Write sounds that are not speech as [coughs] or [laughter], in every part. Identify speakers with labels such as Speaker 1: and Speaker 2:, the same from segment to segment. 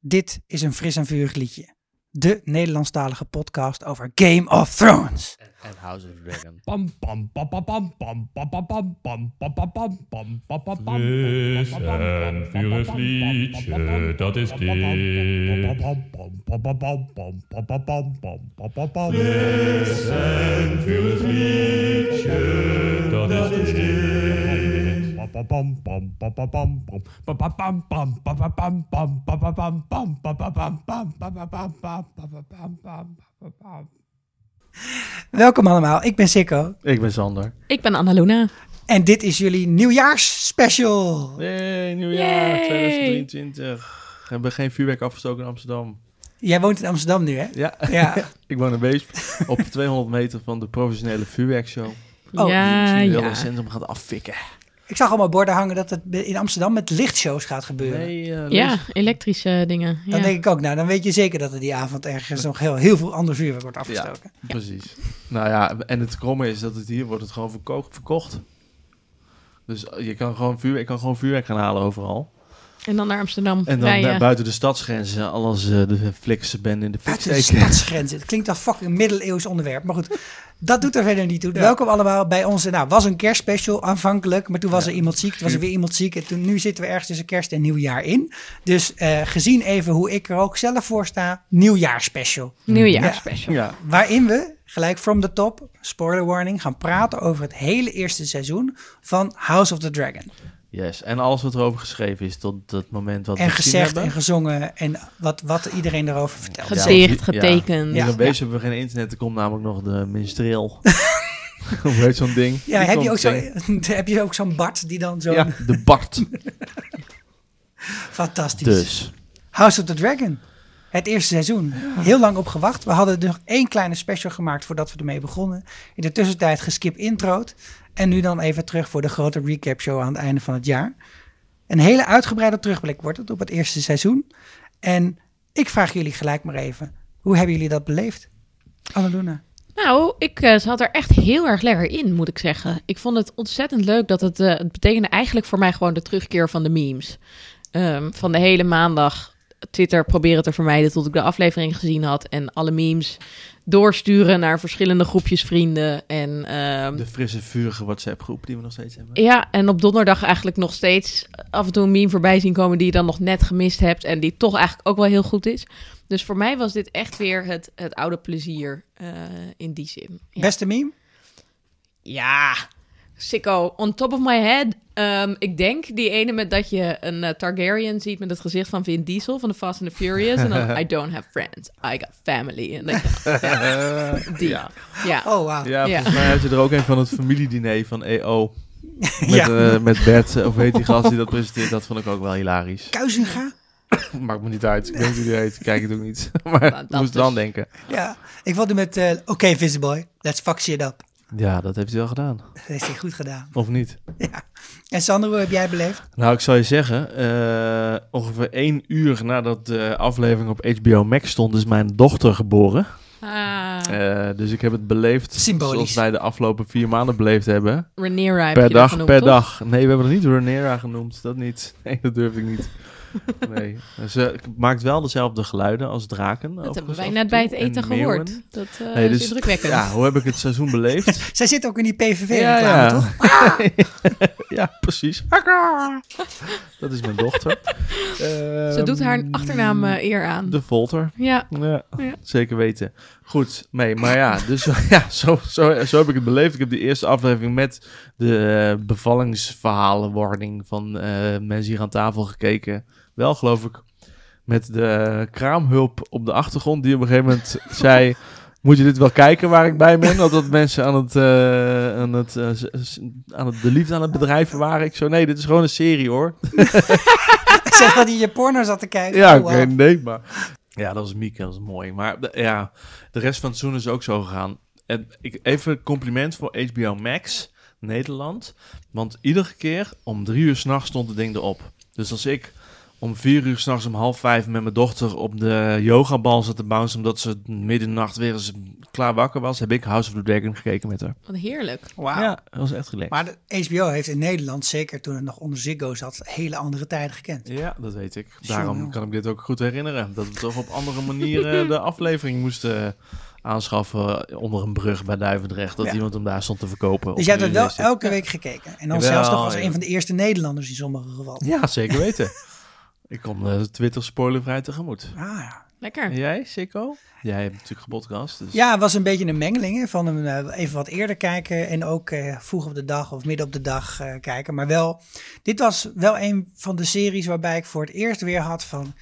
Speaker 1: Dit is een fris en vurig liedje. De Nederlandstalige podcast over Game of Thrones.
Speaker 2: En House of Dragon.
Speaker 3: Pam pam pam pam pam pam pam pam pam pam pam pam pam pam pam pam pam.
Speaker 4: Fris en vurig liedje, dat is dit. Fris en vurig liedje, dat is dit.
Speaker 1: Welkom allemaal, ik ben Sikko.
Speaker 2: [laughs] Ik ben Sander.
Speaker 5: Ik ben Annalona.
Speaker 1: En dit is jullie nieuwjaarsspecial.
Speaker 2: Hey, nieuwjaar
Speaker 5: Yay!
Speaker 2: 2023. We hebben geen vuurwerk afgestoken in Amsterdam.
Speaker 1: Jij woont in Amsterdam nu, hè?
Speaker 2: Ja, [laughs]
Speaker 1: Ja.
Speaker 2: ik woon in Weesp. [laughs] op 200 meter van de professionele vuurwerkshow.
Speaker 1: Oh,
Speaker 5: ja,
Speaker 2: die
Speaker 5: Ah, ja.
Speaker 2: heel het centrum gaat affikken.
Speaker 1: Ik zag allemaal borden hangen dat het in Amsterdam met lichtshows gaat gebeuren.
Speaker 2: Nee, eh,
Speaker 5: ja,
Speaker 2: Lies,
Speaker 5: elektrische dingen.
Speaker 1: Dan
Speaker 5: ja.
Speaker 1: denk ik ook, nou, dan weet je zeker dat er die avond ergens nog heel, heel veel ander vuurwerk wordt afgestoken.
Speaker 2: Precies. Nou ja, en het kromme is dat het hier wordt het gewoon verko- verkocht. Dus je kan gewoon, vuurwerk, kan gewoon vuurwerk gaan halen overal.
Speaker 5: En dan naar Amsterdam
Speaker 2: En dan
Speaker 5: rijden.
Speaker 2: eh, buiten de stadsgrenzen, alles eh, de flikse ben in de fik
Speaker 1: Buiten de
Speaker 2: steken.
Speaker 1: stadsgrenzen. Het klinkt als fucking middeleeuws onderwerp. Maar goed, dat doet er verder niet toe. Welkom allemaal bij onze. Nou, was een kerstspecial aanvankelijk. Maar toen was er iemand ziek. Toen was er weer iemand ziek. En toen, nu zitten we ergens tussen kerst en nieuwjaar in. Dus eh, gezien even hoe ik er ook zelf voor sta. Nieuwjaarspecial.
Speaker 5: Nieuwjaarspecial.
Speaker 2: Ja,
Speaker 1: Waarin we gelijk from the top, spoiler warning, gaan praten over het hele eerste seizoen van House of the Dragon.
Speaker 2: yes. En alles wat erover geschreven is tot dat moment wat
Speaker 1: En
Speaker 2: we gezien
Speaker 1: gezegd
Speaker 2: hebben.
Speaker 1: en gezongen en wat, wat iedereen erover vertelt.
Speaker 2: Ja.
Speaker 5: Gedicht,
Speaker 2: Ja.
Speaker 5: getekend.
Speaker 2: In
Speaker 1: Ja.
Speaker 2: de Wees hebben we geen internet, er komt namelijk nog de [laughs] minstreel. Hoe heet zo'n ding?
Speaker 1: Ja, heb je, ook zo,
Speaker 2: zo'n
Speaker 1: [laughs] heb je ook zo'n Bart die dan zo...
Speaker 2: Ja, de Bart.
Speaker 1: Fantastisch.
Speaker 2: dus.
Speaker 1: House of the Dragon. Het eerste seizoen. Heel lang op gewacht. We hadden nog één kleine special gemaakt voordat we ermee begonnen. In de tussentijd geskip introot. En nu dan even terug voor de grote recap show aan het einde van het jaar. Een hele uitgebreide terugblik wordt het op het eerste seizoen. En ik vraag jullie gelijk maar even. Hoe hebben jullie dat beleefd? Annaluna.
Speaker 5: Nou, ik eh, zat er echt heel erg lekker in, moet ik zeggen. Ik vond het ontzettend leuk dat het... eh, het betekende eigenlijk voor mij gewoon de terugkeer van de memes. Ehm, van de hele maandag Twitter proberen te vermijden tot ik de aflevering gezien had. En alle memes doorsturen naar verschillende groepjes vrienden. En ehm,
Speaker 2: De frisse, vurige WhatsApp-groep die we nog steeds hebben.
Speaker 5: Ja, en op donderdag eigenlijk nog steeds af en toe een meme voorbij zien komen die je dan nog net gemist hebt en die toch eigenlijk ook wel heel goed is. Dus voor mij was dit echt weer het, het oude plezier eh, in die zin. Ja.
Speaker 1: Beste meme?
Speaker 5: Ja, sicko. On top of my head. Ehm, ik denk die ene met dat je een eh, Targaryen ziet met het gezicht van Vin Diesel van de Fast and the Furious. En dan, I don't have friends, I got family. En dan, die.
Speaker 2: ja.
Speaker 5: ja.
Speaker 1: Oh, wauw.
Speaker 2: Ja,
Speaker 5: Ja.
Speaker 2: volgens mij had je er ook een van het familiediner van [laughs] EO. Met,
Speaker 1: Ja.
Speaker 2: eh, met Bert, eh, of weet die gast die dat presenteert. Dat vond ik ook wel hilarisch.
Speaker 1: Kuizinga?
Speaker 2: [laughs] Maakt me niet uit. Ik weet niet hoe die heet. Ik Kijk het ook niet. [laughs] Maar ik
Speaker 5: dat
Speaker 2: moest dan
Speaker 5: dus.
Speaker 2: denken.
Speaker 1: Ja. Ik wilde met, eh, oké Visboy, let's fuck shit up.
Speaker 2: Ja, dat heeft hij wel gedaan.
Speaker 1: Dat heeft hij goed gedaan.
Speaker 2: Of niet?
Speaker 1: Ja. En Sander, hoe heb jij beleefd?
Speaker 2: Nou, ik zal je zeggen, eh, ongeveer één uur nadat de aflevering op HBO Max stond, is mijn dochter geboren.
Speaker 5: Ah,
Speaker 2: Eh, dus ik heb het beleefd
Speaker 1: Symbolisch.
Speaker 2: zoals wij de afgelopen vier maanden beleefd hebben.
Speaker 5: Rhaenyra heb je
Speaker 2: per
Speaker 5: dat
Speaker 2: dag,
Speaker 5: genoemd,
Speaker 2: per
Speaker 5: toch?
Speaker 2: dag. Nee, we hebben nog niet Renera genoemd. Dat niet. [laughs] Nee, dat durf ik
Speaker 5: [laughs]
Speaker 2: niet. Nee. Ze maakt wel dezelfde geluiden als draken.
Speaker 5: Dat hebben
Speaker 2: overigens,
Speaker 5: wij
Speaker 2: af
Speaker 5: net
Speaker 2: en
Speaker 5: bij het
Speaker 2: toe.
Speaker 5: eten
Speaker 2: En meeuwen.
Speaker 5: gehoord. Dat eh,
Speaker 2: Nee, dus-
Speaker 5: is indrukwekkend.
Speaker 2: Ja, hoe heb ik het seizoen beleefd?
Speaker 1: Zij zit ook in die PVV-reclame, toch? [laughs]
Speaker 2: [laughs] ja, precies. Dat is mijn dochter.
Speaker 5: Ze doet haar
Speaker 2: Ehm,
Speaker 5: achternaam eh, eer aan.
Speaker 2: De Volter.
Speaker 5: Ja,
Speaker 2: Ja,
Speaker 5: Ja.
Speaker 2: zeker weten. Goed, nee, maar ja, dus, [laughs] ja zo, zo, zo heb ik het beleefd. Ik heb die eerste aflevering met de eh, bevallingsverhalenwarning van eh, mensen hier aan tafel gekeken. Wel, geloof ik, met de kraamhulp op de achtergrond die op een gegeven moment
Speaker 5: [laughs]
Speaker 2: zei... Moet je dit wel kijken waar ik bij ben? Want dat mensen aan het, eh, aan het, eh, s- s- aan het, de liefde aan het bedrijven waren. Ik zo, nee, dit is gewoon een serie hoor.
Speaker 1: Ik zeg dat hij je porno zat te kijken.
Speaker 2: Ja,
Speaker 1: Oh, wow.
Speaker 2: oké, nee, maar... Ja, dat was Miek, dat was mooi. Maar de- ja, de rest van het seizoen is ook zo gegaan. En ik, even compliment voor HBO Max Nederland. Want iedere keer om drie uur s'nachts stond het ding erop. Dus als ik om vier uur s'nachts om half vijf met mijn dochter op de yogabal zat te bouncen. Omdat ze middernacht weer eens klaar wakker was. Heb ik House of the Dragon gekeken met haar.
Speaker 5: Wat heerlijk.
Speaker 1: Wauw.
Speaker 2: Ja, dat was echt relaxed.
Speaker 1: Maar de HBO heeft in Nederland, zeker toen het nog onder Ziggo zat, hele andere tijden gekend.
Speaker 2: Ja, dat weet ik.
Speaker 1: Jongen.
Speaker 2: Daarom kan ik dit ook goed herinneren. Dat we toch op andere
Speaker 1: [laughs]
Speaker 2: manieren de aflevering moesten eh, aanschaffen eh, onder een brug bij Duivendrecht. Dat
Speaker 1: Ja.
Speaker 2: iemand hem daar stond te verkopen.
Speaker 1: Dus
Speaker 2: op
Speaker 1: jij hebt het wel
Speaker 2: USB-stick.
Speaker 1: elke week gekeken. En dan
Speaker 2: Jawel,
Speaker 1: zelfs nog als
Speaker 2: ja.
Speaker 1: een van de eerste Nederlanders in sommige gevallen.
Speaker 2: Ja, zeker weten. [laughs] ik kom eh, Twitter spoilervrij tegemoet.
Speaker 1: Ah, ja.
Speaker 5: Lekker.
Speaker 2: En jij, Sikko? Jij hebt natuurlijk gepodcast. Dus...
Speaker 1: Ja, het was een beetje een mengeling hè, van een, eh, even wat eerder kijken en ook eh, vroeg op de dag of midden op de dag eh, kijken. Maar wel, dit was wel een van de series waarbij ik voor het eerst weer had van,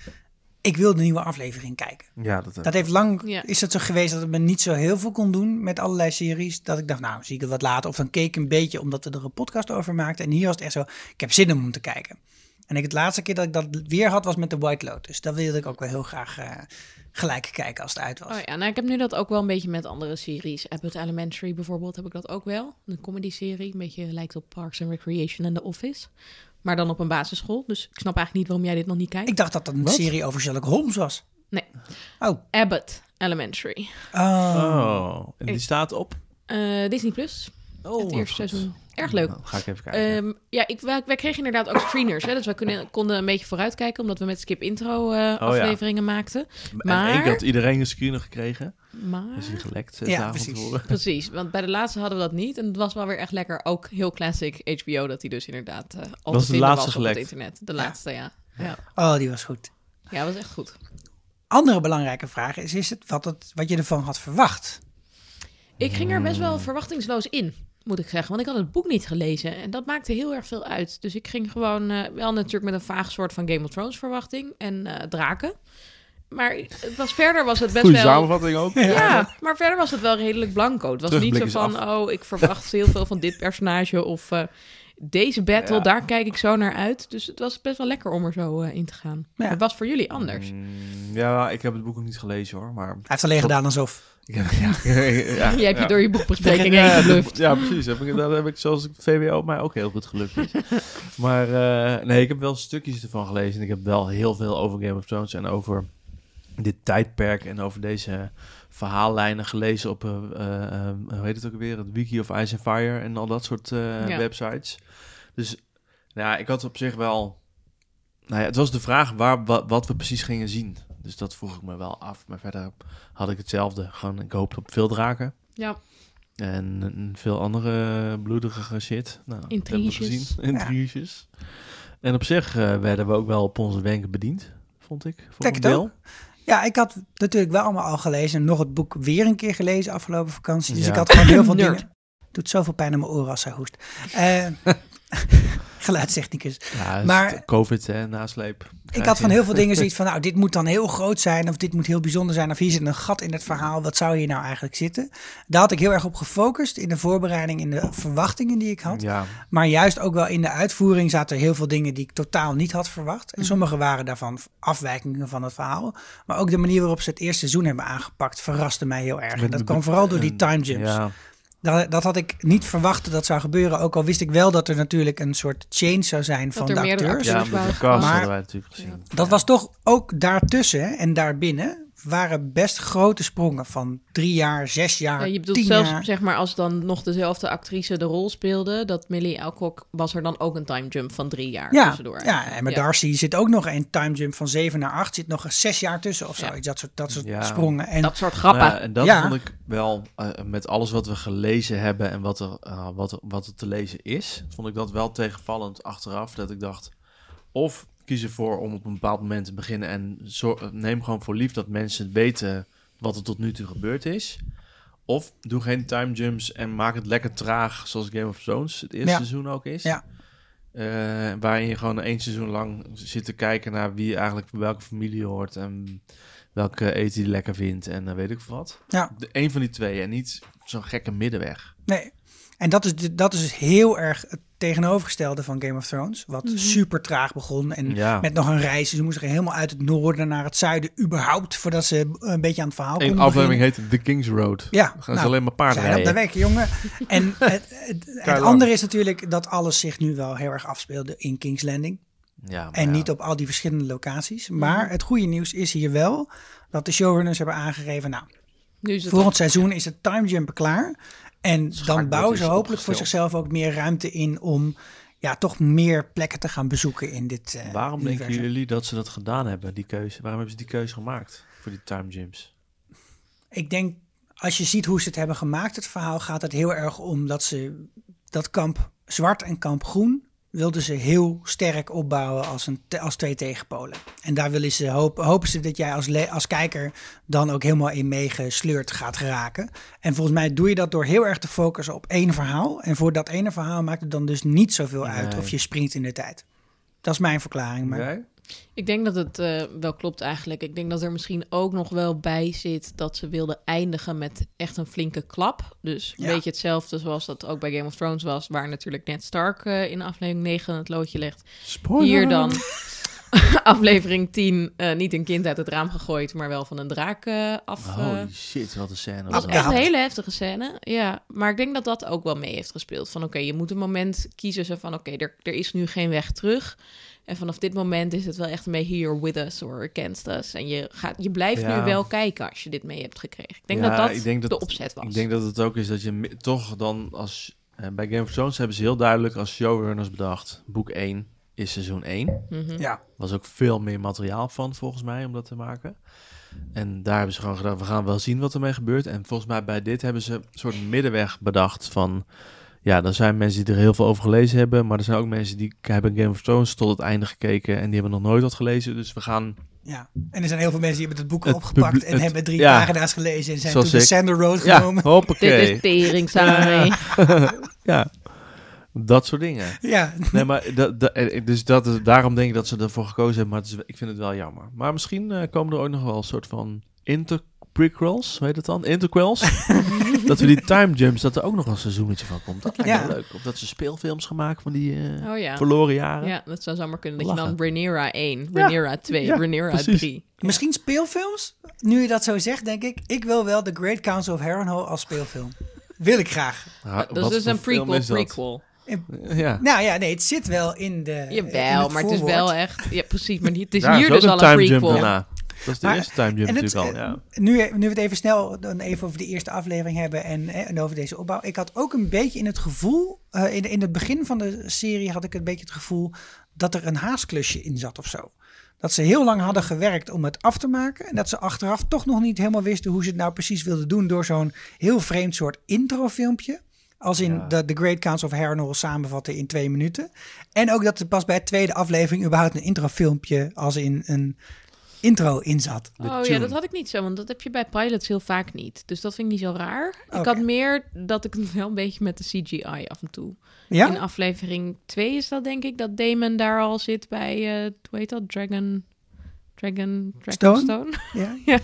Speaker 1: ik wil de nieuwe aflevering kijken.
Speaker 2: Ja, dat,
Speaker 1: Dat heeft lang,
Speaker 5: Ja.
Speaker 1: is het zo geweest dat het me niet zo heel veel kon doen met allerlei series. Dat ik dacht, nou zie ik het wat later. Of dan keek ik een beetje omdat we er een podcast over maakten. En hier was het echt zo, ik heb zin om hem te kijken. En ik het laatste keer dat ik dat weer had was met The White Lotus. Dat wilde ik ook wel heel graag eh, gelijk kijken als het uit was.
Speaker 5: Oh ja, nou ik heb nu dat ook wel een beetje met andere series. Abbott Elementary bijvoorbeeld heb ik dat ook wel. Een comedy serie, een beetje lijkt op Parks and Recreation en The Office. Maar dan op een basisschool. Dus ik snap eigenlijk niet waarom jij dit nog niet kijkt.
Speaker 1: Ik dacht dat dat een serie over Sherlock Holmes was.
Speaker 5: Nee.
Speaker 1: Oh.
Speaker 5: Abbott Elementary.
Speaker 2: Oh, en die staat op.
Speaker 5: Eh, Disney Plus.
Speaker 2: Oh,
Speaker 5: het eerste
Speaker 2: wat goed.
Speaker 5: seizoen. Erg leuk.
Speaker 2: Nou, ga ik even kijken.
Speaker 1: Eh,
Speaker 5: Ehm, ja, ik, wij, wij kregen inderdaad ook screeners. Hè, dus wij kunnen- konden een beetje vooruitkijken, omdat we met Skip Intro
Speaker 2: Oh
Speaker 5: eh, afleveringen maakten.
Speaker 2: En
Speaker 5: maar-
Speaker 2: ik had iedereen een screener gekregen.
Speaker 5: Maar...
Speaker 2: Is hij gelekt? Zes
Speaker 1: Ja,
Speaker 2: dagen
Speaker 1: precies.
Speaker 2: van tevoren.
Speaker 5: Precies, want bij de laatste hadden we dat niet. En het was wel weer echt lekker. Ook heel classic HBO dat hij dus inderdaad eh
Speaker 2: Was
Speaker 5: al te
Speaker 2: de
Speaker 5: vinden
Speaker 2: laatste
Speaker 5: was op
Speaker 2: gelekt?
Speaker 5: het internet. De laatste, ja. Ja,
Speaker 1: oh, die was goed.
Speaker 5: ja was echt goed.
Speaker 1: Andere belangrijke vraag is, is het wat, het wat je ervan had verwacht?
Speaker 5: Ik ging er best
Speaker 2: Hmm.
Speaker 5: wel verwachtingsloos in, moet ik zeggen. Want ik had het boek niet gelezen en dat maakte heel erg veel uit. Dus ik ging gewoon eh, wel natuurlijk met een vaag soort van Game of Thrones verwachting en eh, draken. Maar het was, verder was het best
Speaker 2: Goede
Speaker 5: wel...
Speaker 2: samenvatting ook. [laughs]
Speaker 5: Ja, maar verder was het wel redelijk blanco. Het was niet zo
Speaker 2: Terugblik is
Speaker 5: van, oh, ik verwacht heel veel van dit personage of eh, deze battle,
Speaker 2: Ja.
Speaker 5: daar kijk ik zo naar uit. Dus het was best wel lekker om er zo eh, in te gaan.
Speaker 1: Ja.
Speaker 5: Het was voor jullie anders.
Speaker 2: Mm, ja, ik heb het boek ook niet gelezen hoor. Maar
Speaker 1: Hij heeft alleen gedaan alsof.
Speaker 2: [laughs] Ja, ja, ja,
Speaker 5: Jij hebt je door je boekbespreking
Speaker 2: Ja,
Speaker 5: heen
Speaker 2: dat-
Speaker 5: gebluft.
Speaker 2: Ja, precies. Heb ik, dat heb ik zoals ik VWO mij ook heel goed gelukt is. maar eh, nee, ik heb wel stukjes ervan gelezen. En ik heb wel heel veel over Game of Thrones en over dit tijdperk en over deze verhaallijnen gelezen op, eh, eh, eh, hoe heet het ook weer, het Wiki of Ice and Fire en al dat soort eh,
Speaker 5: Ja.
Speaker 2: websites. Dus nou ja, ik had op zich wel, nou ja, het was de vraag waar, wat, wat we precies gingen zien. Dus dat vroeg ik me wel af. Maar verder had ik hetzelfde. Gewoon, ik hoopte op veel draken.
Speaker 5: Ja,
Speaker 2: En een- veel andere bloedige shit. Nou, dat hebben we
Speaker 5: Intriges.
Speaker 2: gezien. Intriges. En op zich eh, werden we ook wel op onze wenken bediend, vond ik. Voor
Speaker 1: Denk
Speaker 2: een
Speaker 1: het
Speaker 2: deel.
Speaker 1: ook. Ja, ik had natuurlijk wel allemaal al gelezen en nog het boek weer een keer gelezen afgelopen vakantie. Dus
Speaker 2: Ja.
Speaker 1: ik had gewoon heel veel
Speaker 5: Nerd.
Speaker 1: dingen. Doet zoveel pijn aan mijn oren als hij hoest. Eh [laughs] geluidstechnicus.
Speaker 2: Ja,
Speaker 1: Maar-
Speaker 2: maar, COVID en nasleep.
Speaker 1: Ik had van heel veel dingen zoiets van, nou, dit moet dan heel groot zijn, of dit moet heel bijzonder zijn, of hier zit een gat in het verhaal, wat zou hier nou eigenlijk zitten? Daar had ik heel erg op gefocust in de voorbereiding, in de verwachtingen die ik had.
Speaker 2: Ja,
Speaker 1: Maar juist ook wel in de uitvoering zaten heel veel dingen die ik totaal niet had verwacht. En sommige waren daarvan afwijkingen van het verhaal. Maar ook de manier waarop ze het eerste seizoen hebben aangepakt verraste mij heel erg. En dat kwam vooral door die time jumps.
Speaker 2: ja,
Speaker 1: Dat, dat had ik niet verwacht dat dat zou gebeuren. Ook al wist ik wel dat er natuurlijk een soort change zou zijn van
Speaker 5: er
Speaker 1: de
Speaker 5: meerdere
Speaker 1: acteurs.
Speaker 2: ja
Speaker 5: Precies
Speaker 2: met
Speaker 5: waar.
Speaker 2: de cast
Speaker 1: Maar-
Speaker 2: hadden wij natuurlijk gezien.
Speaker 1: Dat was toch ook daartussen en daarbinnen waren best grote sprongen van drie jaar, zes jaar,
Speaker 5: Ja, je bedoelt
Speaker 1: tien
Speaker 5: zelfs,
Speaker 1: jaar.
Speaker 5: zeg maar, als dan nog dezelfde actrice de rol speelde, dat Millie Alcock, was er dan ook een time jump van drie jaar
Speaker 1: Ja,
Speaker 5: tussendoor.
Speaker 1: ja, en met Darcy zit ook nog een time jump van 7 naar 8. Zit nog een 6 jaar tussen of zo.
Speaker 5: Ja.
Speaker 1: Dat soort, dat soort
Speaker 2: Ja.
Speaker 1: sprongen. En
Speaker 5: Dat soort grappen.
Speaker 2: Nou, en dat
Speaker 1: Ja.
Speaker 2: vond ik wel, eh, met alles wat we gelezen hebben en wat er, eh, wat, er- wat er te lezen is, vond ik dat wel tegenvallend achteraf. Dat ik dacht, of kies ervoor om op een bepaald moment te beginnen en zor- neem gewoon voor lief dat mensen weten wat er tot nu toe gebeurd is. Of doe geen time jumps en maak het lekker traag, zoals Game of Thrones het eerste
Speaker 1: Ja.
Speaker 2: seizoen ook is.
Speaker 1: Ja.
Speaker 2: Eh, waarin je gewoon één seizoen lang zit te kijken naar wie eigenlijk bij welke familie hoort en welke eten die lekker vindt en eh, weet ik veel wat.
Speaker 1: Ja.
Speaker 2: De, een van die twee en niet zo'n gekke middenweg.
Speaker 1: Nee. En dat is, de- dat is dus heel erg het tegenovergestelde van Game of Thrones. Wat
Speaker 5: Mhm.
Speaker 1: super traag begon. En
Speaker 2: Ja.
Speaker 1: met nog een reis. Ze moesten helemaal uit het noorden naar het zuiden. überhaupt. Voordat ze een beetje aan het verhaal
Speaker 2: Eén
Speaker 1: konden
Speaker 2: aflevering
Speaker 1: beginnen.
Speaker 2: heet The King's Road.
Speaker 1: Ja,
Speaker 2: Dan gaan
Speaker 1: nou,
Speaker 2: ze alleen maar paarden
Speaker 1: Zijn op de
Speaker 2: rijden.
Speaker 1: weg, jongen.
Speaker 5: [laughs]
Speaker 1: En het, het, het
Speaker 2: Keilang.
Speaker 1: andere is natuurlijk dat alles zich nu wel heel erg afspeelde in King's Landing.
Speaker 2: Ja, maar
Speaker 1: En
Speaker 2: ja. Mhm.
Speaker 1: niet op al die verschillende locaties. Maar het goede nieuws is hier wel dat de showrunners hebben aangegeven... nou,
Speaker 5: Nu is het
Speaker 1: volgend seizoen is het timejumpen klaar. En dan
Speaker 2: Schaakbord
Speaker 1: bouwen ze
Speaker 2: is
Speaker 1: hopelijk voor
Speaker 2: opgesteld.
Speaker 1: zichzelf ook meer ruimte in... om ja, toch meer plekken te gaan bezoeken in dit eh,
Speaker 2: Waarom denken
Speaker 1: universum.
Speaker 2: jullie dat ze dat gedaan hebben, die keuze? Waarom hebben ze die keuze gemaakt voor die time gyms?
Speaker 1: Ik denk, als je ziet hoe ze het hebben gemaakt, het verhaal, gaat het heel erg om dat ze dat kamp zwart en kamp groen wilden ze heel sterk opbouwen als, een, te- als twee tegenpolen. En daar willen ze hoop, hopen ze dat jij als, le- als kijker dan ook helemaal in meegesleurd gaat raken. En volgens mij doe je dat door heel erg te focussen op één verhaal. En voor dat ene verhaal maakt het dan dus niet zoveel uit
Speaker 2: Nee.
Speaker 1: of je springt in de tijd. Dat is mijn verklaring. Maar
Speaker 2: Jij?
Speaker 5: Ik denk dat het eh, wel klopt eigenlijk. Ik denk dat er misschien ook nog wel bij zit dat ze wilden eindigen met echt een flinke klap. Dus een
Speaker 1: Ja.
Speaker 5: beetje hetzelfde zoals dat ook bij Game of Thrones was, waar natuurlijk Ned Stark eh, in aflevering 9 het loodje legt. Hier dan [laughs] aflevering 10 eh, niet een kind uit het raam gegooid, maar wel van een draak eh af. eh,
Speaker 2: Holy shit, wat een scène. Was
Speaker 5: dat was
Speaker 2: dat.
Speaker 5: echt een
Speaker 1: Ja.
Speaker 5: hele heftige scène. Ja, maar ik denk dat dat ook wel mee heeft gespeeld. Van oké, je moet een moment kiezen zo van oké, er, er is nu geen weg terug. En vanaf dit moment is het wel echt mee here with us or against us. En je, gaat, je blijft
Speaker 2: Ja.
Speaker 5: nu wel kijken als je dit mee hebt gekregen. Ik denk
Speaker 2: Ja,
Speaker 5: dat dat
Speaker 2: ik denk dat-
Speaker 5: de opzet was.
Speaker 2: Ik denk dat het ook is dat je mi- toch dan als... eh, bij Game of Thrones hebben ze heel duidelijk als showrunners bedacht... Boek 1 is seizoen 1.
Speaker 5: Mhm.
Speaker 1: ja,
Speaker 2: was ook veel meer materiaal van, volgens mij, om dat te maken. En daar hebben ze gewoon gedaan, we gaan wel zien wat ermee gebeurt. En volgens mij bij dit hebben ze een soort middenweg bedacht van... Ja, er zijn mensen die er heel veel over gelezen hebben... maar er zijn ook mensen die hebben Game of Thrones tot het einde gekeken... en die hebben nog nooit wat gelezen. Dus we gaan
Speaker 1: Ja, en er zijn heel veel mensen die hebben het boek
Speaker 2: Het
Speaker 1: opgepakt
Speaker 2: publie-
Speaker 1: en
Speaker 2: het-
Speaker 1: hebben drie
Speaker 2: ja.
Speaker 1: pagina's gelezen en zijn
Speaker 2: Zoals
Speaker 1: toen
Speaker 2: ik.
Speaker 1: de Sander Road
Speaker 2: Ja,
Speaker 1: genomen. [laughs]
Speaker 5: Dit
Speaker 2: hoppakee.
Speaker 5: is
Speaker 2: [laughs]
Speaker 5: tering, saai. [laughs]
Speaker 2: Ja, dat soort dingen.
Speaker 1: Ja,
Speaker 2: Nee, maar dat, dat- eh, dus dat, is- daarom denk ik dat ze ervoor gekozen hebben. Maar het is- ik vind het wel jammer. Maar misschien eh, komen er ook nog wel een soort van inter prequels, weet het dan?
Speaker 1: [laughs]
Speaker 2: Interquels. dat we die time jumps, dat er ook nog een seizoenetje van komt. Dat lijkt
Speaker 1: Ja.
Speaker 2: me leuk. Of dat ze speelfilms gemaakt van die eh,
Speaker 5: Oh ja.
Speaker 2: verloren jaren.
Speaker 5: Ja, dat zou zomaar kunnen. Dat je
Speaker 2: Lachen.
Speaker 5: dan Rhaenyra 1, Rhaenyra 2,
Speaker 2: ja,
Speaker 5: Rhaenyra
Speaker 2: precies.
Speaker 5: 3.
Speaker 1: misschien speelfilms? Nu je dat zo zegt, denk ik, ik wil wel The Great Council of Harrenhal als speelfilm. Wil ik graag.
Speaker 2: Ah,
Speaker 5: Dat is
Speaker 2: wat
Speaker 5: dus
Speaker 2: voor
Speaker 5: een
Speaker 2: film
Speaker 5: prequel,
Speaker 2: is dat?
Speaker 5: prequel.
Speaker 2: Ja.
Speaker 1: Nou ja, nee, het zit wel in
Speaker 2: Eh,
Speaker 1: de in
Speaker 5: Jawel, maar het is
Speaker 1: voorwoord.
Speaker 5: wel echt... Ja, precies. Maar het is
Speaker 2: Daar
Speaker 5: hier
Speaker 2: ook
Speaker 5: dus
Speaker 2: een
Speaker 5: al een
Speaker 2: time jump
Speaker 5: prequel.
Speaker 2: daarna. Dat is de
Speaker 1: Maar-
Speaker 2: eerste time jump
Speaker 1: en het,
Speaker 2: natuurlijk al.
Speaker 1: eh,
Speaker 2: Ja.
Speaker 1: Nu, nu we het even snel dan even over de eerste aflevering hebben en, eh, en over deze opbouw. Ik had ook een beetje in het gevoel, eh, in, in het begin van de serie had ik een beetje het gevoel dat er een haastklusje in zat of zo. Dat ze heel lang hadden gewerkt om het af te maken. En dat ze achteraf toch nog niet helemaal wisten hoe ze het nou precies wilden doen. Door zo'n heel vreemd soort introfilmpje. Als in
Speaker 2: Ja.
Speaker 1: de The Great Council of Harrenhal samenvatten in twee minuten. En ook dat er pas bij het tweede aflevering überhaupt een introfilmpje als in een intro in zat.
Speaker 2: De
Speaker 5: oh
Speaker 2: tune.
Speaker 5: ja, dat had ik niet zo, want dat heb je bij pilots heel vaak niet. Dus dat vind ik niet zo raar. Ik
Speaker 1: Oké.
Speaker 5: had meer dat ik het wel een beetje met de CGI af en toe.
Speaker 1: Ja?
Speaker 5: In aflevering 2 is dat denk ik dat Damon daar al zit bij, eh, hoe heet dat? Dragon. Dragon. Dragonstone.
Speaker 1: ja?
Speaker 2: Hoe heet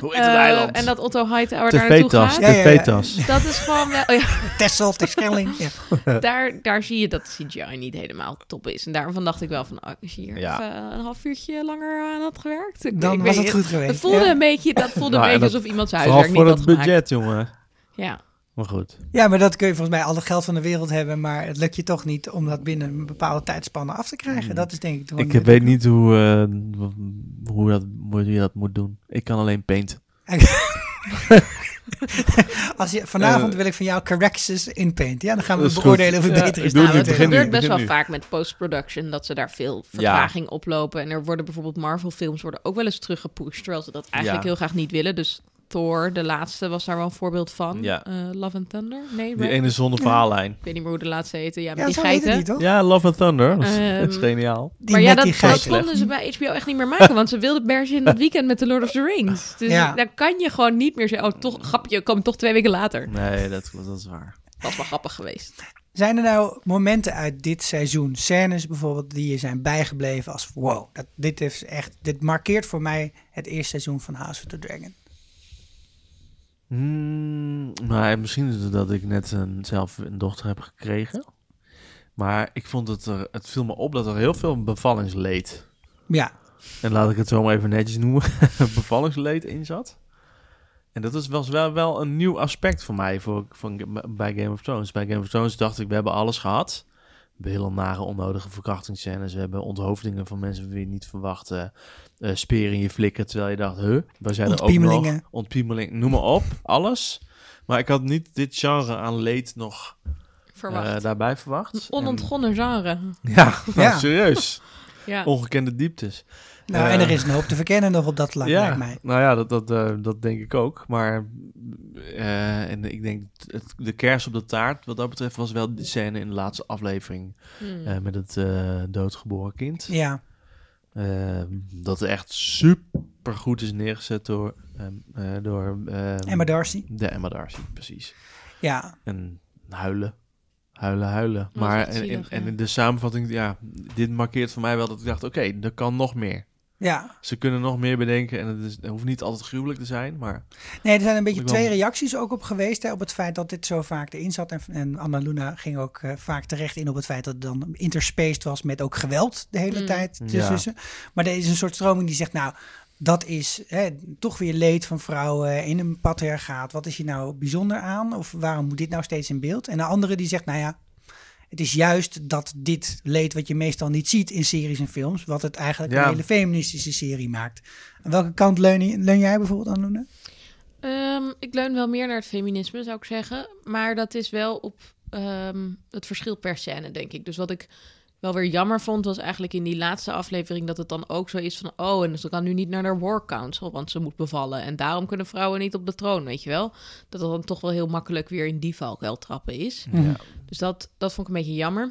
Speaker 2: het eiland?
Speaker 5: Eh, en dat Otto Hightower
Speaker 2: de
Speaker 5: daar naartoe
Speaker 2: vetas,
Speaker 5: gaat.
Speaker 2: de
Speaker 1: Ja, ja, ja.
Speaker 2: vetas.
Speaker 5: Dat is gewoon wel. oh Ja,
Speaker 2: [laughs]
Speaker 1: Texel, Terschelling.
Speaker 5: [laughs]
Speaker 1: Ja.
Speaker 5: daar, daar zie je dat CGI niet helemaal top is. En daarvan dacht ik wel van, oh, is hier
Speaker 2: Ja.
Speaker 5: even een half uurtje langer aan had gewerkt. Ik-
Speaker 1: Dan
Speaker 5: ik
Speaker 1: was
Speaker 5: weet
Speaker 1: het goed geweest.
Speaker 5: Het voelde
Speaker 1: ja.
Speaker 5: een beetje, dat voelde
Speaker 2: Nou,
Speaker 5: een
Speaker 2: en
Speaker 5: beetje
Speaker 2: dat-
Speaker 5: alsof iemand zijn
Speaker 2: Vooral
Speaker 5: huiswerk
Speaker 2: voor
Speaker 5: niet had
Speaker 2: het
Speaker 5: gemaakt.
Speaker 2: budget, jongen.
Speaker 5: Ja,
Speaker 2: Maar goed.
Speaker 1: Ja, maar dat kun je volgens mij al het geld van de wereld hebben. Maar het lukt je toch niet om dat binnen een bepaalde tijdspanne af te krijgen. Dat is denk ik gewoon...
Speaker 2: Hmm. Ik weet niet hoe, eh, w- hoe, dat, hoe je dat moet doen. Ik kan alleen paint.
Speaker 1: Als je, vanavond
Speaker 2: Eh.
Speaker 1: wil ik van jou corrections in paint. Ja, dan gaan we
Speaker 2: Dat is
Speaker 1: beoordelen
Speaker 2: goed.
Speaker 1: of het
Speaker 2: Ja,
Speaker 1: beter
Speaker 2: ik
Speaker 1: is.
Speaker 2: doe
Speaker 1: Nou,
Speaker 2: het
Speaker 1: dat
Speaker 2: nu, begin
Speaker 1: weet
Speaker 5: gebeurt
Speaker 1: ik
Speaker 2: nu.
Speaker 5: best wel
Speaker 2: nu.
Speaker 5: vaak met post-production dat ze daar veel vertraging oplopen. En er worden bijvoorbeeld Marvel-films worden ook wel eens teruggepusht, terwijl ze dat eigenlijk
Speaker 2: Ja.
Speaker 5: heel graag niet willen. Dus Thor, de laatste, was daar wel een voorbeeld van.
Speaker 2: Ja.
Speaker 5: Eh, Love and Thunder? Nee,
Speaker 2: Die
Speaker 5: Ragnarok?
Speaker 2: ene zonder verhaallijn.
Speaker 5: ik weet niet meer hoe de laatste heette. Ja,
Speaker 1: niet. Ja,
Speaker 5: met die
Speaker 1: zo heet het
Speaker 5: geiten.
Speaker 1: niet, toch?
Speaker 2: Ja, Love and Thunder. Dat is, dat is
Speaker 5: Ehm,
Speaker 2: geniaal.
Speaker 1: Die
Speaker 5: maar ja,
Speaker 1: met
Speaker 5: dat,
Speaker 1: die
Speaker 5: dat
Speaker 1: geiten.
Speaker 5: konden ze bij HBO echt niet meer maken, want ze wilden per se in dat weekend met The Lord of the Rings. Dus
Speaker 1: Ja.
Speaker 5: dan kan je gewoon niet meer zeggen, oh, toch, grapje, kom toch twee weken later.
Speaker 2: Nee, dat, dat is waar.
Speaker 5: Dat was wel grappig geweest.
Speaker 1: Zijn er nou momenten uit dit seizoen, scènes bijvoorbeeld, die je zijn bijgebleven als wow, dat, dit, is echt, dit markeert voor mij het eerste seizoen van House of the Dragon.
Speaker 2: Hmm, maar misschien is het dat ik net een, zelf een dochter heb gekregen. Maar ik vond het er... Het viel me op dat er heel veel bevallingsleed...
Speaker 1: Ja,
Speaker 2: En laat ik het zo maar even netjes noemen. [laughs] bevallingsleed in zat. En dat is, was wel, wel een nieuw aspect voor mij voor, van, bij Game of Thrones. Bij Game of Thrones dacht ik, we hebben alles gehad. We hebben hele nare, onnodige verkrachtingsscènes. We hebben onthoofdingen van mensen die je niet verwachten. eh speren in je flikker, terwijl je dacht, huh, waar zijn er ook nog?
Speaker 1: Ontpiemelingen.
Speaker 2: Ontpiemeling, noem maar op, alles. Maar ik had niet dit genre aan leed nog eh,
Speaker 5: Verwacht.
Speaker 2: daarbij verwacht.
Speaker 5: Een onontgonnen genre.
Speaker 2: En- Ja,
Speaker 1: Ja.
Speaker 2: serieus.
Speaker 5: [laughs] Ja.
Speaker 2: Ongekende dieptes.
Speaker 1: Nou,
Speaker 2: Eh.
Speaker 1: en er is een hoop te verkennen nog op dat vlak,
Speaker 2: ja,
Speaker 1: lijkt mij.
Speaker 2: nou ja, dat, dat, eh, dat denk ik ook. Maar eh, en ik denk het, de kers op de taart, wat dat betreft, was wel de scène in de laatste aflevering
Speaker 5: Hmm.
Speaker 2: eh, met het eh, doodgeboren kind.
Speaker 1: Ja,
Speaker 2: Eh, dat echt super goed is neergezet door, ehm, eh, door ehm,
Speaker 1: Emma Darcy.
Speaker 2: de Emma Darcy, precies.
Speaker 1: Ja,
Speaker 2: En huilen. Huilen, huilen.
Speaker 5: Oh, is
Speaker 2: maar
Speaker 5: echt
Speaker 2: en, en,
Speaker 5: zielig,
Speaker 2: en
Speaker 5: ja.
Speaker 2: in de samenvatting, ja, dit markeert voor mij wel dat ik dacht, oké, er kan nog meer.
Speaker 1: ja.
Speaker 2: Ze kunnen nog meer bedenken en het, is, het hoeft niet altijd gruwelijk te zijn, maar
Speaker 1: Nee, er zijn een beetje
Speaker 2: Ik wil-
Speaker 1: twee reacties ook op geweest. Hè, op het feit dat dit zo vaak erin zat. En, en Anna Luna ging ook eh, vaak terecht in op het feit dat het dan interspaced was met ook geweld de hele
Speaker 5: Mm.
Speaker 1: tijd
Speaker 2: Ja.
Speaker 1: tussen. Maar er is een soort stroming die zegt, nou, dat is hè, toch weer leed van vrouwen in een patriarchaat. Wat is hier nou bijzonder aan? Of waarom moet dit nou steeds in beeld? En de andere die zegt, nou ja, het is juist dat dit leed wat je meestal niet ziet in series en films, wat het eigenlijk
Speaker 2: Ja.
Speaker 1: een hele feministische serie maakt. Aan welke kant leun, je- leun jij bijvoorbeeld aan, Luna?
Speaker 5: Ehm, ik leun wel meer naar het feminisme, zou ik zeggen. Maar dat is wel op ehm, het verschil per scène, denk ik. Dus wat ik wel weer jammer vond, was eigenlijk in die laatste aflevering... dat het dan ook zo is van... oh, en ze kan nu niet naar de War Council, want ze moet bevallen. En daarom kunnen vrouwen niet op de troon, weet je wel? Dat het dan toch wel heel makkelijk weer in die valkuil trappen is.
Speaker 1: Ja.
Speaker 5: Dus dat, dat vond ik een beetje jammer.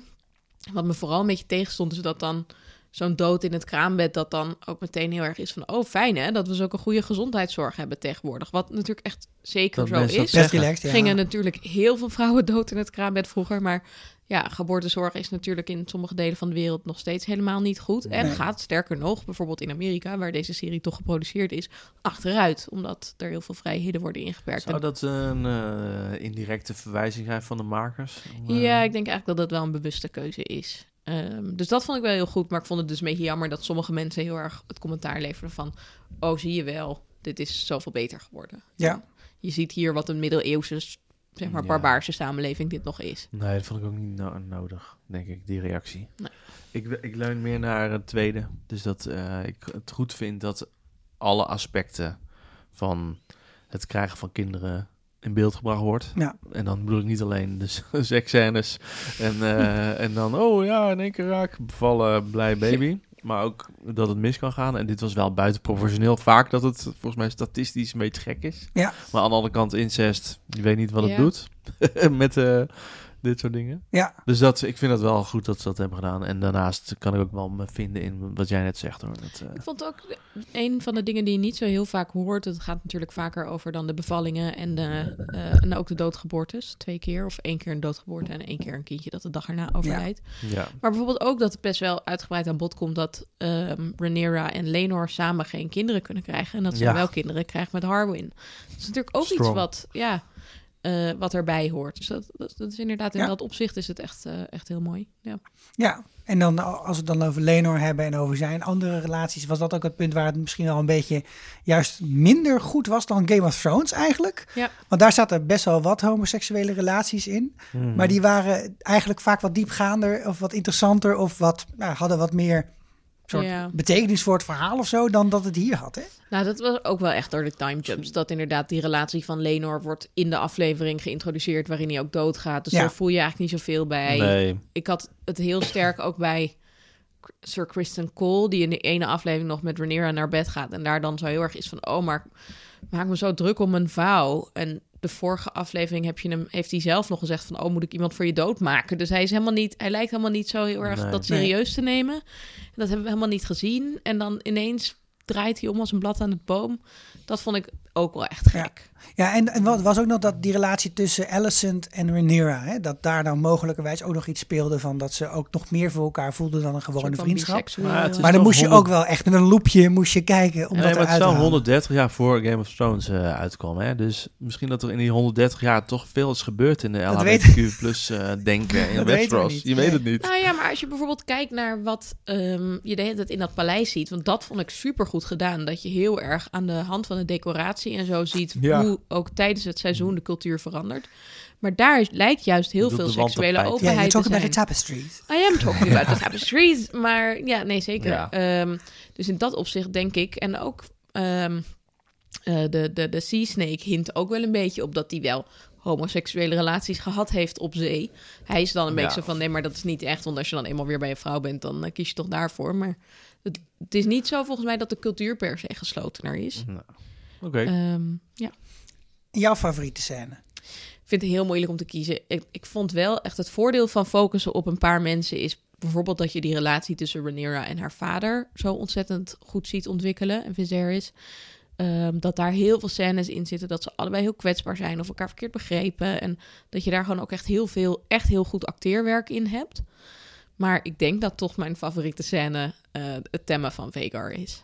Speaker 5: Wat me vooral een beetje tegenstond, is dat dan zo'n dood in het kraambed... dat dan ook meteen heel erg is van... oh, fijn hè, dat we zulke goede gezondheidszorg hebben tegenwoordig. Wat natuurlijk echt zeker
Speaker 2: Dat
Speaker 5: zo
Speaker 2: mensen dat
Speaker 5: is.
Speaker 1: Best
Speaker 2: zeggen.
Speaker 1: relaxed, ja.
Speaker 5: Gingen natuurlijk heel veel vrouwen [laughs] dood in het kraambed vroeger. Maar ja, geboortezorg is natuurlijk in sommige delen van de wereld nog steeds helemaal niet goed. En
Speaker 1: Nee.
Speaker 5: gaat sterker nog, bijvoorbeeld in Amerika, waar deze serie toch geproduceerd is, achteruit. Omdat er heel veel vrijheden worden ingeperkt.
Speaker 2: Zou
Speaker 5: En-
Speaker 2: dat een eh, indirecte verwijzing zijn van de makers? Om, eh,
Speaker 5: Ja, ik denk eigenlijk dat dat wel een bewuste keuze is. Ehm, dus dat vond ik wel heel goed. Maar ik vond het dus een beetje jammer dat sommige mensen heel erg het commentaar leverden van... Oh, zie je wel, dit is zoveel beter geworden.
Speaker 1: Ja.
Speaker 5: Je ziet hier wat een middeleeuwse, zeg maar
Speaker 2: Ja.
Speaker 5: barbaarse samenleving dit nog is.
Speaker 2: Nee, dat vond ik ook niet no- nodig, denk ik, die reactie.
Speaker 5: Nee.
Speaker 2: Ik, we- ik leun meer naar het tweede. Dus dat eh, ik het goed vind dat alle aspecten van het krijgen van kinderen in beeld gebracht wordt.
Speaker 1: Ja.
Speaker 2: En dan bedoel ik niet alleen de s- [laughs] seksscènes en, eh, en dan, oh ja, in één keer raak, bevallen, blij baby. Maar ook dat het mis kan gaan. En dit was wel buitenproportioneel vaak dat het volgens mij statistisch een beetje gek is.
Speaker 1: Ja.
Speaker 2: Maar aan de andere kant, incest, je weet niet wat het
Speaker 5: Ja.
Speaker 2: doet [laughs] met eh, dit soort dingen.
Speaker 1: Ja.
Speaker 2: Dus dat, ik vind het wel goed dat ze dat hebben gedaan. En daarnaast kan ik ook wel me vinden in wat jij net zegt hoor. Dat, eh,
Speaker 5: Ik vond ook een van de dingen die je niet zo heel vaak hoort. Het gaat natuurlijk vaker over dan de bevallingen en, de, eh, en ook de doodgeboortes. Twee keer of één keer een doodgeboorte en één keer een kindje dat de dag erna overlijdt.
Speaker 2: ja.
Speaker 5: Maar bijvoorbeeld ook dat het best wel uitgebreid aan bod komt dat ehm Rhaenyra en Lenor samen geen kinderen kunnen krijgen. En dat ze
Speaker 2: Ja.
Speaker 5: wel kinderen krijgt met Harwin. Dat is natuurlijk ook
Speaker 2: Strong.
Speaker 5: iets wat, ja, eh, wat erbij hoort. Dus dat, dat, dat is inderdaad, in
Speaker 1: Ja.
Speaker 5: dat opzicht is het echt, eh, echt heel mooi. Ja.
Speaker 1: Ja, en dan als we het dan over Lenor hebben en over zijn andere relaties, was dat ook het punt waar het misschien wel een beetje juist minder goed was dan Game of Thrones eigenlijk.
Speaker 5: Ja.
Speaker 1: Want daar zaten best wel wat homoseksuele relaties in, maar die waren eigenlijk vaak wat diepgaander of wat interessanter of wat, nou, hadden wat meer soort
Speaker 5: Ja.
Speaker 1: betekenis voor het verhaal of zo dan dat het hier had. Hè?
Speaker 5: Nou, dat was ook wel echt door de time jumps. Dat inderdaad die relatie van Lenor wordt in de aflevering geïntroduceerd waarin hij ook doodgaat. Dus
Speaker 1: Ja.
Speaker 5: daar voel je eigenlijk niet zoveel bij.
Speaker 2: Nee.
Speaker 5: ik had het heel sterk ook bij Sir Kristen Cole, die in de ene aflevering nog met Rhaenyra naar bed gaat en daar dan zo heel erg is van, oh, maar ik maak me zo druk om een vouw. En de vorige aflevering heb je hem, heeft hij zelf nog gezegd van, oh, moet ik iemand voor je dood maken? Dus hij is helemaal niet, hij lijkt helemaal niet zo heel erg
Speaker 2: Nee.
Speaker 5: dat
Speaker 1: Nee.
Speaker 5: serieus te nemen. En Dat hebben we helemaal niet gezien. En dan ineens draait hij om als een blad aan het boom. Dat vond ik ook wel echt
Speaker 1: Ja.
Speaker 5: gek.
Speaker 1: Ja, en, en wat was ook nog dat die relatie tussen Alicent en Rhaenyra, hè, dat daar dan mogelijkerwijs ook nog iets speelde van dat ze ook nog meer voor elkaar voelden dan een
Speaker 5: Een soort
Speaker 1: gewone
Speaker 5: van
Speaker 1: vriendschap.
Speaker 5: biseksueel.
Speaker 2: Maar het is-
Speaker 1: Maar dan
Speaker 2: wel
Speaker 1: moest je
Speaker 2: 100
Speaker 1: ook wel echt met een loepje moest je kijken om dat
Speaker 2: Nee, maar het
Speaker 1: eruit
Speaker 2: is
Speaker 1: te
Speaker 2: wel
Speaker 1: halen.
Speaker 2: 130 jaar voor Game of Thrones eh, uitkwam. Hè? Dus misschien dat er in die 130 jaar toch veel is gebeurd in de
Speaker 1: Dat
Speaker 2: LHBTQ plus eh, denken in
Speaker 1: Dat weten we
Speaker 2: Westeros.
Speaker 1: niet.
Speaker 2: Je weet het niet.
Speaker 5: Nou ja, maar als je bijvoorbeeld kijkt naar wat ehm, je de hele tijd in dat paleis ziet, want dat vond ik supergoed goed gedaan. Dat je heel erg aan de hand van de decoratie en zo ziet
Speaker 6: Ja.
Speaker 5: hoe ook tijdens het seizoen de cultuur verandert. Maar daar is- lijkt juist heel
Speaker 2: bedoelt
Speaker 5: veel
Speaker 2: de wandtapijt.
Speaker 5: seksuele
Speaker 2: Ja,
Speaker 1: Ja,
Speaker 5: openheid
Speaker 1: je
Speaker 5: te
Speaker 1: talking
Speaker 5: zijn.
Speaker 1: about the tapestries.
Speaker 5: I am talking about the tapestries. Maar ja, nee, zeker.
Speaker 2: Ja.
Speaker 5: Ehm, dus in dat opzicht denk ik. En ook ehm, eh, de, de, de Sea Snake hint ook wel een beetje op dat hij wel homoseksuele relaties gehad heeft op zee. Hij is dan een
Speaker 2: Ja.
Speaker 5: beetje zo van, nee, maar dat is niet echt. Want als je dan eenmaal weer bij een vrouw bent, dan eh, kies je toch daarvoor. Maar het, het is niet zo volgens mij dat de cultuur per se geslotener is.
Speaker 2: Mhm. Oké.
Speaker 5: Ehm, ja.
Speaker 1: Jouw favoriete scène?
Speaker 5: Ik vind het heel moeilijk om te kiezen. Ik, ik vond wel echt het voordeel van focussen op een paar mensen is bijvoorbeeld dat je die relatie tussen Rhaenyra en haar vader zo ontzettend goed ziet ontwikkelen en Viserys. Ehm, dat daar heel veel scènes in zitten dat ze allebei heel kwetsbaar zijn of elkaar verkeerd begrepen en dat je daar gewoon ook echt heel veel, echt heel goed acteerwerk in hebt. Maar ik denk dat toch mijn favoriete scène eh, het thema van Vegar is.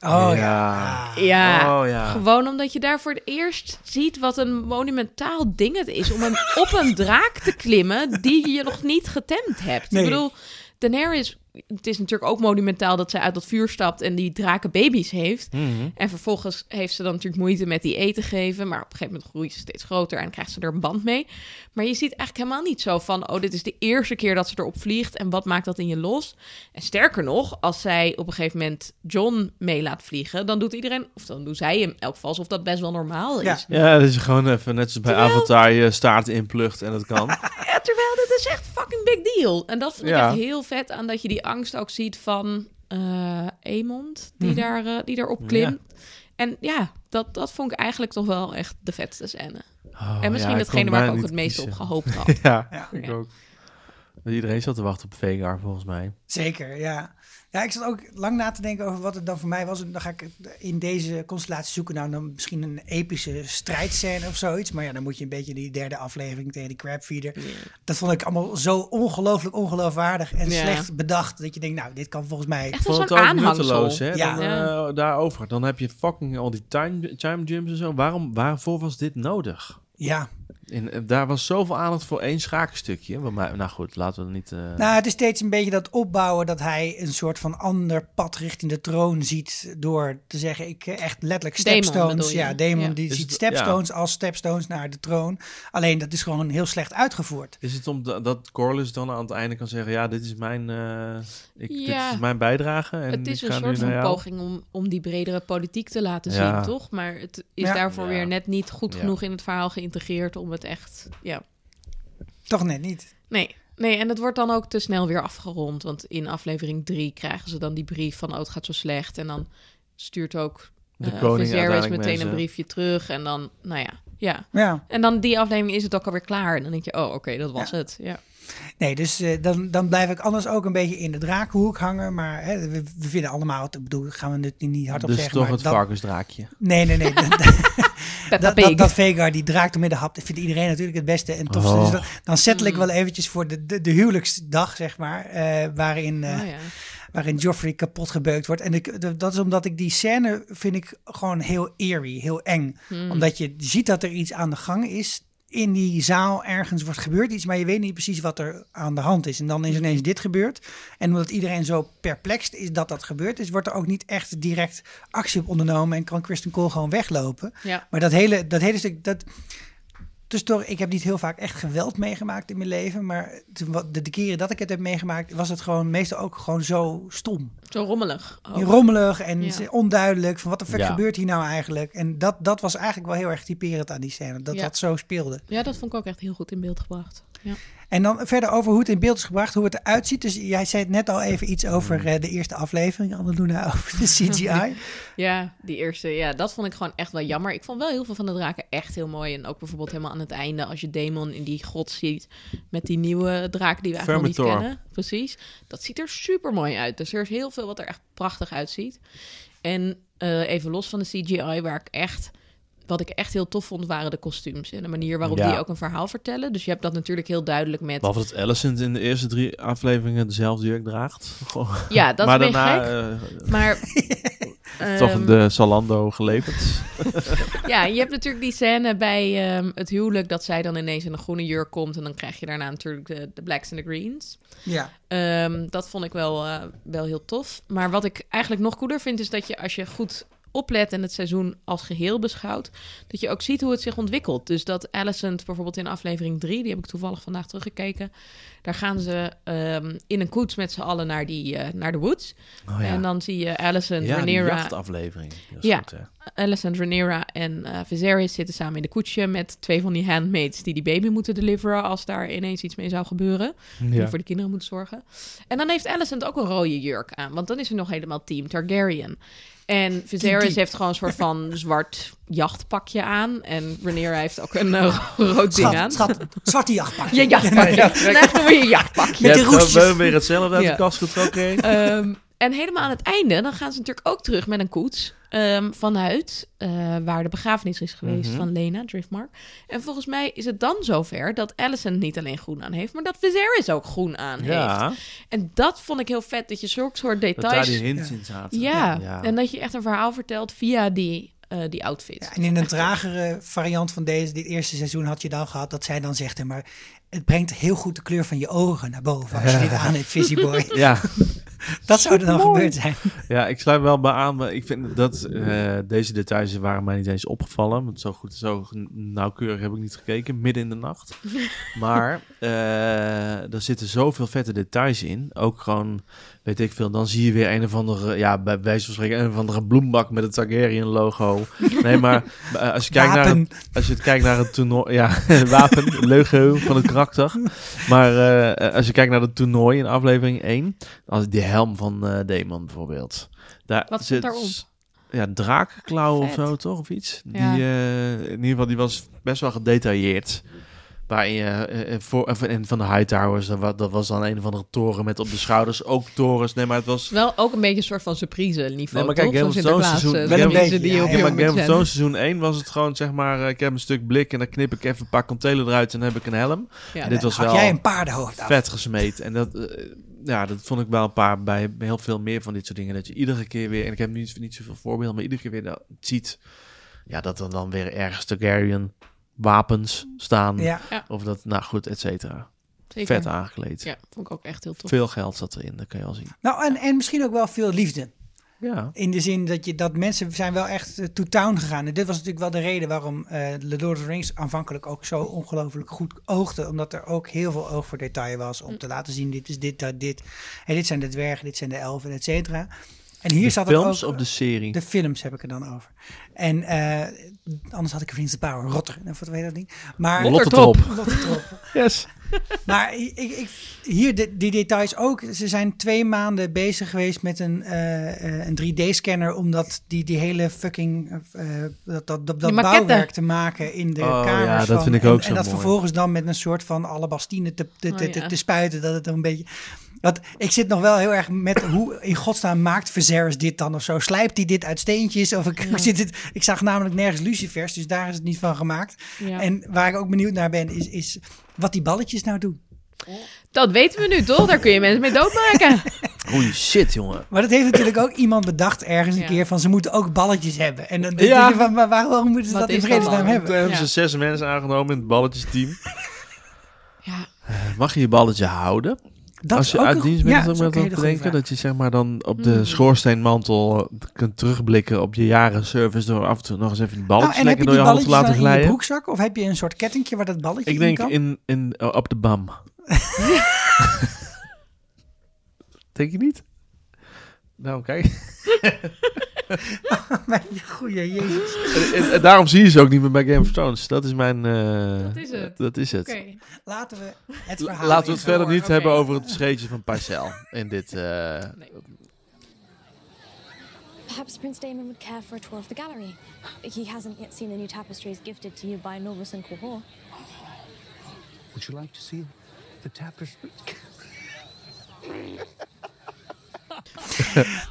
Speaker 1: Oh ja.
Speaker 2: Ja.
Speaker 5: Ja.
Speaker 2: Oh ja.
Speaker 5: Gewoon omdat je daar voor het eerst ziet wat een monumentaal ding het is om een, op een draak te klimmen die je nog niet getemd hebt.
Speaker 1: Nee.
Speaker 5: Ik bedoel, Daenerys, het is natuurlijk ook monumentaal dat zij uit dat vuur stapt en die draken baby's heeft.
Speaker 2: Mhm.
Speaker 5: En vervolgens heeft ze dan natuurlijk moeite met die eten geven. Maar op een gegeven moment groeit ze steeds groter en krijgt ze er een band mee. Maar je ziet eigenlijk helemaal niet zo van... oh, dit is de eerste keer dat ze erop vliegt en wat maakt dat in je los? En sterker nog, als zij op een gegeven moment John mee laat vliegen... dan doet iedereen, of dan doet zij in elk geval alsof dat best wel normaal is.
Speaker 1: Ja.
Speaker 2: Ja, dat is gewoon even net zoals bij
Speaker 5: Terwijl-
Speaker 2: Avatar je staart inplucht en dat kan.
Speaker 5: Ja, Eh, terwijl dit is echt fucking big deal. En dat vond ik
Speaker 2: Ja.
Speaker 5: echt heel vet aan dat je die angst ook ziet van eh Emond, die,
Speaker 1: Mhm.
Speaker 5: daar, eh, die daarop klimt. En ja, dat, dat vond ik eigenlijk toch wel echt de vetste scène.
Speaker 2: Oh,
Speaker 5: en misschien datgene waar ik ook het meest op gehoopt had.
Speaker 2: [laughs] Ja,
Speaker 1: Ja.
Speaker 2: ik
Speaker 5: Ja.
Speaker 2: ook. Iedereen zat te wachten op Vegar, volgens mij.
Speaker 1: Zeker, ja. Ja, ik zat ook lang na te denken over wat het dan voor mij was. En dan ga ik het in deze constellatie zoeken. Nou, dan misschien een epische strijdscène of zoiets. Maar ja, dan moet je een beetje die derde aflevering tegen die crabfeeder. Dat vond ik allemaal zo ongelooflijk ongeloofwaardig en
Speaker 5: Ja.
Speaker 1: slecht bedacht. Dat je denkt, nou, dit kan volgens mij...
Speaker 5: Echt
Speaker 2: Ik
Speaker 5: als
Speaker 2: vond
Speaker 5: zo'n
Speaker 2: het ook
Speaker 5: aanhangsel.
Speaker 2: nutteloos, hè?
Speaker 1: Ja.
Speaker 2: Dan, eh, daarover. Dan heb je fucking al die time, time gyms en zo. Waarom, waarvoor was dit nodig?
Speaker 1: Ja,
Speaker 2: En, eh, daar was zoveel aandacht voor één schaakstukje. Wat mij, nou goed, laten we het niet... eh,
Speaker 1: Nou, het is steeds een beetje dat opbouwen dat hij een soort van ander pad richting de troon ziet. Door te zeggen, ik eh, echt letterlijk
Speaker 5: Daemon
Speaker 1: stepstones.
Speaker 5: bedoel je?
Speaker 1: ja, Demon
Speaker 5: Ja.
Speaker 1: die
Speaker 2: Is
Speaker 1: ziet
Speaker 2: het- Dus ja.
Speaker 1: stepstones als stepstones naar de troon. Alleen dat is gewoon heel slecht uitgevoerd.
Speaker 2: Is het omdat dat Corlys dan aan het einde kan zeggen... Ja, dit is mijn, eh, ik,
Speaker 5: Ja.
Speaker 2: dit is mijn bijdrage. En
Speaker 5: Het is
Speaker 2: ik
Speaker 5: een
Speaker 2: ga nu
Speaker 5: soort
Speaker 2: naar
Speaker 5: van
Speaker 2: jou.
Speaker 5: poging om, om die bredere politiek te laten
Speaker 2: Ja.
Speaker 5: zien, toch? Maar het is
Speaker 1: Ja.
Speaker 5: daarvoor
Speaker 2: Ja.
Speaker 5: weer net niet goed
Speaker 2: Ja.
Speaker 5: genoeg in het verhaal geïntegreerd om het echt... Ja.
Speaker 1: Toch net niet.
Speaker 5: Nee, nee, en dat wordt dan ook te snel weer afgerond. Want in aflevering 3 krijgen ze dan die brief van... oh, het gaat zo slecht. En dan stuurt ook
Speaker 2: De
Speaker 5: eh,
Speaker 2: koning
Speaker 5: Viserys
Speaker 2: uiteindelijk
Speaker 5: meteen een
Speaker 2: mensen.
Speaker 5: briefje terug. En dan, nou ja, ja.
Speaker 1: Ja,
Speaker 5: En dan die aflevering is het ook alweer klaar. En dan denk je, oh, oké, dat was
Speaker 1: Ja.
Speaker 5: het. Ja.
Speaker 1: nee, dus eh, dan, dan blijf ik anders ook een beetje in de drakenhoek hangen. Maar hè, we, we vinden allemaal, ik bedoel, gaan we het niet hardop
Speaker 2: Dus
Speaker 1: zeggen.
Speaker 2: toch
Speaker 1: maar
Speaker 2: het
Speaker 1: dat-
Speaker 2: varkensdraakje.
Speaker 1: Nee, nee, [laughs] nee. dat-
Speaker 5: Peppa
Speaker 1: dat,
Speaker 5: Pig.
Speaker 1: dat, dat Vegar die draak door midden hapt, dat vindt iedereen natuurlijk het beste en tofste.
Speaker 2: Oh.
Speaker 1: Dus dan, dan settle
Speaker 5: Mm.
Speaker 1: ik wel eventjes voor de, de, de huwelijksdag, zeg maar, eh, waarin, eh,
Speaker 5: Oh, ja.
Speaker 1: waarin Joffrey kapot gebeukt wordt. En ik, de- dat is omdat ik die scène vind ik gewoon heel eerie, heel eng.
Speaker 5: Hmm.
Speaker 1: Omdat je ziet dat er iets aan de gang is in die zaal ergens wordt gebeurd iets, maar je weet niet precies wat er aan de hand is. En dan is
Speaker 5: Hmm.
Speaker 1: ineens dit gebeurd. En omdat iedereen zo perplex is dat dat gebeurd is, wordt er ook niet echt direct actie op ondernomen en kan Kristen Cole gewoon weglopen.
Speaker 5: Ja.
Speaker 1: Maar dat hele, dat hele stuk, dat... Dus toch, ik heb niet heel vaak echt geweld meegemaakt in mijn leven. Maar toen wat- de, de keren dat ik het heb meegemaakt, was het gewoon meestal ook gewoon zo stom.
Speaker 5: Zo rommelig. ook.
Speaker 1: Rommelig en
Speaker 5: Ja.
Speaker 1: onduidelijk. Van wat de fuck
Speaker 2: Ja.
Speaker 1: gebeurt hier nou eigenlijk? En dat, dat was eigenlijk wel heel erg typerend aan die scène. Dat
Speaker 5: Ja.
Speaker 1: dat zo speelde.
Speaker 5: ja, dat vond ik ook echt heel goed in beeld gebracht. Ja.
Speaker 1: En dan verder over hoe het in beeld is gebracht, hoe het eruit ziet. Dus jij zei het net al even iets over eh, de eerste aflevering, Annalena, [laughs] over de CGI.
Speaker 5: Ja, die eerste. Ja, dat vond ik gewoon echt wel jammer. Ik vond wel heel veel van de draken echt heel mooi. En ook bijvoorbeeld helemaal aan het einde, als je Demon in die grot ziet met die nieuwe draak die we eigenlijk nog niet
Speaker 2: Vermitor.
Speaker 5: kennen. Precies. Dat ziet er super mooi uit. Dus er is heel veel wat er echt prachtig uitziet. En eh, even los van de CGI, waar ik echt. Wat ik echt heel tof vond, waren de kostuums en de manier waarop
Speaker 2: Ja.
Speaker 5: die ook een verhaal vertellen. Dus je hebt dat natuurlijk heel duidelijk met.
Speaker 2: Behalve dat Alicent in de eerste drie afleveringen dezelfde jurk draagt.
Speaker 5: Ja, dat
Speaker 2: maar
Speaker 5: is een beetje
Speaker 2: daarna,
Speaker 5: gek.
Speaker 2: eh,
Speaker 5: Maar
Speaker 2: [laughs] Toch
Speaker 5: Ehm,
Speaker 2: de Zalando geleverd.
Speaker 5: Ja, je hebt natuurlijk die scène bij ehm, het huwelijk dat zij dan ineens in een groene jurk komt. En dan krijg je daarna natuurlijk de, de blacks en de greens.
Speaker 1: Ja.
Speaker 5: Ehm, dat vond ik wel, eh, wel heel tof. Maar wat ik eigenlijk nog cooler vind, is dat je als je goed oplet en het seizoen als geheel beschouwt, dat je ook ziet hoe het zich ontwikkelt. Dus dat Alicent bijvoorbeeld in aflevering 3, die heb ik toevallig vandaag teruggekeken, daar gaan ze ehm, in een koets met z'n allen naar, die, eh, naar de woods.
Speaker 2: Oh,
Speaker 5: En dan zie je Alicent, eh,
Speaker 2: ja, die
Speaker 5: Rhaenyra,
Speaker 2: jachtaflevering. Dat is
Speaker 5: Ja.
Speaker 2: goed, hè.
Speaker 5: Alicent, Rhaenyra en eh Viserys zitten samen in de koetsje met twee van die handmaids die die baby moeten deliveren als daar ineens iets mee zou gebeuren. Die voor de kinderen moet zorgen. En dan heeft Alicent ook een rode jurk aan, want dan is ze nog helemaal team Targaryen. En Viserys
Speaker 1: Team-
Speaker 5: heeft gewoon een soort van
Speaker 1: [laughs]
Speaker 5: zwart jachtpakje aan. En Rhaenyra heeft ook een eh, [laughs] rood ding aan.
Speaker 1: Schat, schat, zwarte jachtpak.
Speaker 5: Je [laughs]
Speaker 1: [laughs]
Speaker 5: jachtpakje.
Speaker 1: Ja,
Speaker 5: Nee, echt noemen we je jachtpakje.
Speaker 2: Je
Speaker 1: Met
Speaker 2: hebt
Speaker 1: de
Speaker 2: gewoon
Speaker 1: roestjes.
Speaker 2: weer- weer hetzelfde uit
Speaker 5: Ja.
Speaker 2: de kast getrokken.
Speaker 5: [laughs]
Speaker 2: hè?
Speaker 5: Ehm, en helemaal aan het einde, dan gaan ze natuurlijk ook terug met een koets ehm, vanuit eh, waar de begrafenis is geweest
Speaker 2: Mhm.
Speaker 5: van Lena Driftmark. En volgens mij is het dan zover dat Allison niet alleen groen aan heeft, maar dat Viserys ook groen aan heeft.
Speaker 2: ja,
Speaker 5: En dat vond ik heel vet, dat je zulke soort
Speaker 2: dat daar
Speaker 5: details...
Speaker 2: die hints in zaten.
Speaker 5: ja,
Speaker 2: ja.
Speaker 5: en dat je echt een verhaal vertelt via die, eh, die outfit.
Speaker 1: Ja, en in een tragere variant van deze, dit eerste seizoen had je dan gehad dat zij dan zegt, hè, maar het brengt heel goed de kleur van je ogen naar boven als je dit aan hebt, Fizzy Boy.
Speaker 2: Ja,
Speaker 1: Dat zou er dan gebeurd zijn.
Speaker 2: ja, ik sluit wel bij aan, maar ik vind dat eh, deze details waren mij niet eens opgevallen. Want zo goed, zo nauwkeurig heb ik niet gekeken, midden in de
Speaker 5: [laughs]
Speaker 2: nacht. Maar eh er zitten zoveel vette details in. Ook gewoon, weet ik veel, dan zie je weer een of andere, ja, bij wijze van spreken, een of andere bloembak met het Targaryen-logo. Nee, maar eh, als je kijkt naar het
Speaker 1: Wapen.
Speaker 2: Als je het kijkt naar het toernooi, ja, [laughs] wapen, leugen van het karakter. Maar eh, als je kijkt naar het toernooi in aflevering 1, als die helm van eh Demon bijvoorbeeld. Daar
Speaker 5: Wat zit
Speaker 2: zit
Speaker 5: daarop?
Speaker 2: Ja, draakklauw of
Speaker 5: Vet.
Speaker 2: zo, toch? Of iets.
Speaker 5: Ja.
Speaker 2: Die, eh, in ieder geval, die was best wel gedetailleerd. Waarin je, eh, eh, voor, of- en van de Hightowers, dat, wa- dat was dan een of andere toren met op de schouders ook torens. Nee, maar het was...
Speaker 5: Wel ook een beetje een soort van surprise niveau,
Speaker 2: Nee, maar kijk,
Speaker 5: toch?
Speaker 2: Game
Speaker 5: Van
Speaker 2: of Thrones
Speaker 5: Sinterklaas,
Speaker 2: seizoen-
Speaker 5: eh,
Speaker 1: Wel een
Speaker 5: surprise
Speaker 1: beetje,
Speaker 5: die
Speaker 1: ja,
Speaker 5: op
Speaker 1: ja.
Speaker 5: je
Speaker 2: Ja, maar
Speaker 5: moet
Speaker 2: Game of
Speaker 5: zetten.
Speaker 2: Thrones seizoen 1 was het gewoon, zeg maar, eh, ik heb een stuk blik en dan knip ik even een paar kantelen eruit en dan heb ik een helm.
Speaker 5: Ja.
Speaker 2: En dit was
Speaker 1: Had
Speaker 2: wel
Speaker 1: jij een paardenhoofd af?
Speaker 2: vet gesmeed. En dat, eh, ja, dat vond ik wel een paar bij heel veel meer van dit soort dingen. Dat je iedere keer weer, en ik heb niet, niet zoveel voorbeelden, maar iedere keer weer dat ziet. Ja, dat er dan weer ergens Targaryen wapens staan.
Speaker 1: Ja,
Speaker 2: Of dat, nou goed, et cetera.
Speaker 5: Zeker.
Speaker 2: Vet aangekleed.
Speaker 5: Ja, vond ik ook echt heel tof.
Speaker 2: Veel geld zat erin, dat kan je al zien.
Speaker 1: nou en, en misschien ook wel veel liefde.
Speaker 2: Ja,
Speaker 1: In de zin dat, je, dat mensen zijn wel echt eh, to town gegaan. En dit was natuurlijk wel de reden waarom eh The Lord of the Rings aanvankelijk ook zo ongelooflijk goed oogde. Omdat er ook heel veel oog voor detail was. Om te laten zien, dit is dit, dat, dit. En dit zijn de dwergen, dit zijn de elfen, et cetera. En hier
Speaker 2: de
Speaker 1: zat
Speaker 2: films
Speaker 1: het ook,
Speaker 2: of de serie?
Speaker 1: De films heb ik er dan over. En eh, anders had ik Rings of Power, Rotter, of wat weet dat ding. Maar
Speaker 2: Lotte Trop.
Speaker 1: Rotterdam.
Speaker 2: Yes.
Speaker 1: [laughs] Maar ik, ik, hier, de, die details ook. Ze zijn twee maanden bezig geweest met een, eh, eh, een 3D-scanner... om dat, die, die hele fucking... eh, dat, dat, dat, dat
Speaker 5: maquette.
Speaker 1: bouwwerk te maken in de
Speaker 2: Oh,
Speaker 1: kamers
Speaker 2: ja, dat
Speaker 1: van-
Speaker 2: vind ik
Speaker 1: en-
Speaker 2: ook
Speaker 1: En,
Speaker 2: zo
Speaker 1: dat
Speaker 2: mooi.
Speaker 1: vervolgens dan met een soort van alabastine te, te, te,
Speaker 5: Oh, ja.
Speaker 1: te, te spuiten. Dat het een beetje... Want ik zit nog wel heel erg met hoe in godsnaam maakt Viserys dit dan of zo? Slijpt hij dit uit steentjes? Of ik, [laughs] zit het, ik zag namelijk nergens lucifers, dus daar is het niet van gemaakt.
Speaker 5: Ja.
Speaker 1: En waar ik ook benieuwd naar ben, is, is wat die balletjes nou doen.
Speaker 5: Dat weten we nu, toch? Daar kun je mensen mee
Speaker 2: [laughs]
Speaker 5: doodmaken.
Speaker 2: Holy shit, jongen.
Speaker 1: Maar dat heeft natuurlijk ook iemand bedacht ergens een
Speaker 5: Ja.
Speaker 1: keer van ze moeten ook balletjes hebben. En dan denk
Speaker 2: Ja.
Speaker 1: je van, maar waarom moeten ze
Speaker 5: Wat
Speaker 1: dat in
Speaker 5: is dat
Speaker 1: vredesnaam
Speaker 5: dan?
Speaker 1: hebben?
Speaker 2: Toen hebben
Speaker 5: Ja.
Speaker 2: ze zes mensen aangenomen in het balletjesteam.
Speaker 5: ja,
Speaker 2: Mag je je balletje houden?
Speaker 1: Dat
Speaker 2: Als
Speaker 1: is
Speaker 2: je
Speaker 1: ook
Speaker 2: uit
Speaker 1: een
Speaker 2: dienst
Speaker 1: goe-
Speaker 2: bent,
Speaker 1: ja,
Speaker 2: dan
Speaker 1: dat is
Speaker 2: moet je
Speaker 1: ook
Speaker 2: ook
Speaker 1: een hele goede Mm.
Speaker 2: bedenken dat je zeg maar dan op de schoorsteenmantel eh, kunt terugblikken op je jaren service door af en toe nog eens even die
Speaker 1: vraag.
Speaker 2: balletjes
Speaker 1: Nou, en heb
Speaker 2: lekker
Speaker 1: je die
Speaker 2: door je hand te
Speaker 1: balletjes
Speaker 2: laten
Speaker 1: dan in je
Speaker 2: glijden.
Speaker 1: broekzak? Of heb je een soort kettingje waar dat balletje
Speaker 2: Ik
Speaker 1: in
Speaker 2: denk
Speaker 1: kan?
Speaker 2: in, in, eh, op de BAM. denk je niet? Nou, kijk.
Speaker 1: [laughs] Mijn goeie jezus.
Speaker 2: En- en- en Eh, daarom zie je ze ook niet meer bij Game of Thrones. Dat is mijn... eh,
Speaker 5: Dat is het.
Speaker 2: Dat is het.
Speaker 5: oké.
Speaker 1: Laten we het
Speaker 2: La-
Speaker 1: verhaal
Speaker 2: Laten we
Speaker 1: ingaan.
Speaker 2: het verder
Speaker 5: door,
Speaker 2: niet
Speaker 5: oké.
Speaker 2: hebben over het scheetje van Parcel in dit... eh,
Speaker 6: Perhaps Prince Damon would care for a tour of the gallery. He hasn't yet seen the new tapestries gifted to you by Novus and Quahor.
Speaker 7: Would you like to see the tapestry?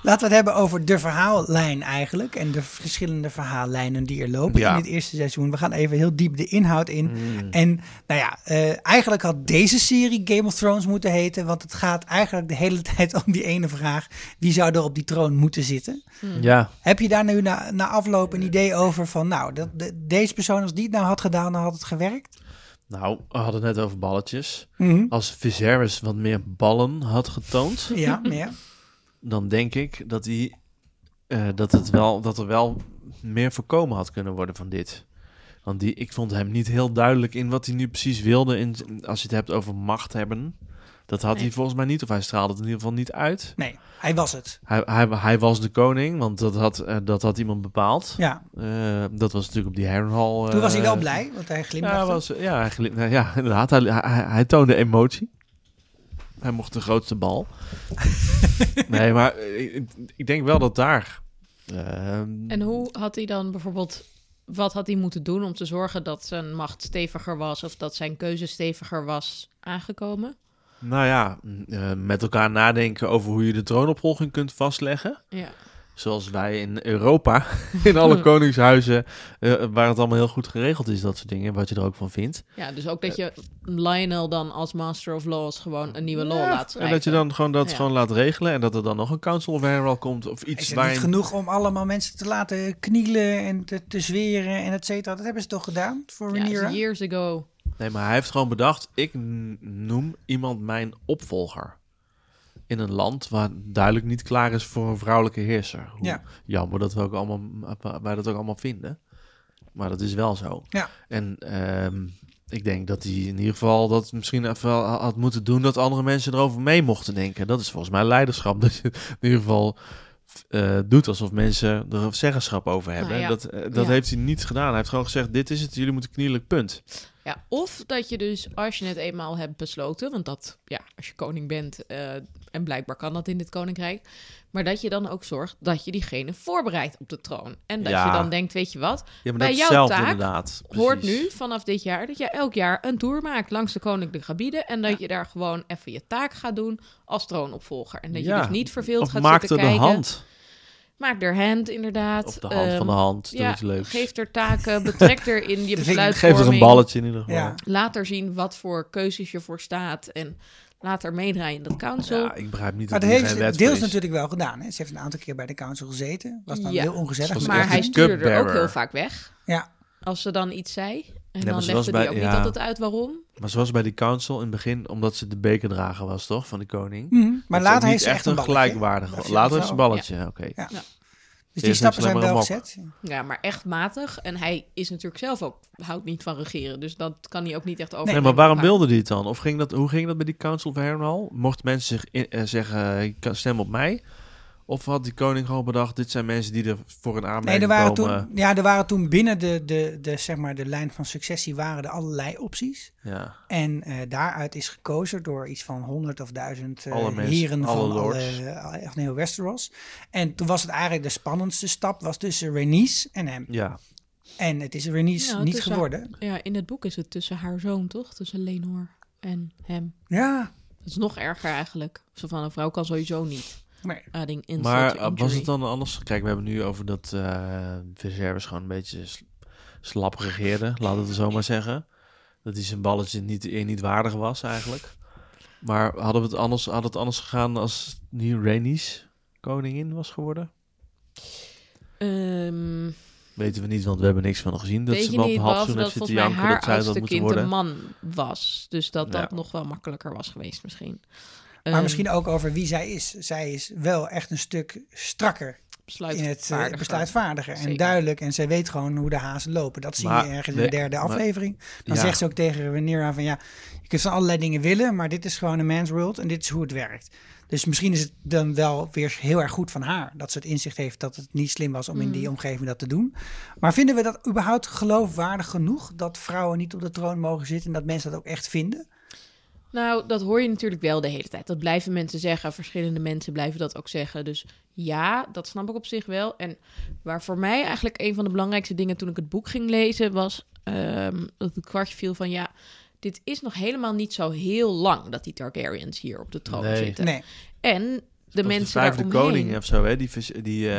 Speaker 1: Laten we het hebben over de verhaallijn eigenlijk. En de verschillende verhaallijnen die er lopen
Speaker 2: Ja. Hmm.
Speaker 1: in dit eerste seizoen. We gaan even heel diep de inhoud in. En nou ja, eh, eigenlijk had deze serie Game of Thrones moeten heten. Want het gaat eigenlijk de hele [laughs] tijd om die ene vraag. Wie zou er op die troon moeten zitten?
Speaker 2: Ja,
Speaker 1: Heb je daar nu na, na afloop
Speaker 2: Eh.
Speaker 1: een idee over van... Nou, dat, de- deze persoon als die het nou had gedaan, dan had het gewerkt?
Speaker 2: nou, we hadden het net over balletjes.
Speaker 1: Mhm.
Speaker 2: Als Viserys wat meer ballen had getoond, [laughs]
Speaker 1: Ja, ja.
Speaker 2: dan denk ik dat, hij, eh, dat, het wel, dat er wel meer voorkomen had kunnen worden van dit. Want die, ik vond hem niet heel duidelijk in wat hij nu precies wilde. In, als je het hebt over macht hebben, dat had hij volgens mij niet. Of hij straalde het in ieder geval niet uit.
Speaker 1: Nee, hij was het.
Speaker 2: Hij, hij, hij was de koning, want dat had, eh, dat had iemand bepaald.
Speaker 1: Ja,
Speaker 2: Eh, dat was natuurlijk op die Harrenhal.
Speaker 1: toen was hij wel
Speaker 2: eh,
Speaker 1: blij, want hij glimlachte.
Speaker 2: Ja, was, ja, hij glim- nou ja inderdaad. Hij, hij, hij toonde emotie. Hij mocht de grootste
Speaker 1: [laughs]
Speaker 2: bal. nee, maar eh, ik, ik denk wel dat daar... ehm,
Speaker 5: En hoe had hij dan bijvoorbeeld, wat had hij moeten doen om te zorgen dat zijn macht steviger was of dat zijn keuze steviger was aangekomen?
Speaker 2: nou ja, m, eh, met elkaar nadenken over hoe je de troonopvolging kunt vastleggen.
Speaker 5: Ja.
Speaker 2: Zoals wij in Europa, [laughs] in alle koningshuizen, eh, waar het allemaal heel goed geregeld is, dat soort dingen. Wat je er ook van vindt.
Speaker 5: ja, dus ook dat je Lionel dan als Master of Laws gewoon een nieuwe law laat schrijven.
Speaker 2: En dat je dan gewoon dat
Speaker 5: Ja.
Speaker 2: gewoon laat regelen. En dat er dan nog een Council of Herald komt of
Speaker 1: Is
Speaker 2: iets
Speaker 1: het
Speaker 2: waarin...
Speaker 1: niet genoeg om allemaal mensen te laten knielen en te, te zweren en et cetera? Dat hebben ze toch gedaan voor
Speaker 5: Ja,
Speaker 1: Rhaenyra?
Speaker 5: is years ago.
Speaker 2: Nee, maar hij heeft gewoon bedacht: ik n- noem iemand mijn opvolger. In een land waar duidelijk niet klaar is voor een vrouwelijke heerser. Hoe
Speaker 1: Ja.
Speaker 2: Jammer dat we ook allemaal, wij dat ook allemaal vinden. Maar dat is wel zo.
Speaker 1: Ja.
Speaker 2: En ehm, ik denk dat hij in ieder geval dat misschien even wel had moeten doen dat andere mensen erover mee mochten denken. Dat is volgens mij leiderschap. [laughs] Dat je in ieder geval eh, doet alsof mensen er zeggenschap over hebben.
Speaker 5: Nou ja.
Speaker 2: Dat, eh, dat
Speaker 5: Ja.
Speaker 2: heeft hij niet gedaan. Hij heeft gewoon gezegd: dit is het, jullie moeten knielen, punt.
Speaker 5: Ja, of dat je dus, als je het eenmaal hebt besloten, want dat, ja, als je koning bent, eh, en blijkbaar kan dat in dit koninkrijk, maar dat je dan ook zorgt dat je diegene voorbereidt op de troon. En dat
Speaker 2: Ja.
Speaker 5: je dan denkt, weet je wat,
Speaker 2: Ja, maar
Speaker 5: Bij
Speaker 2: dat is
Speaker 5: jouw
Speaker 2: zelf
Speaker 5: taak
Speaker 2: inderdaad.
Speaker 5: hoort
Speaker 2: Precies.
Speaker 5: nu vanaf dit jaar dat je elk jaar een tour maakt langs de koninklijke gebieden en dat je daar gewoon even je taak gaat doen als troonopvolger. En dat
Speaker 2: Ja.
Speaker 5: je dus niet verveeld
Speaker 2: Of
Speaker 5: gaat
Speaker 2: maak er
Speaker 5: zitten
Speaker 2: de
Speaker 5: kijken.
Speaker 2: hand.
Speaker 5: Maak er hand, inderdaad.
Speaker 2: Of de hand
Speaker 5: Ehm,
Speaker 2: van de hand. Doe
Speaker 5: ja,
Speaker 2: iets leuks.
Speaker 5: geef er taken, betrek er
Speaker 2: [laughs]
Speaker 5: in je besluitvorming.
Speaker 2: Geef er een balletje in ieder geval.
Speaker 1: Ja.
Speaker 2: Ja.
Speaker 5: Laat er zien wat voor keuzes je voor staat en laat er meedraaien in dat council.
Speaker 2: ik begrijp niet
Speaker 1: Maar dat
Speaker 2: dat hij
Speaker 1: heeft
Speaker 2: geen
Speaker 1: ze
Speaker 2: wet voor
Speaker 1: deels
Speaker 2: is.
Speaker 1: natuurlijk wel gedaan. Hè? Ze heeft een aantal keer bij de council gezeten. Was dan
Speaker 5: Ja.
Speaker 1: heel ongezellig.
Speaker 2: Zoals
Speaker 1: met
Speaker 5: maar
Speaker 2: echt
Speaker 1: haar.
Speaker 5: hij
Speaker 2: een
Speaker 5: stuurde er ook
Speaker 2: cupbearer.
Speaker 5: heel vaak weg
Speaker 1: Ja,
Speaker 5: als ze dan iets zei. En
Speaker 2: maar
Speaker 5: dan
Speaker 2: ze was
Speaker 5: legde
Speaker 2: bij-
Speaker 5: hij ook niet
Speaker 2: ja.
Speaker 5: altijd uit waarom.
Speaker 2: Maar zoals bij die council in het begin, omdat ze de bekerdrager was, toch? Van de koning.
Speaker 1: Mhm. maar
Speaker 2: Dat
Speaker 1: later
Speaker 2: niet
Speaker 1: heeft ze
Speaker 2: echt een
Speaker 1: balletje. Dat
Speaker 2: gelijkwaardige.
Speaker 1: ze
Speaker 2: Later
Speaker 1: wel-
Speaker 2: heeft ze een balletje, oké.
Speaker 1: Ja. Dus
Speaker 5: Ja.
Speaker 1: die
Speaker 2: Eerst
Speaker 1: stappen
Speaker 2: heeft
Speaker 1: zijn
Speaker 2: ze
Speaker 1: wel
Speaker 2: alleen maar
Speaker 1: gezet.
Speaker 5: Ja, maar echt matig. En hij is natuurlijk zelf ook, houdt niet van regeren. Dus dat kan hij ook niet echt over.
Speaker 2: Nee, maar waarom wilde die het dan? Of ging dat, hoe ging dat bij die Council of Herrenhal? Mochten mensen zich in- eh, zeggen, eh, je kan stem op mij? Of had die koning gewoon bedacht, dit zijn mensen die er voor een
Speaker 1: Nee,
Speaker 2: aanmerking
Speaker 1: er waren,
Speaker 2: komen? eh.
Speaker 1: toen, ja, er waren toen binnen de, de, de, zeg maar de lijn van successie waren er allerlei opties.
Speaker 2: Ja.
Speaker 1: En eh, daaruit is gekozen door iets van 100 of 1000 eh,
Speaker 2: Alle mensen,
Speaker 1: heren
Speaker 2: alle
Speaker 1: van,
Speaker 2: lords.
Speaker 1: alle, alle- van heel Westeros. En toen was het eigenlijk de spannendste stap was tussen Rhaenys en hem.
Speaker 2: ja,
Speaker 1: En Nou, het is Rhaenys
Speaker 5: Ja,
Speaker 1: niet
Speaker 5: tussen-
Speaker 1: geworden.
Speaker 5: Ja, in het boek is het tussen haar zoon, toch? Tussen Lenor en hem.
Speaker 1: Ja,
Speaker 5: Dat is nog erger eigenlijk. Zo van een vrouw kan sowieso niet.
Speaker 1: maar
Speaker 5: Adding insult
Speaker 2: Maar
Speaker 5: to
Speaker 2: eh, was
Speaker 5: injury.
Speaker 2: het dan anders? Kijk, we hebben nu over dat eh Viserys gewoon een beetje sl- slap regeerde, laten we het zo maar zeggen. Dat hij zijn balletje niet, eh, niet waardig was eigenlijk. Maar hadden we het anders, had het anders gegaan als nu Rhaenys koningin was geworden?
Speaker 5: Ehm,
Speaker 2: Weten we niet, want we hebben niks van gezien. Dat
Speaker 5: weet
Speaker 2: ze
Speaker 5: je
Speaker 2: wel
Speaker 5: niet,
Speaker 2: een half
Speaker 5: behalve
Speaker 2: seizoen
Speaker 5: dat
Speaker 2: heeft zitten
Speaker 5: volgens mij
Speaker 2: janken
Speaker 5: haar
Speaker 2: dat zij
Speaker 5: oudste
Speaker 2: dat moeten
Speaker 5: kind een
Speaker 2: worden.
Speaker 5: man was. Dus dat dat
Speaker 2: Ja.
Speaker 5: nog wel makkelijker was geweest misschien. Ehm,
Speaker 1: Maar misschien ook over wie zij is. Zij is wel echt een stuk strakker in het eh, besluitvaardiger en
Speaker 5: Zeker.
Speaker 1: duidelijk. En zij weet gewoon hoe de hazen lopen. Dat zie
Speaker 2: Maar-
Speaker 1: je ergens in de
Speaker 2: we-
Speaker 1: derde
Speaker 2: maar-
Speaker 1: aflevering. Dan
Speaker 2: Ja.
Speaker 1: zegt ze ook tegen Rhaenyra van ja, je kunt van allerlei dingen willen, maar dit is gewoon een man's world en dit is hoe het werkt. Dus misschien is het dan wel weer heel erg goed van haar dat ze het inzicht heeft dat het niet slim was om in die omgeving dat te doen. Maar vinden we dat überhaupt geloofwaardig genoeg dat vrouwen niet op de troon mogen zitten en dat mensen dat ook echt vinden?
Speaker 5: Nou, dat hoor je natuurlijk wel de hele tijd. Dat blijven mensen zeggen. Verschillende mensen blijven dat ook zeggen. Dus ja, dat snap ik op zich wel. En waar voor mij eigenlijk een van de belangrijkste dingen toen ik het boek ging lezen was ehm, dat het kwartje viel van ja, dit is nog helemaal niet zo heel lang dat die Targaryens hier op de troon
Speaker 2: Nee.
Speaker 5: zitten.
Speaker 1: Nee.
Speaker 5: En de
Speaker 2: Dat is
Speaker 5: mensen
Speaker 2: vijfde
Speaker 5: daaromheen.
Speaker 2: koning of zo, hè? Die, vers- die eh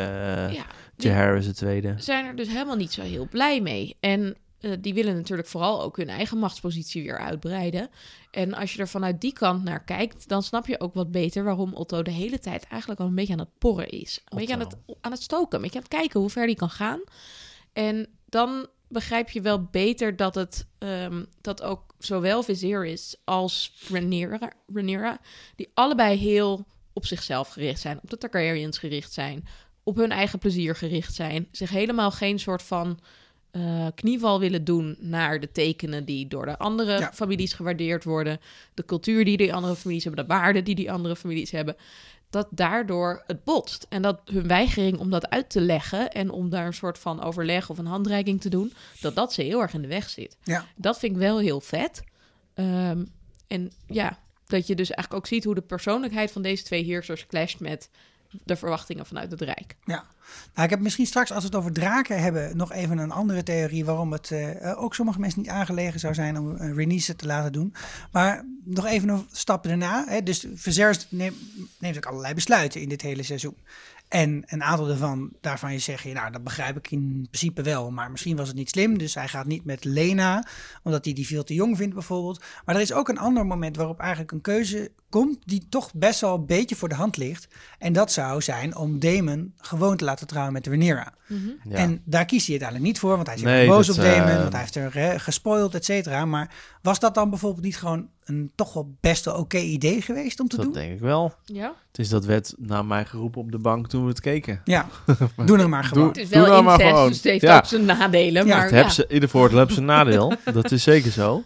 Speaker 5: Ja, die
Speaker 2: Jaehaerys de tweede.
Speaker 5: zijn er dus helemaal niet zo heel blij mee. En eh, die willen natuurlijk vooral ook hun eigen machtspositie weer uitbreiden. En als je er vanuit die kant naar kijkt, dan snap je ook wat beter waarom Otto de hele tijd eigenlijk al een beetje aan het porren is. Een beetje aan het, aan het stoken, een beetje aan het kijken hoe ver die kan gaan. En dan begrijp je wel beter dat het ehm, dat ook zowel Viserys als Rhaenyra, Rhaenyra, die allebei heel op zichzelf gericht zijn, op de Targaryens gericht zijn, op hun eigen plezier gericht zijn, zich helemaal geen soort van eh, knieval willen doen naar de tekenen die door de andere
Speaker 1: Ja.
Speaker 5: families gewaardeerd worden, de cultuur die die andere families hebben, de waarden die die andere families hebben dat daardoor het botst. En dat hun weigering om dat uit te leggen en om daar een soort van overleg of een handreiking te doen, dat dat ze heel erg in de weg zit.
Speaker 1: Ja.
Speaker 5: Dat vind ik wel heel vet. Ehm, en ja, dat je dus eigenlijk ook ziet hoe de persoonlijkheid van deze twee heersers clasht met de verwachtingen vanuit het Rijk.
Speaker 1: Ja, nou, ik heb misschien straks, als we het over draken hebben, nog even een andere theorie waarom het eh, eh, ook sommige mensen niet aangelegen zou zijn om een Renice te laten doen. Maar nog even een stap daarna. Hè, dus Viserys neemt, neemt ook allerlei besluiten in dit hele seizoen. En een aantal daarvan, daarvan je zeg je, nou, dat begrijp ik in principe wel. Maar misschien was het niet slim. Dus hij gaat niet met Lena, omdat hij die veel te jong vindt bijvoorbeeld. Maar er is ook een ander moment waarop eigenlijk een keuze komt die toch best wel een beetje voor de hand ligt. En dat zou zijn om Damon gewoon te laten trouwen met Rhaenyra.
Speaker 2: Ja.
Speaker 1: En daar kiest hij uiteindelijk niet voor, want hij is heel
Speaker 2: Nee,
Speaker 1: boos
Speaker 2: dat,
Speaker 1: op Damon.
Speaker 2: eh,
Speaker 1: Want hij heeft er hè, gespoild, et cetera. Maar was dat dan bijvoorbeeld niet gewoon een toch wel best wel oké idee geweest om te
Speaker 2: dat
Speaker 1: doen?
Speaker 2: denk ik wel.
Speaker 5: Ja,
Speaker 2: Het is dat werd naar mij geroepen op de bank toen we het keken. [laughs]
Speaker 1: Ja, doe er maar gewoon.
Speaker 5: het is
Speaker 2: Doe
Speaker 5: wel
Speaker 2: nou maar
Speaker 5: incest,
Speaker 2: gewoon.
Speaker 5: dus het heeft
Speaker 2: Ja.
Speaker 5: ook zijn nadelen.
Speaker 1: Ja,
Speaker 5: maar
Speaker 2: Het
Speaker 5: ja.
Speaker 2: heb ze, ieder voordeel heeft zijn
Speaker 5: [laughs]
Speaker 2: nadeel. Dat is zeker zo.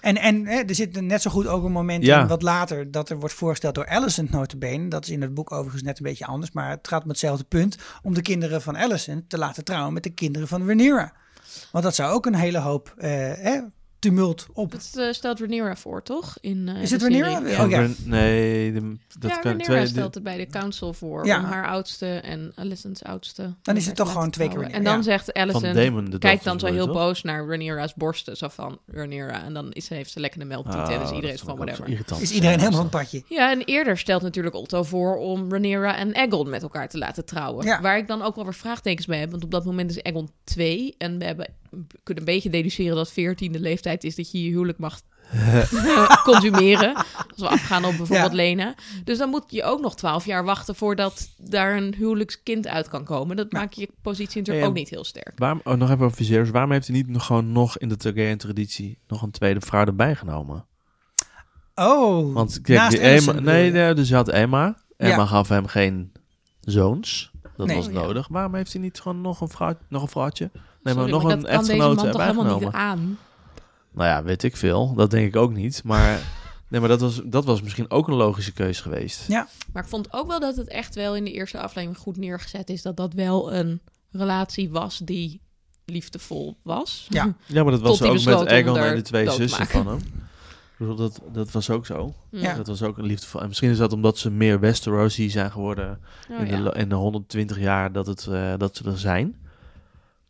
Speaker 1: En, en hè, er zit net zo goed ook een moment
Speaker 2: Ja.
Speaker 1: in, wat later, dat er wordt voorgesteld door Alicent notabene. Dat is in het boek overigens net een beetje anders, maar het gaat om hetzelfde punt. Om de kinderen van Alicent te laten trouwen met de kinderen van Rhaenyra. Want dat zou ook een hele hoop eh, hè, tumult op.
Speaker 5: Dat eh, stelt Rhaenyra voor, toch? In, eh,
Speaker 1: Is
Speaker 5: de
Speaker 1: het Rhaenyra?
Speaker 5: serie.
Speaker 1: Ja. Oh, ja.
Speaker 2: Nee, de- dat
Speaker 5: ja,
Speaker 2: kan
Speaker 5: Rhaenyra
Speaker 2: twee-
Speaker 5: stelt het bij de council voor
Speaker 1: Ja.
Speaker 5: om haar oudste en Alicent's oudste. om
Speaker 1: het
Speaker 5: haar
Speaker 1: toch
Speaker 5: te
Speaker 1: gewoon twee keer
Speaker 5: trouwen. En
Speaker 1: Rhaenyra,
Speaker 5: dan zegt
Speaker 2: van
Speaker 5: Alicent,
Speaker 2: Damon de
Speaker 5: kijkt
Speaker 2: dochter,
Speaker 5: dan zo
Speaker 2: bedoel je
Speaker 5: heel
Speaker 2: toch?
Speaker 5: boos naar Rhaenyra's borsten, zo van Rhaenyra. En dan is, ze- heeft ze lekker een melktiet
Speaker 2: Ah,
Speaker 5: en is
Speaker 2: dat
Speaker 5: dus iedereen
Speaker 2: vond
Speaker 5: van
Speaker 2: ik ook zo
Speaker 5: whatever.
Speaker 2: irritant.
Speaker 1: Is iedereen helemaal van het padje?
Speaker 5: Ja, en eerder stelt natuurlijk Otto voor om Rhaenyra en Aegon met elkaar te laten trouwen.
Speaker 1: Ja.
Speaker 5: Waar ik dan ook wel weer vraagtekens bij heb, want op dat moment is Aegon 2. En we hebben, kunnen een beetje deduceren dat 14 de leeftijd is dat je je huwelijk
Speaker 1: [laughs]
Speaker 5: mag consumeren. Als we afgaan op bijvoorbeeld
Speaker 1: Ja.
Speaker 5: Lena. Dus dan moet je ook nog 12 jaar wachten voordat daar een huwelijkskind uit kan komen. Dat maakt je positie natuurlijk
Speaker 2: Hey,
Speaker 5: ook
Speaker 2: en-
Speaker 5: niet heel sterk.
Speaker 2: Waarom, oh, nog even over Viserys. Waarom heeft hij niet nog, gewoon nog in de Targaryen-traditie nog een tweede vrouw erbij genomen?
Speaker 1: Oh,
Speaker 2: Want kijk, die
Speaker 1: Alicent
Speaker 2: Emma,
Speaker 1: bedoel
Speaker 2: nee,
Speaker 1: je?
Speaker 2: nee, dus je had Emma. Emma
Speaker 1: Ja.
Speaker 2: gaf hem geen zoons. Dat
Speaker 1: Nee.
Speaker 2: was
Speaker 5: Oh, ja.
Speaker 2: nodig. Waarom heeft hij niet gewoon nog een, vrouw, nog een vrouwtje? Nee,
Speaker 5: Sorry,
Speaker 2: maar nog
Speaker 5: maar
Speaker 2: een
Speaker 5: dat kan deze man
Speaker 2: echtgenote
Speaker 5: toch
Speaker 2: erbij
Speaker 5: helemaal niet
Speaker 2: genomen.
Speaker 5: aan.
Speaker 2: Nou ja, weet ik veel. Dat denk ik ook niet. Maar, [laughs] nee, maar dat, was, dat was misschien ook een logische keus geweest.
Speaker 1: Ja.
Speaker 5: Maar ik vond ook wel dat het echt wel in de eerste aflevering goed neergezet is. Dat dat wel een relatie was die liefdevol was.
Speaker 1: Ja.
Speaker 2: Ja, maar dat was
Speaker 5: Tot die
Speaker 2: ook met
Speaker 5: besloten om
Speaker 2: Egon en
Speaker 5: haar
Speaker 2: de twee
Speaker 5: dood te
Speaker 2: zussen
Speaker 5: maken.
Speaker 2: van hem. Ik bedoel, Dat, dat was ook zo.
Speaker 5: Hmm.
Speaker 1: Ja.
Speaker 2: Dat was ook een liefdevol. En misschien is dat omdat ze meer Westerosi zijn geworden
Speaker 5: Oh,
Speaker 2: in, de,
Speaker 5: ja.
Speaker 2: lo- in de 120 jaar dat, het, eh, dat ze er zijn.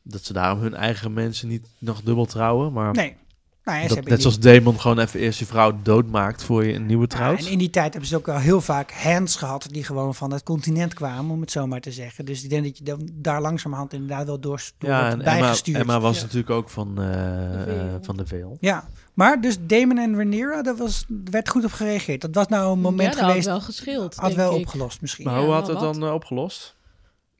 Speaker 2: Dat ze daarom hun eigen mensen niet nog dubbel trouwen. Maar
Speaker 1: Nee. Nou, ja, ze
Speaker 2: dat,
Speaker 1: hebben
Speaker 2: net
Speaker 1: die-
Speaker 2: zoals Damon gewoon even eerst je vrouw doodmaakt voor je een nieuwe
Speaker 1: Ja,
Speaker 2: trouwt.
Speaker 1: en in die tijd hebben ze ook wel heel vaak hands gehad die gewoon van het continent kwamen, om het zo maar te zeggen. Dus ik denk dat je dan daar langzamerhand inderdaad wel door, door
Speaker 2: Ja,
Speaker 1: wordt
Speaker 2: en Emma,
Speaker 1: bijgestuurd.
Speaker 2: Emma was
Speaker 5: Ja.
Speaker 2: natuurlijk ook van, eh, eh, van de Veel.
Speaker 1: Ja, maar dus Damon en Rhaenyra, daar was, werd goed op gereageerd. Dat was nou een moment
Speaker 5: ja, dat
Speaker 1: geweest,
Speaker 5: had wel geschild,
Speaker 1: had
Speaker 5: denk
Speaker 1: wel
Speaker 5: ik.
Speaker 1: opgelost misschien.
Speaker 2: Maar
Speaker 5: Ja,
Speaker 2: hoe had
Speaker 5: wel
Speaker 2: het
Speaker 5: wat.
Speaker 2: dan eh, opgelost?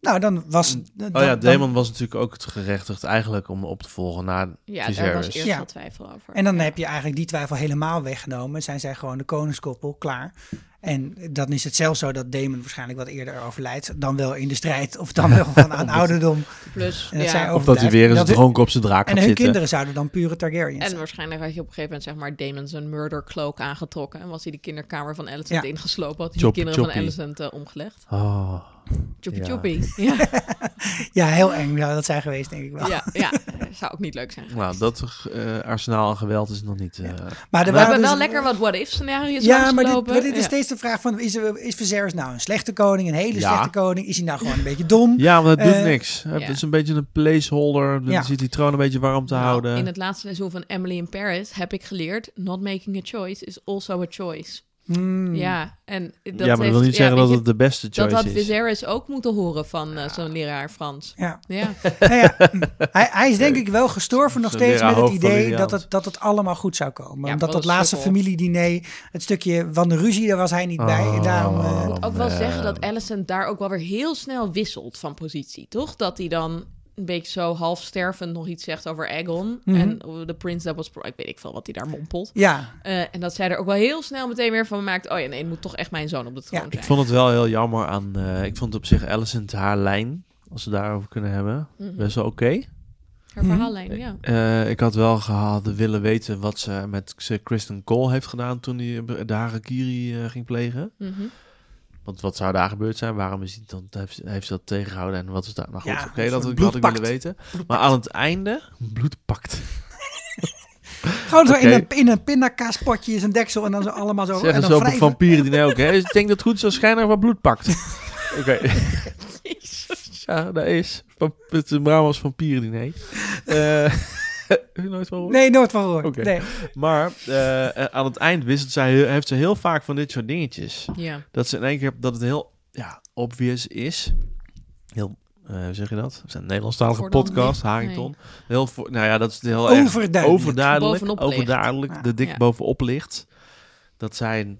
Speaker 1: Nou, dan was...
Speaker 2: Oh ja, Damon was natuurlijk ook het gerechtigd eigenlijk om op te volgen na
Speaker 5: Ja, daar was
Speaker 2: Viserys.
Speaker 5: eerst
Speaker 1: Ja.
Speaker 5: wel twijfel over.
Speaker 1: en dan
Speaker 5: Ja.
Speaker 1: heb je eigenlijk die twijfel helemaal weggenomen. Zijn zij gewoon de koningskoppel, klaar. En dan is het zelfs zo dat Damon waarschijnlijk wat eerder overlijdt. Dan wel in de strijd of dan
Speaker 5: [laughs]
Speaker 1: wel aan, aan ouderdom.
Speaker 5: Plus,
Speaker 1: En dat
Speaker 5: ja.
Speaker 1: zij
Speaker 2: Of dat hij
Speaker 1: overblijft.
Speaker 2: weer eens
Speaker 1: Dat hun-
Speaker 2: dronken op zijn draak
Speaker 1: En
Speaker 2: gaat
Speaker 1: hun
Speaker 2: zitten.
Speaker 1: kinderen zouden dan pure Targaryens
Speaker 5: En
Speaker 1: zijn.
Speaker 5: waarschijnlijk had je op een gegeven moment zeg maar Damon zijn murder cloak aangetrokken. En was hij de kinderkamer van Alicent
Speaker 1: Ja.
Speaker 5: ingeslopen. Had hij
Speaker 2: Choppy,
Speaker 5: de kinderen
Speaker 2: choppy.
Speaker 5: van Alicent eh, omgelegd.
Speaker 2: Oh,
Speaker 5: Choppy
Speaker 2: Ja. [laughs]
Speaker 5: choppy. Ja.
Speaker 1: Ja, heel eng zou dat zijn geweest, denk ik wel.
Speaker 5: ja, ja. Zou ook niet leuk zijn.
Speaker 2: nou, dat eh, arsenaal aan geweld is nog niet... eh,
Speaker 1: Maar er
Speaker 5: We hebben
Speaker 1: waren dus-
Speaker 5: wel lekker wat what-if scenario's
Speaker 1: Ja, maar dit,
Speaker 5: langsgelopen.
Speaker 1: maar dit is
Speaker 5: Ja.
Speaker 1: steeds de vraag van... Is, er- is Viserys nou een slechte koning, een hele
Speaker 2: Ja.
Speaker 1: slechte koning? Is hij nou gewoon een beetje dom?
Speaker 2: Ja, want dat doet
Speaker 1: Eh,
Speaker 2: niks. Het
Speaker 5: ja.
Speaker 2: is een beetje een placeholder. Dan
Speaker 1: Ja.
Speaker 2: zit die troon een beetje warm te
Speaker 5: Nou,
Speaker 2: houden.
Speaker 5: In het laatste seizoen van Emily in Paris heb ik geleerd: not making a choice is also a choice.
Speaker 1: Mm.
Speaker 5: Ja, en dat
Speaker 2: Hmm. ja, maar dat
Speaker 5: heeft-
Speaker 2: wil niet
Speaker 5: ja,
Speaker 2: zeggen
Speaker 5: weet
Speaker 2: dat
Speaker 5: je,
Speaker 2: het de beste
Speaker 5: dat
Speaker 2: choice
Speaker 5: had
Speaker 2: is.
Speaker 5: Viserys ook moeten horen van eh, zo'n leraar Frans.
Speaker 1: Ja.
Speaker 2: Oh,
Speaker 5: Ja,
Speaker 1: Nou ja,
Speaker 2: [laughs]
Speaker 1: hij, hij is denk ik wel gestorven nog
Speaker 2: Zo'n
Speaker 1: steeds
Speaker 2: leraar
Speaker 1: met het
Speaker 2: hoofd van
Speaker 1: idee
Speaker 2: Liliaans.
Speaker 1: dat het, dat het allemaal goed zou komen.
Speaker 5: Ja,
Speaker 1: Omdat
Speaker 5: wat
Speaker 1: dat
Speaker 5: een
Speaker 1: laatste
Speaker 5: sukkel.
Speaker 1: familiediner, het stukje van de ruzie, daar was hij niet bij. En daarom, eh,
Speaker 2: Oh.
Speaker 5: ik moet ook wel zeggen dat Alicent daar ook wel weer heel snel wisselt van positie, toch? Dat hij dan een beetje zo half stervend nog iets zegt over Aegon
Speaker 2: Mhm.
Speaker 5: en eh, de prins dat was, ik weet ik veel wat hij daar mompelt.
Speaker 1: ja,
Speaker 5: Eh, en dat zij er ook wel heel snel meteen weer van maakt, oh ja, nee, het moet toch echt mijn zoon op de troon
Speaker 1: Ja, ik
Speaker 5: zijn.
Speaker 2: Ik vond het wel heel jammer aan... eh, ik vond op zich Alicent haar lijn, als we daarover kunnen hebben, best wel oké.
Speaker 5: Haar verhaallijn, ja.
Speaker 2: Eh, ik had wel gehad willen weten wat ze met ze Kristen Cole heeft gedaan toen hij eh, de Harakiri eh, ging plegen.
Speaker 5: Mhm.
Speaker 2: Want wat zou daar gebeurd zijn? Waarom is die dan, heeft, heeft ze dat tegengehouden en wat is daar? Nou goed,
Speaker 1: Ja,
Speaker 2: oké,
Speaker 1: een soort
Speaker 2: dat had ik- had ik willen
Speaker 1: bloedpact.
Speaker 2: weten. Maar aan het einde, bloedpakt.
Speaker 1: gewoon zo in
Speaker 2: Oké.
Speaker 1: een, in een pindakaaspotje is een deksel en dan zo allemaal zo. Oh, en
Speaker 2: Zeggen
Speaker 1: dan
Speaker 2: ze op een
Speaker 1: wrijven.
Speaker 2: vampieren die ook. Hè? Dus ik denk dat het goed zo schijnbaar wat bloed
Speaker 1: [laughs]
Speaker 2: pakt. Oké. Ja, dat is. Van- Het is Bramers vampierendiner. Eh [laughs] heb je nooit van gehoord?
Speaker 1: Nee, nooit van gehoord.
Speaker 2: Oké.
Speaker 1: Nee.
Speaker 2: Maar eh, eh, aan het eind wisselt zij, heeft ze heel vaak van dit soort dingetjes.
Speaker 5: Ja.
Speaker 2: Dat ze in één keer dat het heel ja, obvious is. Heel, eh, hoe zeg je dat? Het is een Nederlandstalige
Speaker 5: Voor dan
Speaker 2: podcast,
Speaker 5: niet.
Speaker 2: Harington. Heel voor, nou ja, dat is heel erg
Speaker 1: Overduidelijk.
Speaker 2: overduidelijk.
Speaker 5: Bovenop ligt.
Speaker 2: overduidelijk,
Speaker 1: Ja.
Speaker 2: de dik
Speaker 5: Ja.
Speaker 2: bovenop ligt. Dat zijn,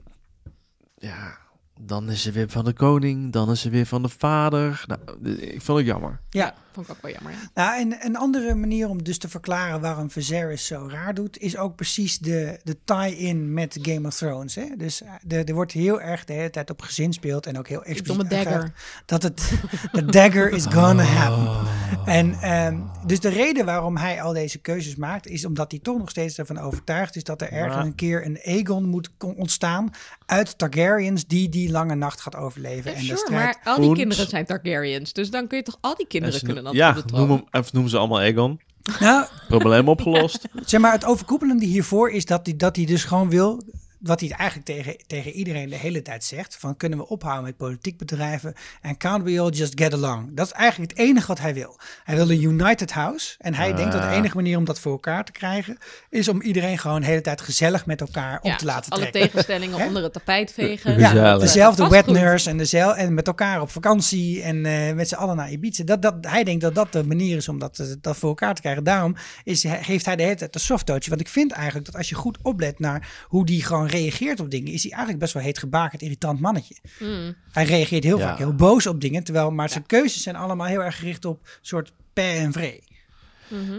Speaker 2: ja, dan is ze weer van de koning, dan is ze weer van de vader. Nou, ik vond het jammer.
Speaker 1: Ja.
Speaker 5: Vond ik ook wel jammer. ja.
Speaker 1: Nou, en een andere manier om dus te verklaren waarom Viserys zo raar doet, is ook precies de, de tie-in met Game of Thrones. Hè? Dus eh, de- er wordt heel erg de hele tijd op gezinspeeld en ook heel
Speaker 5: domme
Speaker 1: expliciet
Speaker 5: dagger.
Speaker 1: aangehaald dat het de dagger is gonna happen. En ehm, dus de reden waarom hij al deze keuzes maakt, is omdat hij toch nog steeds ervan overtuigd is dat er ergens
Speaker 2: Maar-
Speaker 1: een keer een Aegon moet kon- ontstaan uit Targaryens die die lange nacht gaat overleven.
Speaker 5: Ja,
Speaker 1: en de
Speaker 5: sure,
Speaker 1: strijd.
Speaker 5: maar al die
Speaker 2: Und-
Speaker 5: kinderen zijn Targaryens, dus dan kun je toch al die kinderen kunnen dan op
Speaker 2: ja,
Speaker 5: de troon.
Speaker 2: noem, hem, even noem ze allemaal Egon.
Speaker 1: Nou,
Speaker 2: Probleem opgelost.
Speaker 1: Zeg maar, het overkoepelende hiervoor is dat hij, dat hij dus gewoon wil. Wat hij eigenlijk tegen, tegen iedereen de hele tijd zegt: van kunnen we ophouden met politiek bedrijven? En can't we all just get along? Dat is eigenlijk het enige wat hij wil. Hij wil een united house. En hij denkt
Speaker 5: Ah.
Speaker 1: dat de enige manier om dat voor elkaar te krijgen. is om iedereen gewoon de hele tijd gezellig met elkaar
Speaker 5: Ja,
Speaker 1: op te laten
Speaker 5: alle
Speaker 1: trekken.
Speaker 5: tegenstellingen
Speaker 1: Hè?
Speaker 5: onder het tapijt vegen.
Speaker 2: Ja,
Speaker 1: Ja,
Speaker 2: Gezellig.
Speaker 1: dezelfde wet
Speaker 5: Vastgoed.
Speaker 1: nurse en, dezel, en met elkaar op vakantie en eh, met z'n allen naar Ibiza. Dat, dat, hij denkt dat dat de manier is om dat, eh, dat voor elkaar te krijgen. Daarom is, geeft hij de hele tijd een soft touch. Want ik vind eigenlijk dat als je goed oplet naar hoe die gewoon reageert op dingen, is hij eigenlijk best wel heet gebakerd, irritant mannetje.
Speaker 5: Hmm.
Speaker 1: Hij reageert heel
Speaker 2: Ja.
Speaker 1: vaak heel boos op dingen, terwijl maar zijn keuzes zijn allemaal heel erg gericht op soort pijn en vree.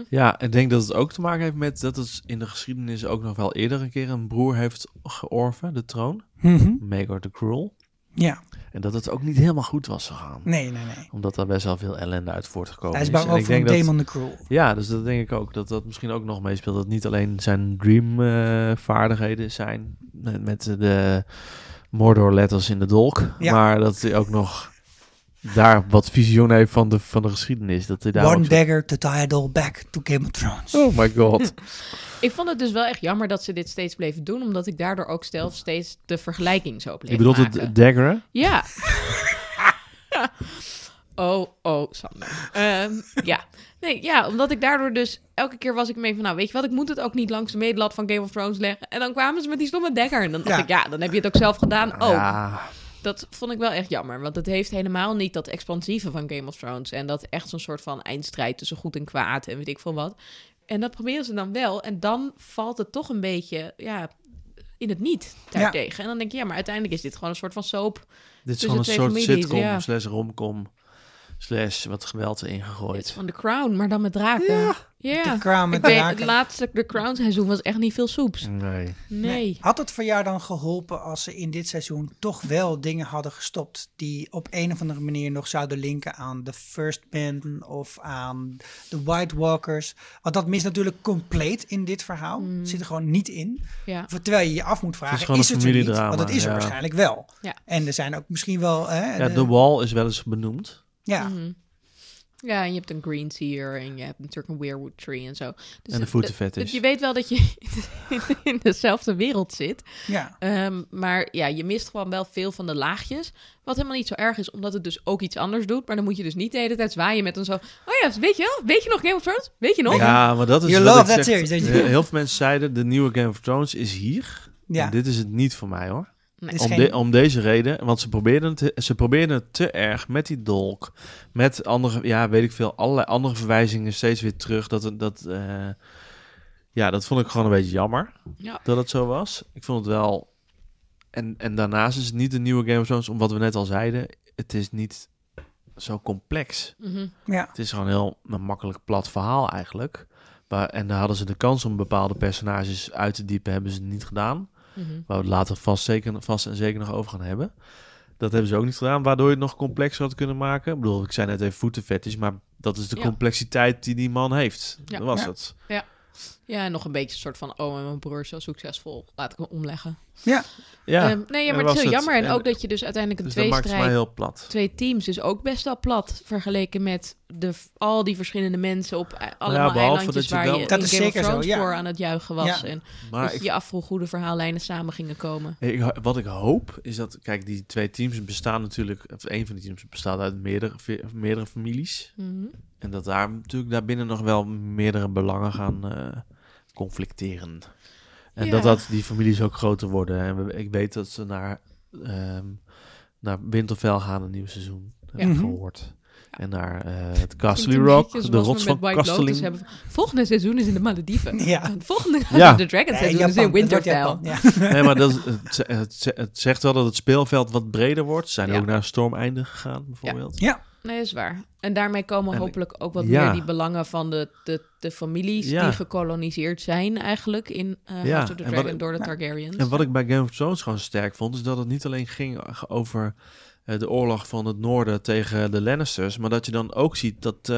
Speaker 2: Ja, ik denk dat het ook te maken heeft met dat het in de geschiedenis ook nog wel eerder een keer een broer heeft georven, de troon. Megor the Cruel.
Speaker 1: Mhm. Ja,
Speaker 2: En dat het ook niet helemaal goed was gegaan.
Speaker 1: nee, nee, nee.
Speaker 2: Omdat daar best wel veel ellende uit voortgekomen
Speaker 1: Hij is
Speaker 2: is.
Speaker 1: bang
Speaker 2: En
Speaker 1: ook
Speaker 2: ik
Speaker 1: voor
Speaker 2: denk dat-
Speaker 1: Demon the Cruel.
Speaker 2: Ja, dus dat denk ik ook. Dat dat misschien ook nog meespeelt. Dat niet alleen zijn dreamvaardigheden zijn met, met de Mordor-letters in de dolk.
Speaker 1: Ja.
Speaker 2: Maar dat hij ook nog daar wat visioen heeft van de, van de geschiedenis. Dat hij daar ook
Speaker 1: One
Speaker 2: zo-
Speaker 1: dagger to tie it all back to Game of Thrones.
Speaker 2: Oh my god.
Speaker 5: Ik vond het dus wel echt jammer dat ze dit steeds bleven doen, omdat ik daardoor ook zelf steeds de vergelijking zo bleef
Speaker 2: Je bedoelt
Speaker 5: maken.
Speaker 2: het daggeren?
Speaker 5: Ja. [laughs] oh, oh, Sander. Ehm, ja. Nee, ja, omdat ik daardoor dus... Elke keer was ik mee van, nou, weet je wat? Ik moet het ook niet langs de medelat van Game of Thrones leggen. En dan kwamen ze met die stomme dekker. En dan dacht
Speaker 1: Ja.
Speaker 5: ik, ja, dan heb je het ook zelf gedaan. Oh,
Speaker 2: Ja.
Speaker 5: dat vond ik wel echt jammer. Want het heeft helemaal niet dat expansieve van Game of Thrones. En dat echt zo'n soort van eindstrijd tussen goed en kwaad en weet ik veel wat. En dat proberen ze dan wel. En dan valt het toch een beetje ja, in het niet daartegen. En dan denk je, ja, maar uiteindelijk is dit gewoon een soort van soap.
Speaker 2: Dit is
Speaker 5: Tussen
Speaker 2: gewoon een
Speaker 5: twee
Speaker 2: soort
Speaker 5: families,
Speaker 2: sitcom
Speaker 5: ja.
Speaker 2: slash romcom slash wat geweld erin
Speaker 5: Het is
Speaker 2: gegooid.
Speaker 5: van The Crown, maar dan met draken. Ja,
Speaker 1: De Crown met
Speaker 5: Ik weet,
Speaker 1: draken.
Speaker 5: Het laatste The Crown seizoen was echt niet veel soeps.
Speaker 2: Nee.
Speaker 5: Nee.
Speaker 1: Had het voor jou dan geholpen als ze in dit seizoen toch wel dingen hadden gestopt die op een of andere manier nog zouden linken aan de First Men of aan de White Walkers? Want dat mist natuurlijk compleet in dit verhaal. Zit er gewoon niet in.
Speaker 5: Mm. Ja.
Speaker 1: Terwijl je je af moet vragen,
Speaker 2: Het is
Speaker 1: is,
Speaker 2: gewoon
Speaker 1: het
Speaker 2: een
Speaker 1: er niet?
Speaker 2: familiedrama,
Speaker 1: Want het is er
Speaker 2: ja.
Speaker 1: waarschijnlijk wel.
Speaker 5: Ja.
Speaker 1: En er zijn ook misschien wel... Hè,
Speaker 2: Ja,
Speaker 1: de-
Speaker 2: The Wall is wel eens benoemd.
Speaker 1: ja.
Speaker 5: Mm. ja, en je hebt een green seer en je hebt natuurlijk een weirwood tree en zo. Dus
Speaker 2: En de
Speaker 5: het-
Speaker 2: voetenfetish.
Speaker 5: het- Je weet wel dat je [laughs] in dezelfde wereld zit.
Speaker 1: ja.
Speaker 5: Ehm, maar ja, je mist gewoon wel veel van de laagjes. Wat helemaal niet zo erg is, omdat het dus ook iets anders doet. Maar dan moet je dus niet de hele tijd zwaaien met een zo... Oh ja, weet je wel? Weet je nog Game of Thrones? Weet je nog?
Speaker 2: Ja, maar dat is
Speaker 1: You
Speaker 2: wat
Speaker 1: love
Speaker 2: ik
Speaker 1: that
Speaker 2: zeg.
Speaker 1: series, don't you?
Speaker 2: Eh, Heel veel mensen zeiden, de nieuwe Game of Thrones is hier.
Speaker 1: Ja.
Speaker 2: En dit is het niet voor mij hoor.
Speaker 1: Het is
Speaker 2: Om,
Speaker 1: geen-
Speaker 2: de- om deze reden, want ze probeerden, het, ze probeerden het te erg met die dolk. Met andere, ja, weet ik veel, allerlei andere verwijzingen steeds weer terug. Dat, dat, eh, ja, dat vond ik gewoon een beetje jammer
Speaker 5: Ja.
Speaker 2: dat het zo was. Ik vond het wel... En, en daarnaast is het niet een nieuwe Game of Thrones, om wat we net al zeiden. Het is niet zo complex.
Speaker 5: Mhm.
Speaker 1: ja.
Speaker 2: Het is gewoon heel een makkelijk plat verhaal eigenlijk. Maar, en daar hadden ze de kans om bepaalde personages uit te diepen, hebben ze niet gedaan.
Speaker 5: Mhm.
Speaker 2: Waar we het later vast, zeker, vast en zeker nog over gaan hebben. Dat hebben ze ook niet gedaan, waardoor je het nog complexer had kunnen maken. Ik bedoel, ik zei net even voetenfetish, maar dat is de
Speaker 5: Ja.
Speaker 2: complexiteit die die man heeft.
Speaker 5: Ja.
Speaker 2: Dat was
Speaker 1: Ja.
Speaker 2: het.
Speaker 5: Ja, en nog een beetje een soort van, oh, en mijn broer is zo succesvol, laat ik hem omleggen.
Speaker 2: Ja,
Speaker 5: Ehm, nee, ja, maar
Speaker 2: dat
Speaker 5: het is heel
Speaker 2: was het.
Speaker 5: jammer. En,
Speaker 2: En-
Speaker 5: ook dat je dus uiteindelijk een
Speaker 2: dus dat
Speaker 5: twee
Speaker 2: maakt het mij
Speaker 5: tweestrijd,
Speaker 2: heel plat.
Speaker 5: twee teams is ook best wel plat vergeleken met de, al die verschillende mensen op eh, allemaal
Speaker 2: Nou behalve dat
Speaker 5: eilandjes
Speaker 2: je
Speaker 5: waar
Speaker 2: wel-
Speaker 5: je
Speaker 1: Dat
Speaker 5: in
Speaker 1: is
Speaker 5: Game
Speaker 1: zeker
Speaker 5: of
Speaker 1: zo,
Speaker 5: Thrones
Speaker 1: ja.
Speaker 5: voor aan het juichen was.
Speaker 1: Ja.
Speaker 5: En
Speaker 2: Maar
Speaker 5: dat
Speaker 2: ik,
Speaker 5: je je afvroeg hoe de verhaallijnen samen gingen komen.
Speaker 2: ik- wat ik hoop is dat, kijk, die twee teams bestaan natuurlijk, of één van die teams bestaat uit meerdere, ve- meerdere families.
Speaker 5: Mhm.
Speaker 2: En dat daar natuurlijk daarbinnen nog wel meerdere belangen gaan eh, conflicteren. En
Speaker 5: Ja.
Speaker 2: dat, dat die families ook groter worden. En we- ik weet dat ze naar, ehm naar Winterfell gaan een nieuw seizoen. Heb ik
Speaker 1: Mhm.
Speaker 2: gehoord. En naar eh, het Castle
Speaker 5: Klinkt een
Speaker 2: Rock,
Speaker 5: beetje
Speaker 2: de
Speaker 5: zoals we
Speaker 2: rots
Speaker 5: met
Speaker 2: van
Speaker 5: White Lotus
Speaker 2: Casteling.
Speaker 5: hebben. Volgende seizoen is in de Malediven.
Speaker 1: Ja.
Speaker 5: En het [laughs] volgende
Speaker 2: Ja.
Speaker 5: de Dragon
Speaker 1: Nee,
Speaker 5: seizoen is
Speaker 1: Japan.
Speaker 5: in
Speaker 1: Het wordt
Speaker 5: Winterfell.
Speaker 1: Japan, ja.
Speaker 2: [laughs] Nee, maar dat, is- het, ze- het, ze- het zegt wel dat het speelveld wat breder wordt. Ze zijn
Speaker 5: Ja.
Speaker 2: ook naar Stormeinde gegaan, bijvoorbeeld.
Speaker 1: Ja,
Speaker 5: Nee, is waar. En daarmee komen
Speaker 2: En-
Speaker 5: hopelijk ook wat
Speaker 2: ja.
Speaker 5: meer die belangen van de, de, de families
Speaker 2: Ja.
Speaker 5: die gekoloniseerd zijn eigenlijk in eh
Speaker 2: Ja,
Speaker 5: House of the
Speaker 2: en wat
Speaker 5: Dragon
Speaker 2: ik-
Speaker 5: door de
Speaker 1: Ja.
Speaker 5: Targaryens.
Speaker 2: En wat ik bij Game of Thrones gewoon sterk vond, is dat het niet alleen ging over eh, de oorlog van het noorden tegen de Lannisters, maar dat je dan ook ziet dat eh,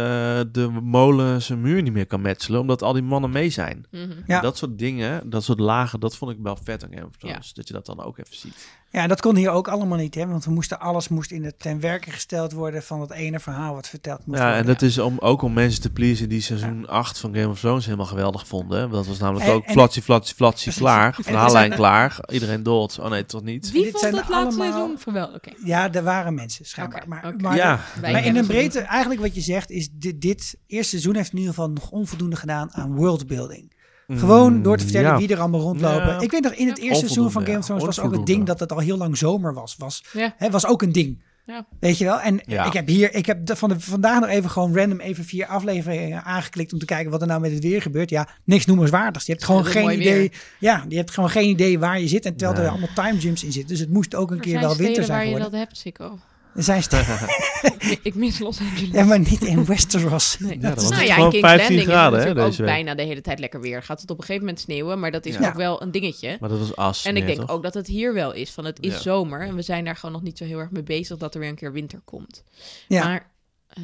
Speaker 2: de molen zijn muur niet meer kan metselen, omdat al die mannen mee zijn.
Speaker 5: Mhm.
Speaker 1: Ja.
Speaker 2: Dat soort dingen, dat soort lagen, dat vond ik wel vet aan Game of Thrones. Dat je dat dan ook even ziet.
Speaker 1: ja, dat kon hier ook allemaal niet, hè? want we moesten, alles moest in het ten werke gesteld worden van dat ene verhaal wat verteld moest
Speaker 2: Ja, en
Speaker 1: worden.
Speaker 2: dat is om, ook om mensen te pleasen die seizoen 8 van Game of Thrones helemaal geweldig vonden. hè. Dat was namelijk
Speaker 1: En-
Speaker 2: ook
Speaker 1: en-
Speaker 2: flatsie, flatsie, flatsie,
Speaker 1: Precies. [laughs]
Speaker 2: klaar.
Speaker 1: En-
Speaker 2: Verhaallijn
Speaker 1: en-
Speaker 2: klaar. Iedereen dood. Oh nee, toch
Speaker 1: [laughs]
Speaker 2: niet? [laughs]
Speaker 5: Wie
Speaker 1: Dit
Speaker 5: vond
Speaker 1: zijn
Speaker 5: het laatste
Speaker 1: allemaal-
Speaker 5: seizoen verweldig? Oké.
Speaker 1: Ja, er waren mensen schijnbaar.
Speaker 5: Oké,
Speaker 1: maar,
Speaker 5: oké.
Speaker 1: maar-
Speaker 2: ja,
Speaker 5: Wij
Speaker 1: maar in
Speaker 5: kennen
Speaker 1: een
Speaker 5: ze
Speaker 1: breedte, eigenlijk wat je zegt, is dit, dit eerste seizoen heeft in ieder geval nog onvoldoende gedaan aan worldbuilding. Gewoon door te vertellen
Speaker 2: Mm. Ja.
Speaker 1: wie er allemaal rondlopen.
Speaker 2: Ja.
Speaker 1: Ik weet nog, in het eerste seizoen van
Speaker 2: Onvoldoende,
Speaker 1: Game of Thrones
Speaker 2: ja.
Speaker 1: was ook het
Speaker 2: Onvoldoende.
Speaker 1: ding dat het al heel lang zomer was. Was,
Speaker 5: Ja.
Speaker 1: hè, was ook een ding.
Speaker 5: Ja.
Speaker 1: Weet je wel? En
Speaker 2: Ja.
Speaker 1: ik heb hier, ik heb de- van de, vandaag nog even gewoon random even vier afleveringen aangeklikt om te kijken wat er nou met het weer gebeurt. Ja, niks noemenswaardigs. Je hebt gewoon
Speaker 5: Het is
Speaker 1: geen
Speaker 5: mooi
Speaker 1: idee.
Speaker 5: weer.
Speaker 1: Ja, je hebt gewoon geen idee waar je zit. En terwijl er
Speaker 2: Nee.
Speaker 1: allemaal time jumps in zitten. Dus het moest ook een
Speaker 5: Er
Speaker 1: keer
Speaker 5: zijn
Speaker 1: wel
Speaker 5: steden
Speaker 1: winter
Speaker 5: waar
Speaker 1: zijn
Speaker 5: je
Speaker 1: geworden.
Speaker 5: dat hebt, Sikko.
Speaker 1: Er zijn steden-
Speaker 5: Ik mis Los Angeles.
Speaker 1: Ja, maar niet in Westeros.
Speaker 5: [laughs] Nee.
Speaker 2: Ja, dat was
Speaker 5: nou
Speaker 2: het
Speaker 5: ja, in
Speaker 2: gewoon
Speaker 5: King's
Speaker 2: 15
Speaker 5: Landing is het
Speaker 2: graden, hè,
Speaker 5: natuurlijk ook
Speaker 2: deze week.
Speaker 5: bijna de hele tijd lekker weer. Gaat het op een gegeven moment sneeuwen, maar dat is
Speaker 1: Ja.
Speaker 5: ook wel een dingetje.
Speaker 2: Maar dat was as.
Speaker 5: En
Speaker 2: meer,
Speaker 5: ik denk
Speaker 2: toch?
Speaker 5: ook dat het hier wel is. Van het is
Speaker 2: Ja.
Speaker 5: zomer en we zijn daar gewoon nog niet zo heel erg mee bezig dat er weer een keer winter komt.
Speaker 1: Ja.
Speaker 5: Maar eh,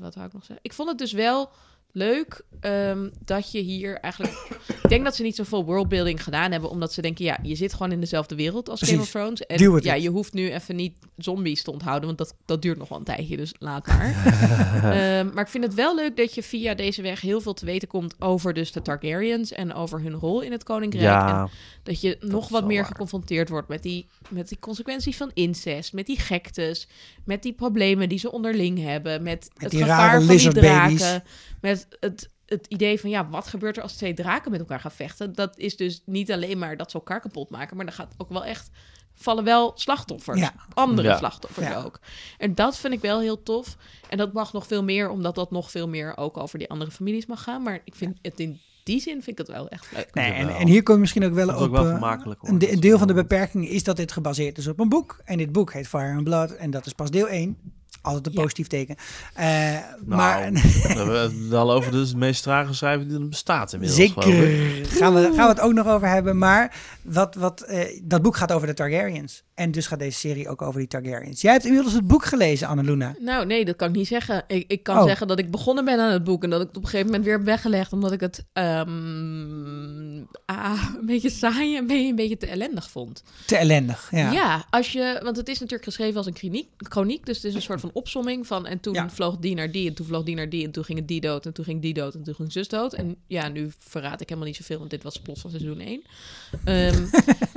Speaker 5: wat wou ik nog zeggen? Ik vond het dus wel leuk ehm, dat je hier eigenlijk. ik denk dat ze niet zoveel worldbuilding gedaan hebben, omdat ze denken: ja, je zit gewoon in dezelfde wereld als Game of
Speaker 1: Precies.
Speaker 5: Thrones. En
Speaker 1: Duw het
Speaker 5: ja,
Speaker 1: niet.
Speaker 5: je hoeft nu even niet zombies te onthouden, want dat, dat duurt nog wel een tijdje, dus laat maar. Ehm, maar ik vind het wel leuk dat je via deze weg heel veel te weten komt over dus de Targaryens en over hun rol in het Koninkrijk. En
Speaker 2: Ja,
Speaker 5: dat je nog
Speaker 2: is
Speaker 5: wat
Speaker 2: wel
Speaker 5: meer
Speaker 2: waar.
Speaker 5: geconfronteerd wordt met die, met die consequenties van incest, met die gektes, met die problemen die ze onderling hebben, met, het
Speaker 1: die rare
Speaker 5: gevaar van die
Speaker 1: lizardbabies.
Speaker 5: draken, met het, het idee van ja, wat gebeurt er als twee draken met elkaar gaan vechten? Dat is dus niet alleen maar dat ze elkaar kapot maken, maar dan gaat ook wel echt vallen wel slachtoffers,
Speaker 1: Ja.
Speaker 5: andere
Speaker 2: Ja.
Speaker 5: slachtoffers
Speaker 1: Ja.
Speaker 5: ook. En dat vind ik wel heel tof. En dat mag nog veel meer, omdat dat nog veel meer ook over die andere families mag gaan. Maar ik vind het in die zin vind ik het wel echt leuk.
Speaker 1: Nee, en,
Speaker 2: Jawel.
Speaker 1: en hier kom je misschien ook wel
Speaker 2: dat
Speaker 1: op...
Speaker 2: is ook wel
Speaker 1: eh,
Speaker 2: vermakelijk. hoor.
Speaker 1: een, de- een deel van de beperking is dat dit gebaseerd is op een boek. En dit boek heet Fire and Blood. En dat is pas deel 1. Altijd een
Speaker 5: Ja.
Speaker 1: positief teken. Eh,
Speaker 2: Nou,
Speaker 1: maar
Speaker 2: We hebben het al over dus de meest trage schrijver die er bestaat inmiddels. geloof ik.
Speaker 1: [laughs] zeker gaan we, gaan we het ook nog over hebben. Maar wat, wat, eh, dat boek gaat over de Targaryens. En dus gaat deze serie ook over die Targaryens. Jij hebt inmiddels het boek gelezen, Anneluna.
Speaker 5: Nou, nee, dat kan ik niet zeggen. Ik, ik kan
Speaker 1: Oh.
Speaker 5: zeggen dat ik begonnen ben aan het boek en dat ik het op een gegeven moment weer heb weggelegd, omdat ik het ehm, ah, een beetje saai en een beetje, een beetje te ellendig vond.
Speaker 1: Te ellendig. Ja.
Speaker 5: Ja. als je, want het is natuurlijk geschreven als een kliniek, chroniek, dus het is een soort van opsomming van en toen
Speaker 1: Ja.
Speaker 5: vloog die naar die en toen vloog die naar die en toen ging het die dood en toen ging die dood en toen ging zus dood. En ja, nu verraad ik helemaal niet zoveel, want dit was plots van seizoen 1.
Speaker 1: [laughs]
Speaker 5: Ehm,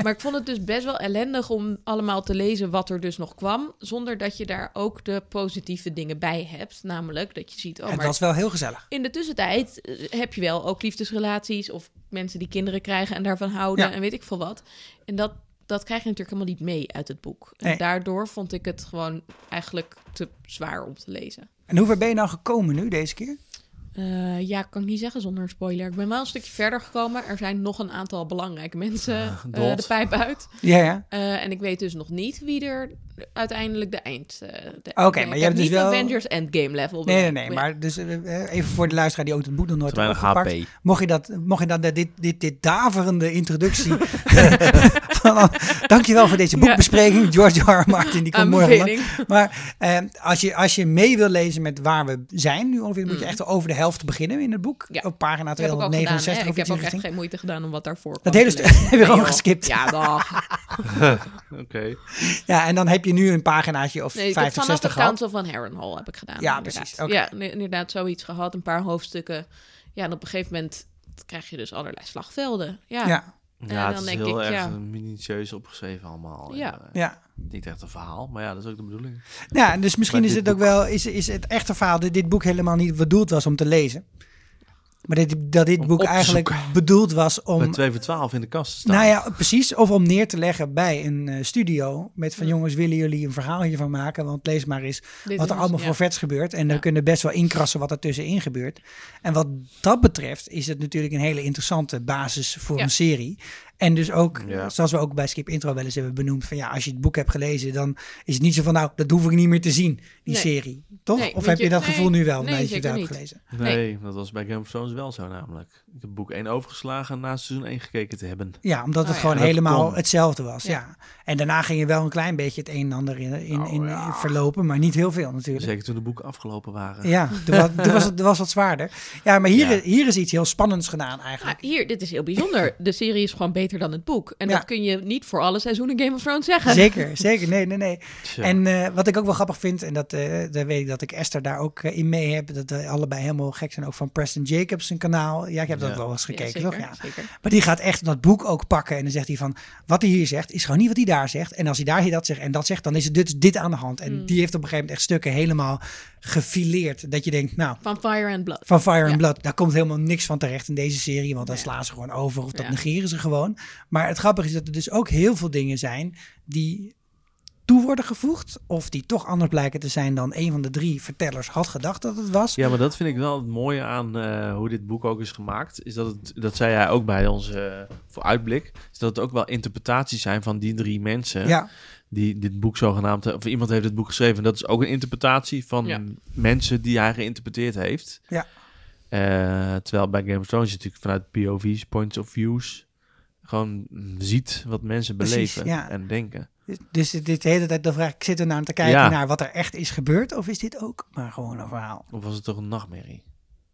Speaker 5: maar ik vond het dus best wel ellendig om allemaal te lezen wat er dus nog kwam, zonder dat je daar ook de positieve dingen bij hebt. Namelijk dat je ziet, oh,
Speaker 1: het
Speaker 5: maar
Speaker 1: was wel heel gezellig.
Speaker 5: in de tussentijd eh, heb je wel ook liefdesrelaties of mensen die kinderen krijgen en daarvan houden
Speaker 1: Ja.
Speaker 5: en weet ik veel wat. En dat dat krijg je natuurlijk helemaal niet mee uit het boek. En
Speaker 1: Nee.
Speaker 5: daardoor vond ik het gewoon eigenlijk te zwaar om te lezen.
Speaker 1: En hoe ver ben je nou gekomen nu deze keer?
Speaker 5: Eh, ja, kan ik niet zeggen zonder een spoiler. Ik ben wel een stukje verder gekomen. Er zijn nog een aantal belangrijke mensen
Speaker 1: Ah,
Speaker 5: eh,
Speaker 2: dood.
Speaker 5: de pijp uit.
Speaker 1: Ja, ja.
Speaker 5: Eh, en ik weet dus nog niet wie er uiteindelijk de eind... eh, de-
Speaker 1: maar
Speaker 5: nee,
Speaker 1: je
Speaker 5: ik
Speaker 1: hebt
Speaker 5: heb
Speaker 1: dus
Speaker 5: niet
Speaker 1: wel-
Speaker 5: Avengers Endgame level.
Speaker 1: Nee, nee,
Speaker 5: bereikt.
Speaker 1: nee.
Speaker 5: Ja.
Speaker 1: Maar dus, eh, eh, even voor de luisteraar die ook het boek nog nooit
Speaker 2: Te weinig
Speaker 1: heeft opgepakt.
Speaker 2: HP.
Speaker 1: Mocht je, dat, mocht je dan eh, dit, dit, dit daverende
Speaker 5: [laughs]
Speaker 1: introductie... [laughs] van, dankjewel voor deze boekbespreking. George R. R. Martin, die komt morgen. lang.
Speaker 5: Aanbeveling.
Speaker 1: Maar eh, als, je, als je mee wil lezen met waar we zijn nu ongeveer... moet je echt over de helft beginnen in het boek.
Speaker 5: Mm. Ja.
Speaker 1: Op pagina
Speaker 5: Dat heb ik ook gedaan. hè.
Speaker 1: 269
Speaker 5: Ik
Speaker 1: of iets
Speaker 5: heb
Speaker 1: in
Speaker 5: ook
Speaker 1: die
Speaker 5: echt
Speaker 1: richting.
Speaker 5: geen moeite gedaan om wat daarvoor kwam
Speaker 1: Dat
Speaker 5: te
Speaker 1: hele stuk
Speaker 5: lezen.
Speaker 1: [laughs] heb je gewoon
Speaker 5: joh.
Speaker 1: geskipt.
Speaker 5: Ja,
Speaker 1: [laughs]
Speaker 5: dag.
Speaker 2: Oké.
Speaker 1: Ja, en dan heb je nu een paginaatje of
Speaker 5: Nee, ik heb
Speaker 1: 50,
Speaker 5: vanaf de
Speaker 1: 60 gehad.
Speaker 5: Council van Harrenhal heb ik gedaan.
Speaker 1: Ja,
Speaker 5: inderdaad.
Speaker 1: precies. Oké.
Speaker 5: Ja, nee, inderdaad, zoiets gehad. Een paar hoofdstukken. Ja, en op een gegeven moment krijg je dus allerlei slagvelden. Ja,
Speaker 1: Ja,
Speaker 5: En
Speaker 2: Ja, het
Speaker 5: dan
Speaker 2: is
Speaker 5: denk
Speaker 2: heel
Speaker 5: ik,
Speaker 2: erg
Speaker 5: ja.
Speaker 2: eh, minutieus opgeschreven allemaal. En,
Speaker 5: Ja.
Speaker 2: eh,
Speaker 1: ja.
Speaker 2: Niet echt een verhaal, maar ja, dat is ook de bedoeling.
Speaker 1: Ja, en dus misschien
Speaker 2: Maar
Speaker 1: is
Speaker 2: dit
Speaker 1: het ook wel, is, is het echte verhaal dat dit boek helemaal niet bedoeld was om te lezen. Maar dit, dat dit
Speaker 2: Om
Speaker 1: boek
Speaker 2: op te
Speaker 1: eigenlijk
Speaker 2: zoeken.
Speaker 1: bedoeld was
Speaker 2: Bij
Speaker 1: om,
Speaker 2: 2 voor 12 in de kast te staan.
Speaker 1: nou ja, precies, of om neer te leggen bij een eh, studio. Met van jongens, willen jullie een verhaal hiervan maken? Want lees maar eens
Speaker 5: Dit
Speaker 1: wat
Speaker 5: is
Speaker 1: er allemaal
Speaker 5: ja.
Speaker 1: voor vets gebeurt. En dan
Speaker 5: Ja.
Speaker 1: kunnen best wel inkrassen wat er tussenin gebeurt. En wat dat betreft is het natuurlijk een hele interessante basis voor
Speaker 5: Ja.
Speaker 1: een serie. En dus ook,
Speaker 2: Ja.
Speaker 1: zoals we ook bij Skip Intro wel eens hebben benoemd, van ja, als je het boek hebt gelezen, dan is het niet zo van nou, dat hoef ik niet meer te zien, die
Speaker 5: Nee.
Speaker 1: serie. Toch?
Speaker 5: Nee,
Speaker 1: of
Speaker 5: want
Speaker 1: heb je,
Speaker 5: je-
Speaker 1: dat
Speaker 5: nee,
Speaker 1: gevoel nu wel,
Speaker 5: nee,
Speaker 1: nadat je het
Speaker 5: zeker
Speaker 1: hebt
Speaker 5: niet.
Speaker 1: gelezen?
Speaker 2: Nee,
Speaker 5: Nee.
Speaker 2: dat was bij Game of Thrones wel zo namelijk. Ik heb boek 1 overgeslagen en na seizoen 1 gekeken te hebben.
Speaker 1: Ja, omdat
Speaker 5: Oh
Speaker 1: het
Speaker 5: ja.
Speaker 1: gewoon
Speaker 2: Dat
Speaker 1: helemaal
Speaker 2: kon.
Speaker 1: hetzelfde was. Ja.
Speaker 5: Ja.
Speaker 1: En daarna ging je wel een klein beetje het een en ander in, in,
Speaker 2: Oh
Speaker 1: in
Speaker 2: ja.
Speaker 1: verlopen, maar niet heel veel natuurlijk.
Speaker 2: Zeker toen de boeken afgelopen waren.
Speaker 1: Ja, toen was, toen was het toen was wat zwaarder. Ja, maar hier,
Speaker 2: Ja.
Speaker 1: hier is iets heel spannends gedaan eigenlijk.
Speaker 5: Ah, hier, dit is heel
Speaker 1: [laughs]
Speaker 5: bijzonder. De serie is gewoon beter dan het boek. En
Speaker 1: Ja.
Speaker 5: dat kun je niet voor alle seizoenen Game of Thrones zeggen.
Speaker 1: Zeker, zeker. Nee, nee, nee.
Speaker 2: Tja.
Speaker 1: En eh, wat ik ook wel grappig vind, en dat, eh daar weet ik dat ik Esther daar ook eh, in mee heb, dat we allebei helemaal gek zijn, ook van Preston Jacobs zijn kanaal. Ja, ik heb dat
Speaker 2: Ja.
Speaker 1: wel eens
Speaker 5: Ja,
Speaker 1: gekeken,
Speaker 5: zeker,
Speaker 1: toch? Ja.
Speaker 5: zeker.
Speaker 1: Maar die gaat echt dat boek ook pakken en dan zegt hij van, wat hij hier zegt, is gewoon niet wat hij daar zegt. En als hij daar hier dat zegt en dat zegt, dan is het dit, dit aan de hand. En
Speaker 5: Hmm.
Speaker 1: die heeft op een gegeven moment echt stukken helemaal gefileerd, dat je denkt, nou,
Speaker 5: Van Fire and Blood.
Speaker 1: van Fire and
Speaker 5: Ja.
Speaker 1: Blood. Daar komt helemaal niks van terecht in deze serie, want dan slaan ze gewoon over of dat
Speaker 5: Ja.
Speaker 1: negeren ze gewoon. Maar het grappige is dat er dus ook heel veel dingen zijn die toe worden gevoegd of die toch anders blijken te zijn dan een van de drie vertellers had gedacht dat het was.
Speaker 2: Ja, maar dat vind ik wel het mooie aan eh, hoe dit boek ook is gemaakt. Is dat het, dat zei hij ook bij onze vooruitblik. Is dat het ook wel interpretaties zijn van die drie mensen.
Speaker 1: Ja,
Speaker 2: Die dit boek zogenaamd hebben. Of iemand heeft het boek geschreven. En dat is ook een interpretatie van
Speaker 5: Ja.
Speaker 2: mensen die hij geïnterpreteerd heeft.
Speaker 1: Ja.
Speaker 2: Eh, terwijl bij Game of Thrones je natuurlijk vanuit POV's, points of views. Gewoon mm, ziet wat mensen
Speaker 1: Precies,
Speaker 2: beleven
Speaker 1: ja.
Speaker 2: en denken.
Speaker 1: dus dit, dit de hele tijd de vraag, ik zit er naar te kijken
Speaker 2: Ja.
Speaker 1: naar wat er echt is gebeurd of is dit ook maar gewoon een verhaal?
Speaker 2: Of was het toch een nachtmerrie?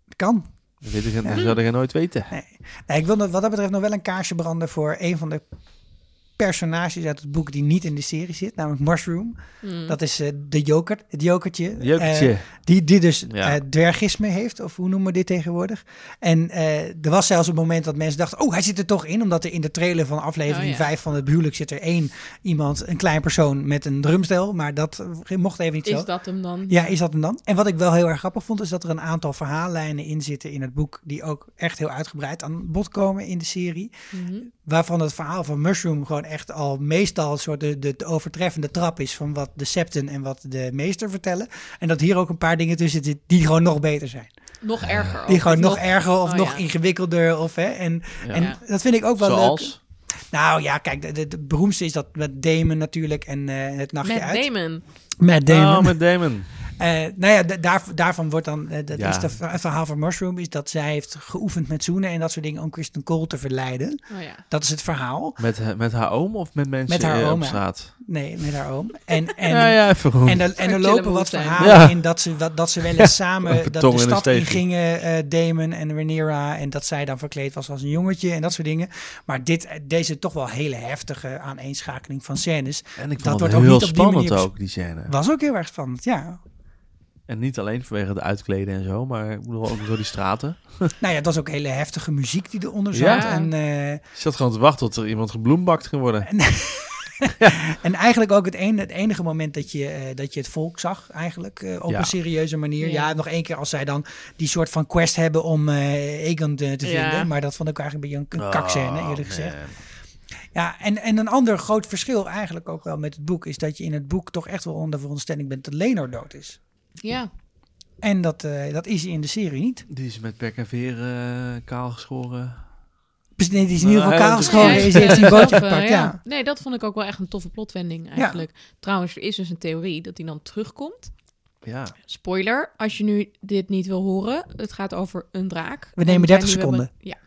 Speaker 1: Het kan.
Speaker 2: Dat, weet ik, dat zou ik nooit weten.
Speaker 1: Nee. Nee, ik wil nog- wat dat betreft nog wel een kaarsje branden voor een van de personages uit het boek die niet in de serie zit, namelijk Mushroom.
Speaker 5: Mm.
Speaker 1: Dat is eh, de joker, het jokertje.
Speaker 2: Jokertje.
Speaker 1: Eh, die, die dus
Speaker 2: Ja.
Speaker 1: eh, dwergisme heeft, of hoe noemen we dit tegenwoordig. En eh, er was zelfs een moment dat mensen dachten, oh, hij zit er toch in, omdat er in de trailer van aflevering
Speaker 5: Oh, ja.
Speaker 1: 5 van het huwelijk zit er één iemand, een klein persoon met een drumstel, maar dat eh, mocht even niet zo.
Speaker 5: Is dat hem dan?
Speaker 1: Ja, is dat hem dan? En wat ik wel heel erg grappig vond, is dat er een aantal verhaallijnen in zitten in het boek. die ook echt heel uitgebreid aan bod komen in de serie.
Speaker 5: Mhm.
Speaker 1: Waarvan het verhaal van Mushroom gewoon echt al meestal een soort de, de, de overtreffende trap is. van wat de septen en wat de meester vertellen. En dat hier ook een paar dingen tussen zitten die gewoon nog beter zijn.
Speaker 5: Nog erger.
Speaker 1: Die
Speaker 5: ook.
Speaker 1: gewoon
Speaker 5: Of
Speaker 1: nog erger of
Speaker 5: oh,
Speaker 1: nog
Speaker 5: ja.
Speaker 1: ingewikkelder. Of, hè, en,
Speaker 2: Ja.
Speaker 1: en dat vind ik ook wel leuk.
Speaker 2: Zoals?
Speaker 1: Nou ja, kijk, de- de- het beroemdste is dat met Damon natuurlijk. en eh, het nachtje
Speaker 5: Matt
Speaker 1: uit.
Speaker 5: Damon.
Speaker 1: Met Damon.
Speaker 2: Oh, met Damon.
Speaker 1: Eh, nou ja, da- daar, daarvan wordt dan, eh, dat
Speaker 2: Ja.
Speaker 1: is de v- het verhaal van Mushroom, is dat zij heeft geoefend met zoenen en dat soort dingen om Kristen Cole te verleiden.
Speaker 5: Oh ja.
Speaker 1: Dat is het verhaal.
Speaker 2: Met, met haar oom of met mensen
Speaker 1: Met haar
Speaker 2: eh,
Speaker 1: oom,
Speaker 2: op
Speaker 1: ja.
Speaker 2: straat?
Speaker 1: Nee, met haar oom.
Speaker 2: [laughs]
Speaker 1: En, en,
Speaker 2: ja, ja, even goed.
Speaker 1: en, er, en er
Speaker 5: Zou
Speaker 1: lopen
Speaker 5: chillen
Speaker 1: wat
Speaker 5: moet zijn.
Speaker 1: verhalen
Speaker 2: Ja.
Speaker 1: in dat ze, dat, dat ze
Speaker 2: [laughs]
Speaker 1: wel eens samen
Speaker 2: Over
Speaker 1: dat de
Speaker 2: tong en een
Speaker 1: stad in
Speaker 2: steegje.
Speaker 1: gingen, eh, Damon en Rhaenyra, en dat zij dan verkleed was als een jongetje en dat soort dingen. Maar dit, eh, deze toch wel hele heftige aaneenschakeling van scènes.
Speaker 2: en ik
Speaker 1: dat
Speaker 2: vond
Speaker 1: wordt
Speaker 2: het
Speaker 1: ook
Speaker 2: heel
Speaker 1: niet op die
Speaker 2: spannend
Speaker 1: manier bes-
Speaker 2: ook, die scène.
Speaker 1: Was ook heel erg spannend, ja.
Speaker 2: En niet alleen vanwege de uitkleden en zo, maar ik bedoel ook door die straten.
Speaker 1: Nou ja, dat is ook hele heftige muziek die eronder zat.
Speaker 2: Ja.
Speaker 1: En, eh,
Speaker 2: Ik zat gewoon te wachten tot er iemand gebloembakt ging worden.
Speaker 1: En eigenlijk ook het, een, het enige moment dat je, eh, dat je het volk zag, eigenlijk, eh, op
Speaker 2: Ja.
Speaker 1: een serieuze manier. Ja.
Speaker 5: Ja.
Speaker 1: nog één keer als zij dan die soort van quest hebben om eh Aegon te, te
Speaker 5: Ja.
Speaker 2: Oh,
Speaker 1: vinden. Maar dat vond ik eigenlijk een beetje een, een kakscène, eerlijk gezegd. Ja, en, en een ander groot verschil eigenlijk ook wel met het boek is dat je in het boek toch echt wel onder veronderstelling bent dat Lenor dood is.
Speaker 5: Ja.
Speaker 1: En dat, eh, dat is hij in de serie niet.
Speaker 2: Die is met pek en veren eh, kaal geschoren.
Speaker 1: Dus Nee, die is in ieder geval
Speaker 2: Nou,
Speaker 1: kaal
Speaker 2: hij
Speaker 1: geschoren.
Speaker 5: Nee,
Speaker 1: Is heeft die
Speaker 5: eh,
Speaker 1: bootje
Speaker 5: zelf, eh,
Speaker 1: gepakt, [laughs] ja.
Speaker 5: Nee, dat vond ik ook wel echt een toffe plotwending eigenlijk. Trouwens, er is dus een theorie dat hij dan terugkomt.
Speaker 2: Ja.
Speaker 5: Spoiler, als je nu dit niet wil horen, het gaat over een draak.
Speaker 1: We nemen
Speaker 5: En
Speaker 1: 30
Speaker 5: nu hebben-
Speaker 1: seconden.
Speaker 5: ja.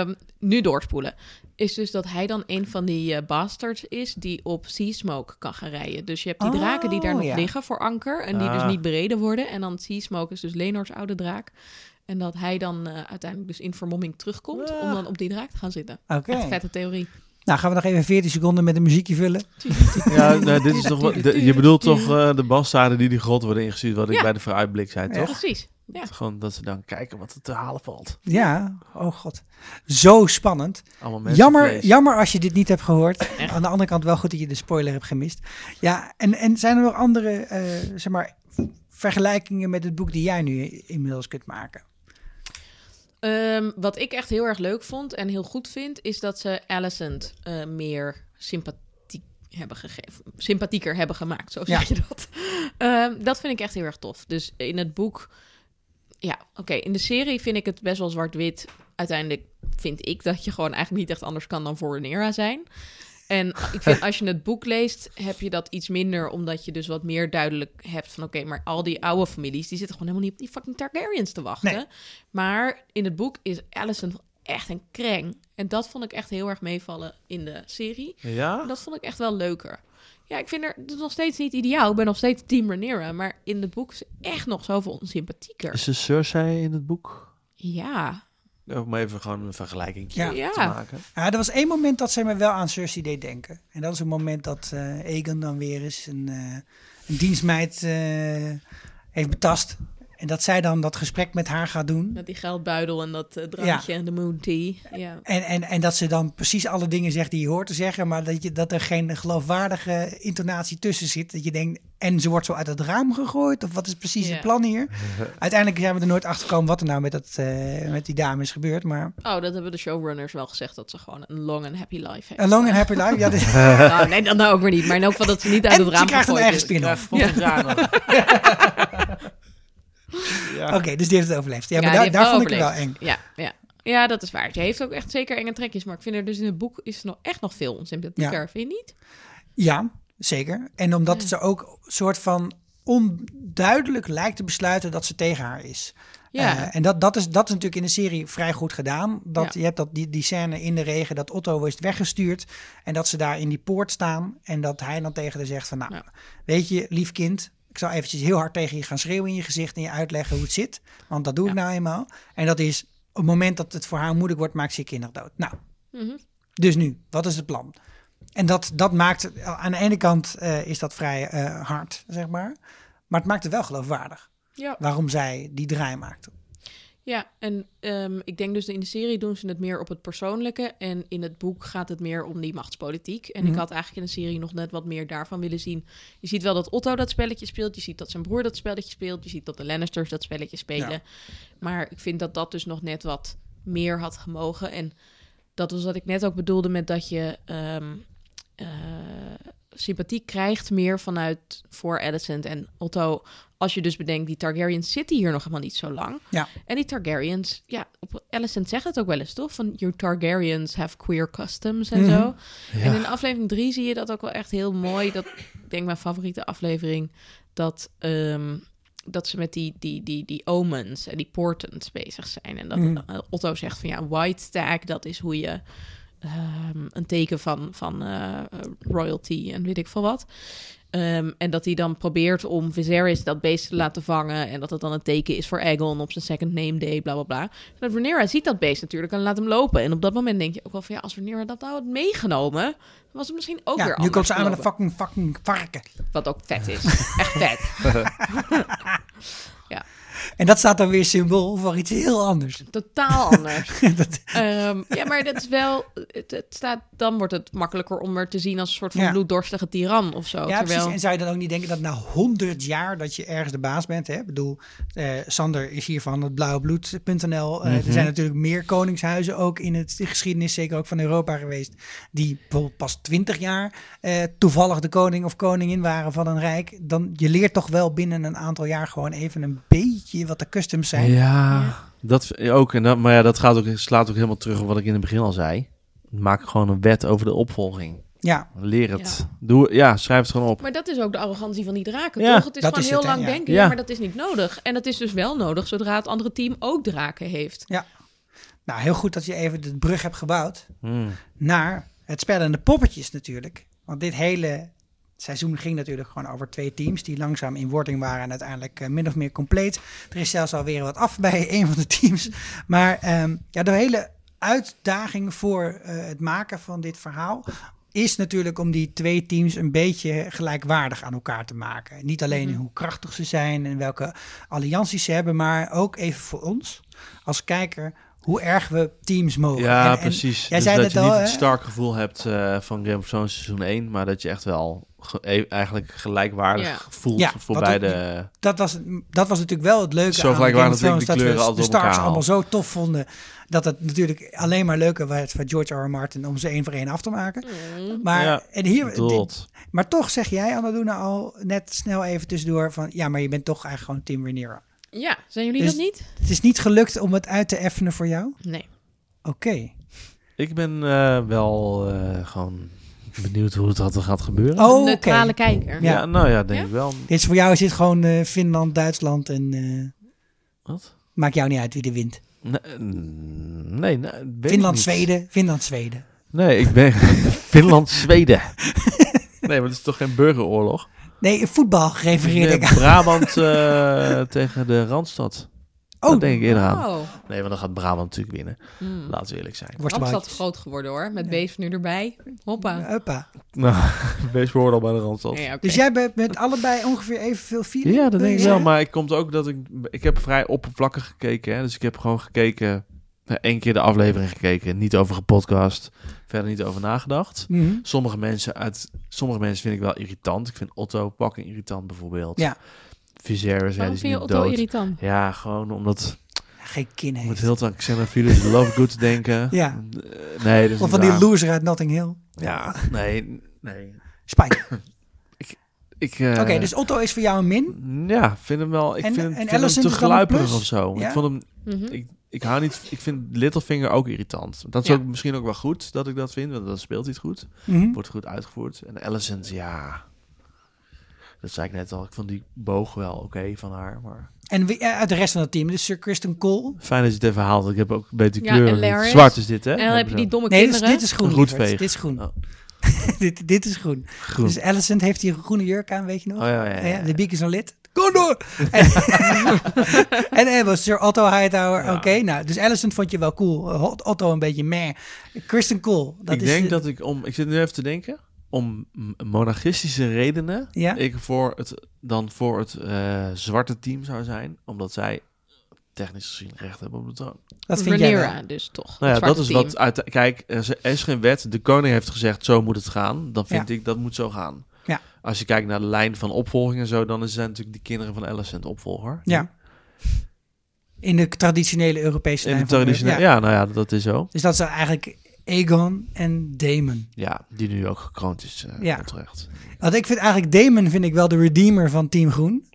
Speaker 5: Ehm, nu doorspoelen. Is dus dat hij dan een van die eh, bastards is die op Sea Smoke kan gaan rijden. Dus je hebt die
Speaker 1: Oh,
Speaker 5: draken die daar nog
Speaker 1: ja.
Speaker 5: liggen voor anker en die dus
Speaker 2: Ah.
Speaker 5: niet bereden worden. En dan Sea Smoke is dus Lenors oude draak. En dat hij dan eh, uiteindelijk dus in vermomming terugkomt
Speaker 1: Ah.
Speaker 5: om dan op die draak te gaan zitten.
Speaker 1: Oké.
Speaker 5: Echt vette theorie.
Speaker 1: Nou, gaan we nog even 14 seconden met een muziekje vullen.
Speaker 2: Ja, nou, dit is toch wel- de- je bedoelt toch eh, de bastarden die die grot worden ingestuurd, wat ik
Speaker 5: Ja.
Speaker 2: bij de vooruitblik zei,
Speaker 1: Ja.
Speaker 2: toch?
Speaker 5: Precies. Ja.
Speaker 2: Gewoon dat ze dan kijken wat er te halen valt.
Speaker 1: Ja, oh god. Zo spannend.
Speaker 2: Allemaal mensen.
Speaker 1: Jammer, jammer als je dit niet hebt gehoord. Aan de andere kant wel goed dat je de spoiler hebt gemist. Ja, en, en zijn er nog andere eh, zeg maar, vergelijkingen met het boek die jij nu inmiddels kunt maken?
Speaker 5: Ehm, wat ik echt heel erg leuk vond en heel goed vind, is dat ze Alicent eh, meer sympathiek hebben gegeven. Sympathieker hebben gemaakt, zo zeg je dat. Ehm, dat vind ik echt heel erg tof. Dus in het boek, ja, oké. in de serie vind ik het best wel zwart-wit. Uiteindelijk vind ik dat je gewoon eigenlijk niet echt anders kan dan Voronera zijn. En ik vind als je het boek leest, heb je dat iets minder, omdat je dus wat meer duidelijk hebt van oké, maar al die oude families, die zitten gewoon helemaal niet op die fucking Targaryens te wachten.
Speaker 1: Nee.
Speaker 5: Maar in het boek is Allison echt een kreng. En dat vond ik echt heel erg meevallen in de serie.
Speaker 2: Ja?
Speaker 5: Dat vond ik echt wel leuker. Ja, ik vind er het is nog steeds niet ideaal. Ik ben nog steeds Team Rhaenyra, maar in het boek is ze echt nog zoveel onsympathieker.
Speaker 2: Is de Cersei in het boek?
Speaker 5: Ja.
Speaker 2: Om even gewoon een vergelijking
Speaker 1: Ja.
Speaker 5: Ja.
Speaker 2: te maken.
Speaker 1: Ja, er was één moment dat zij me wel aan Cersei deed denken. En dat is een moment dat eh Egan dan weer eens een, eh, een dienstmeid eh, heeft betast. En dat zij dan dat gesprek met haar gaat doen.
Speaker 5: Met die geldbuidel en dat eh, drankje en de moon tea. Ja.
Speaker 1: En, en, en dat ze dan precies alle dingen zegt die je hoort te zeggen, maar dat, je, dat er geen geloofwaardige intonatie tussen zit. Dat je denkt, en ze wordt zo uit het raam gegooid, of wat is precies
Speaker 5: Ja.
Speaker 1: het plan hier? Uiteindelijk zijn we er nooit achter gekomen wat er nou met, dat, eh, met die dame is gebeurd. Maar
Speaker 5: Oh, dat hebben de showrunners wel gezegd, dat ze gewoon een long and happy life heeft.
Speaker 1: A Long
Speaker 5: [laughs]
Speaker 1: and Happy Life, ja, dit-
Speaker 5: Nou, nee, dat nou ook weer niet. Maar in elk geval dat ze niet uit
Speaker 1: en
Speaker 5: het raam
Speaker 1: ze krijgt een
Speaker 5: gegooid
Speaker 1: eigen
Speaker 5: is.
Speaker 1: spin-off.
Speaker 5: Ja.
Speaker 1: [laughs] Oké, dus die heeft het overleefd. Ja, maar
Speaker 5: die
Speaker 1: daar,
Speaker 5: heeft
Speaker 1: daar vond ik het wel
Speaker 5: overleefd.
Speaker 1: eng.
Speaker 5: Ja, ja. ja, dat is waar. Ze heeft ook echt zeker enge trekjes. Maar ik vind er dus in het boek is er nog echt nog veel onsympathieker.
Speaker 1: Ja.
Speaker 5: Vind je niet?
Speaker 1: Ja, zeker. En omdat ze ook soort van onduidelijk lijkt te besluiten dat ze tegen haar is.
Speaker 5: Ja.
Speaker 1: Eh, en dat, dat, is, dat is natuurlijk in de serie vrij goed gedaan. Dat,
Speaker 5: Ja.
Speaker 1: Je hebt dat, die, die scène in de regen dat Otto wordt weggestuurd. En dat ze daar in die poort staan. En dat hij dan tegen haar zegt van... Nou,
Speaker 5: Ja.
Speaker 1: weet je, lief kind... Ik zal eventjes heel hard tegen je gaan schreeuwen in je gezicht... en je uitleggen hoe het zit. Want dat doe ik nou eenmaal. En dat is... op het moment dat het voor haar moeilijk wordt... maakt ze je kinderen dood. Nou,
Speaker 5: Mhm.
Speaker 1: dus nu, wat is het plan? En dat, dat maakt, aan de ene kant eh, is dat vrij eh, hard, zeg maar. Maar het maakt het wel geloofwaardig
Speaker 5: Ja.
Speaker 1: waarom zij die draai maakte.
Speaker 5: Ja, en ehm, ik denk dus in de serie doen ze het meer op het persoonlijke. En in het boek gaat het meer om die machtspolitiek. En ik had eigenlijk in de serie nog net wat meer daarvan willen zien. Je ziet wel dat Otto dat spelletje speelt. Je ziet dat zijn broer dat spelletje speelt. Je ziet dat de Lannisters dat spelletje spelen. Maar ik vind dat dat dus nog net wat meer had gemogen. En dat was wat ik net ook bedoelde met dat je ehm, eh, sympathie krijgt meer vanuit voor Alicent en Otto. Als je dus bedenkt, die Targaryens zitten hier nog helemaal niet zo lang.
Speaker 1: Ja.
Speaker 5: En die Targaryens, ja, op Alicent zegt het ook wel eens, toch? Van, your Targaryens have queer customs en zo. En in aflevering 3 zie je dat ook wel echt heel mooi. Dat, ik denk mijn favoriete aflevering, dat, ehm, dat ze met die, die, die, die omens en die portents bezig zijn. En dat eh, Otto zegt van, ja, white tag, dat is hoe je... ehm, een teken van, van eh, royalty en weet ik veel wat. Ehm, en dat hij dan probeert om Viserys dat beest te laten vangen. En dat het dan een teken is voor Aegon op zijn second name day, bla bla bla. En dat Rhaenyra ziet dat beest natuurlijk en laat hem lopen. En op dat moment denk je ook wel van ja, als Rhaenyra dat nou had meegenomen, dan was het misschien ook weer
Speaker 1: Ja, nu
Speaker 5: anders
Speaker 1: komt ze aan met een
Speaker 5: gelopen.
Speaker 1: fucking, [laughs] fucking varken.
Speaker 5: Wat ook vet is. Echt vet. ja.
Speaker 1: En dat staat dan weer symbool voor iets heel anders. [laughs]
Speaker 5: Totaal anders.
Speaker 1: Dat-
Speaker 5: Ehm, ja, maar dat is wel. Het, het staat, dan wordt het makkelijker om er te zien als een soort van
Speaker 1: Ja.
Speaker 5: bloeddorstige tiran of zo.
Speaker 1: ja,
Speaker 5: terwijl,
Speaker 1: precies. En zou je dan ook niet denken dat na honderd jaar dat je ergens de baas bent? Hè? Ik bedoel, eh, Sander is hier van het blauwebloed.nl. Eh,
Speaker 5: Mhm.
Speaker 1: Er zijn natuurlijk meer koningshuizen ook in het, de geschiedenis, zeker ook van Europa geweest, die bijvoorbeeld pas twintig jaar eh, toevallig de koning of koningin waren van een rijk. Dan, je leert toch wel binnen een aantal jaar gewoon even een beetje wat de customs zijn.
Speaker 2: Ja, dat v- ook. En dat, maar ja, dat gaat ook, slaat ook helemaal terug op wat ik in het begin al zei. Maak gewoon een wet over de opvolging.
Speaker 1: Ja,
Speaker 2: Leer het. Doe, ja, schrijf het gewoon op.
Speaker 5: Maar dat is ook de arrogantie van die draken,
Speaker 2: Ja,
Speaker 5: toch? Het is
Speaker 1: dat
Speaker 5: gewoon
Speaker 1: is
Speaker 5: heel
Speaker 1: het, hè,
Speaker 5: lang
Speaker 1: ja.
Speaker 5: denken,
Speaker 2: Ja.
Speaker 5: ja. maar dat is niet nodig. En dat is dus wel nodig zodra het andere team ook draken heeft.
Speaker 1: nou heel goed dat je even de brug hebt gebouwd.
Speaker 2: Hmm.
Speaker 1: naar het spellende poppetjes natuurlijk. Want dit hele seizoen ging natuurlijk gewoon over twee teams die langzaam in wording waren en uiteindelijk eh, min of meer compleet. Er is zelfs alweer wat af bij [laughs] een van de teams. Maar ehm, ja, de hele uitdaging voor eh, het maken van dit verhaal is natuurlijk om die twee teams een beetje gelijkwaardig aan elkaar te maken. Niet alleen in hoe krachtig ze zijn en welke allianties ze hebben, maar ook even voor ons als kijker hoe erg we teams mogen. En-
Speaker 2: Ja,
Speaker 1: en
Speaker 2: precies.
Speaker 1: Jij
Speaker 2: dus
Speaker 1: zei
Speaker 2: dat je
Speaker 1: net al,
Speaker 2: niet het
Speaker 1: hè?
Speaker 2: sterk gevoel hebt eh, van Game of Thrones seizoen 1, maar dat je echt wel ge- e- eigenlijk gelijkwaardig
Speaker 5: Ja.
Speaker 2: voelt
Speaker 1: Ja,
Speaker 2: voor
Speaker 1: wat
Speaker 2: beide.
Speaker 1: dat was, het- dat was natuurlijk wel het leuke
Speaker 2: Zo
Speaker 1: aan
Speaker 2: gelijk
Speaker 1: Game
Speaker 2: waren
Speaker 1: of Thrones,
Speaker 2: natuurlijk
Speaker 1: dat
Speaker 2: die kleuren
Speaker 1: we de
Speaker 2: altijd door
Speaker 1: Starks
Speaker 2: elkaar
Speaker 1: allemaal zo tof vonden, dat het natuurlijk alleen maar leuker werd van George R. R. Martin om ze één voor één af te maken. Maar,
Speaker 2: Ja,
Speaker 1: en hier, dit-
Speaker 2: Tot.
Speaker 1: maar toch zeg jij, Anna al net snel even tussendoor van, ja, maar je bent toch eigenlijk gewoon Tim Rhaenyra.
Speaker 5: Ja, zijn jullie
Speaker 1: Dus-
Speaker 5: dat niet?
Speaker 1: Het is niet gelukt om het uit te effenen voor jou?
Speaker 5: Nee.
Speaker 1: Oké.
Speaker 2: Ik ben eh, wel eh, gewoon benieuwd hoe het dat gaat gebeuren.
Speaker 1: Oh, oké.
Speaker 5: Neutrale kijker.
Speaker 1: ja.
Speaker 2: ja. nou ja, denk
Speaker 5: Ja?
Speaker 2: ik wel.
Speaker 1: Dit is voor jou is dit gewoon eh, Finland, Duitsland en eh,
Speaker 2: Wat?
Speaker 1: maakt jou niet uit wie er wint.
Speaker 2: Nee, mm, nee, nee, weet ik
Speaker 1: Finland,
Speaker 2: niet.
Speaker 1: Zweden, Finland, Zweden.
Speaker 2: Nee, ik ben [laughs] Finland, Zweden. [laughs] Nee, maar het is toch geen burgeroorlog?
Speaker 1: Nee, voetbal refereerde
Speaker 2: Nee,
Speaker 1: ik aan.
Speaker 2: Brabant eh, [laughs] tegen de Randstad. Oh, dat denk ik eerder aan.
Speaker 5: Oh,
Speaker 2: Nee, want dan gaat Brabant natuurlijk winnen.
Speaker 5: Hmm.
Speaker 2: Laten we eerlijk zijn.
Speaker 5: Randstad
Speaker 1: Worstenbroodjes.
Speaker 5: groot geworden hoor, met Beef nu erbij. Hoppa. Ja,
Speaker 1: Hoppa.
Speaker 2: Nou, [laughs] wees woord al bij de Randstad.
Speaker 5: oké.
Speaker 1: Dus jij bent met allebei ongeveer evenveel vier?
Speaker 2: Ja, dat denk ik wel. Maar ik komt ook dat ik... Ik heb vrij oppervlakkig gekeken. Hè? Dus ik heb gewoon gekeken... nou, één keer de aflevering gekeken. Niet over gepodcast. Verder niet over nagedacht.
Speaker 1: Mhm.
Speaker 2: Sommige mensen, uit, sommige mensen vind ik wel irritant. Ik vind Otto pakken irritant bijvoorbeeld.
Speaker 1: Ja.
Speaker 2: Viserys, ja, die
Speaker 5: Waarom
Speaker 2: is
Speaker 5: vind je
Speaker 2: nu
Speaker 5: Otto
Speaker 2: dood.
Speaker 5: irritant?
Speaker 2: Ja, gewoon omdat...
Speaker 1: Geen kin
Speaker 2: Om het
Speaker 1: heeft.
Speaker 2: heel te xenophilus love good
Speaker 1: [laughs]
Speaker 2: denken.
Speaker 1: Ja.
Speaker 2: Eh, Nee, dat is
Speaker 1: Of van
Speaker 2: niet
Speaker 1: die
Speaker 2: waar.
Speaker 1: loser uit Notting Hill.
Speaker 2: Ja, nee, nee.
Speaker 1: Spijt. Oké,
Speaker 2: Ik, eh,
Speaker 1: dus Otto is voor jou een min.
Speaker 2: Ja, vind hem wel. Ik
Speaker 1: En-
Speaker 2: vind,
Speaker 1: en
Speaker 2: vind hem
Speaker 1: Allison
Speaker 2: te
Speaker 1: is dan een
Speaker 2: gluiperig
Speaker 1: plus?
Speaker 2: of zo.
Speaker 1: Ja?
Speaker 2: Ik vond hem.
Speaker 5: Mhm.
Speaker 2: Ik, ik hou niet. Ik vind Littlefinger ook irritant. Dat is
Speaker 5: Ja.
Speaker 2: ook misschien ook wel goed dat ik dat vind, want dan speelt hij het goed.
Speaker 1: Mhm.
Speaker 2: Wordt goed uitgevoerd. En Allison, ja. Dat zei ik net al. Ik vond die boog wel oké van haar. Maar
Speaker 1: En wie, eh, uit de rest van het team, dus Sir Kristen Cole.
Speaker 2: fijn dat je het even haalt. Ik heb ook beter
Speaker 5: Ja, en
Speaker 2: kleuren.
Speaker 5: Laris.
Speaker 2: Zwart is dit, hè?
Speaker 5: En dan heb je die domme
Speaker 1: Nee, dit is,
Speaker 5: kinderen.
Speaker 1: dit is groen.
Speaker 2: Een
Speaker 1: lieverd.
Speaker 2: roetveeg.
Speaker 1: Dit is groen.
Speaker 2: Oh.
Speaker 1: [laughs] dit, dit is groen.
Speaker 2: groen.
Speaker 1: Dus Alicent heeft hier een groene jurk aan, weet je nog?
Speaker 2: Oh, ja, ja, ja,
Speaker 1: Eh,
Speaker 2: ja.
Speaker 1: De biek is een lid. Kom door! [laughs] en en er was Sir Otto Hightower. Oké, nou, dus Alicent vond je wel cool. Eh, Hot- Otto een beetje meh. Kristen Cole. Dat
Speaker 2: ik
Speaker 1: is
Speaker 2: denk
Speaker 1: de-
Speaker 2: dat ik om. Ik zit nu even te denken. Om m- monarchistische redenen.
Speaker 1: Ja?
Speaker 2: ik voor het, dan voor het eh, zwarte team zou zijn, omdat zij technisch gezien recht hebben op de troon.
Speaker 1: Dat vind jij wel.
Speaker 5: Rhaenyra dus toch.
Speaker 2: Nou ja,
Speaker 5: het
Speaker 2: dat
Speaker 5: zwarte
Speaker 2: is
Speaker 5: team.
Speaker 2: wat uit. Kijk, er is- er is geen wet. De koning heeft gezegd: zo moet het gaan. Dan vind ik dat moet zo gaan.
Speaker 1: Ja.
Speaker 2: Als je kijkt naar de lijn van opvolging en zo, dan is- zijn natuurlijk die kinderen van Alicent de opvolger.
Speaker 1: Ja. In de traditionele Europese
Speaker 2: In de
Speaker 1: lijn van
Speaker 2: traditionele.
Speaker 1: Europa.
Speaker 2: Ja. nou ja, dat is zo.
Speaker 1: Dus dat zijn eigenlijk Aegon en Daemon.
Speaker 2: Ja, die nu ook gekroond is eh
Speaker 1: Ja.
Speaker 2: onterecht.
Speaker 1: Want ik vind eigenlijk Daemon vind ik wel de redeemer van Team Groen.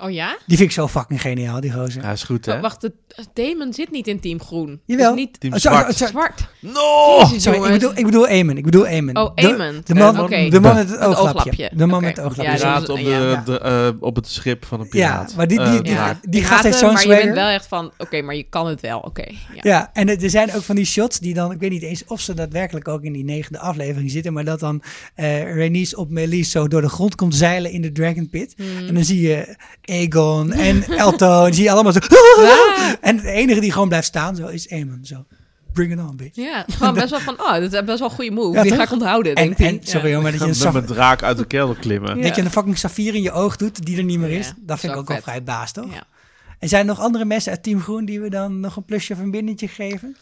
Speaker 5: Oh ja?
Speaker 1: Die vind ik zo fucking geniaal, die gozer.
Speaker 2: Hij is goed, hè?
Speaker 5: Wa- Oh, Wacht, de, Damon zit niet in Team Groen.
Speaker 1: Jawel.
Speaker 5: Is niet
Speaker 2: Team
Speaker 1: Oh, zo-
Speaker 2: Zwart.
Speaker 1: zo- zo-
Speaker 5: zwart.
Speaker 2: No!
Speaker 5: Jezus,
Speaker 1: Sorry, ik
Speaker 5: jongens.
Speaker 1: bedoel, ik bedoel Aemon. Ik bedoel Aemon.
Speaker 5: Oh,
Speaker 1: De-
Speaker 5: Aemon.
Speaker 1: De, man,
Speaker 5: Eh, oké.
Speaker 1: de man met het
Speaker 5: Het
Speaker 1: ooglapje.
Speaker 5: ooglapje.
Speaker 1: De man
Speaker 5: Oké.
Speaker 1: met het ooglapje.
Speaker 5: Ja,
Speaker 1: Ja,
Speaker 5: dat
Speaker 2: Piraat
Speaker 5: is-
Speaker 2: op, de,
Speaker 5: ja.
Speaker 2: de, eh, op het schip van een piraat.
Speaker 1: maar die,
Speaker 2: Eh,
Speaker 1: die, die,
Speaker 2: draak.
Speaker 1: die gast
Speaker 5: Piraten,
Speaker 1: heeft zo'n
Speaker 5: Maar je bent
Speaker 1: zweer.
Speaker 5: wel echt van, oké, maar je kan het wel, oké. ja.
Speaker 1: Ja, en het- er zijn ook van die shots die dan, ik weet niet eens of ze daadwerkelijk ook in die negende aflevering zitten, maar dat dan eh Rhaenys op Melis zo door de grond komt zeilen in de Dragon Pit.
Speaker 5: Hmm.
Speaker 1: En dan zie je
Speaker 5: [laughs]
Speaker 1: Aegon en Elto en zie je allemaal zo. [laughs] En de enige die gewoon blijft staan zo is Aemon. Zo, bring it on, bitch.
Speaker 5: Ja, gewoon best wel van, oh, dat is best wel een goede move.
Speaker 1: Ja,
Speaker 5: die ga
Speaker 1: toch?
Speaker 5: ik onthouden,
Speaker 1: En,
Speaker 5: denkt hij.
Speaker 1: en sorry
Speaker 5: Ja.
Speaker 1: hoor, maar dat je, een,
Speaker 2: Dan
Speaker 1: saf-
Speaker 2: met draak uit de kelder klimmen.
Speaker 1: dat je een fucking saffier in je oog doet die er niet meer is,
Speaker 5: Ja,
Speaker 1: dat
Speaker 5: zo
Speaker 1: vind ik ook wel
Speaker 5: vet.
Speaker 1: vrij baas toch?
Speaker 5: Ja.
Speaker 1: En zijn er nog andere mensen uit Team Groen die we dan nog een plusje of een binnetje geven?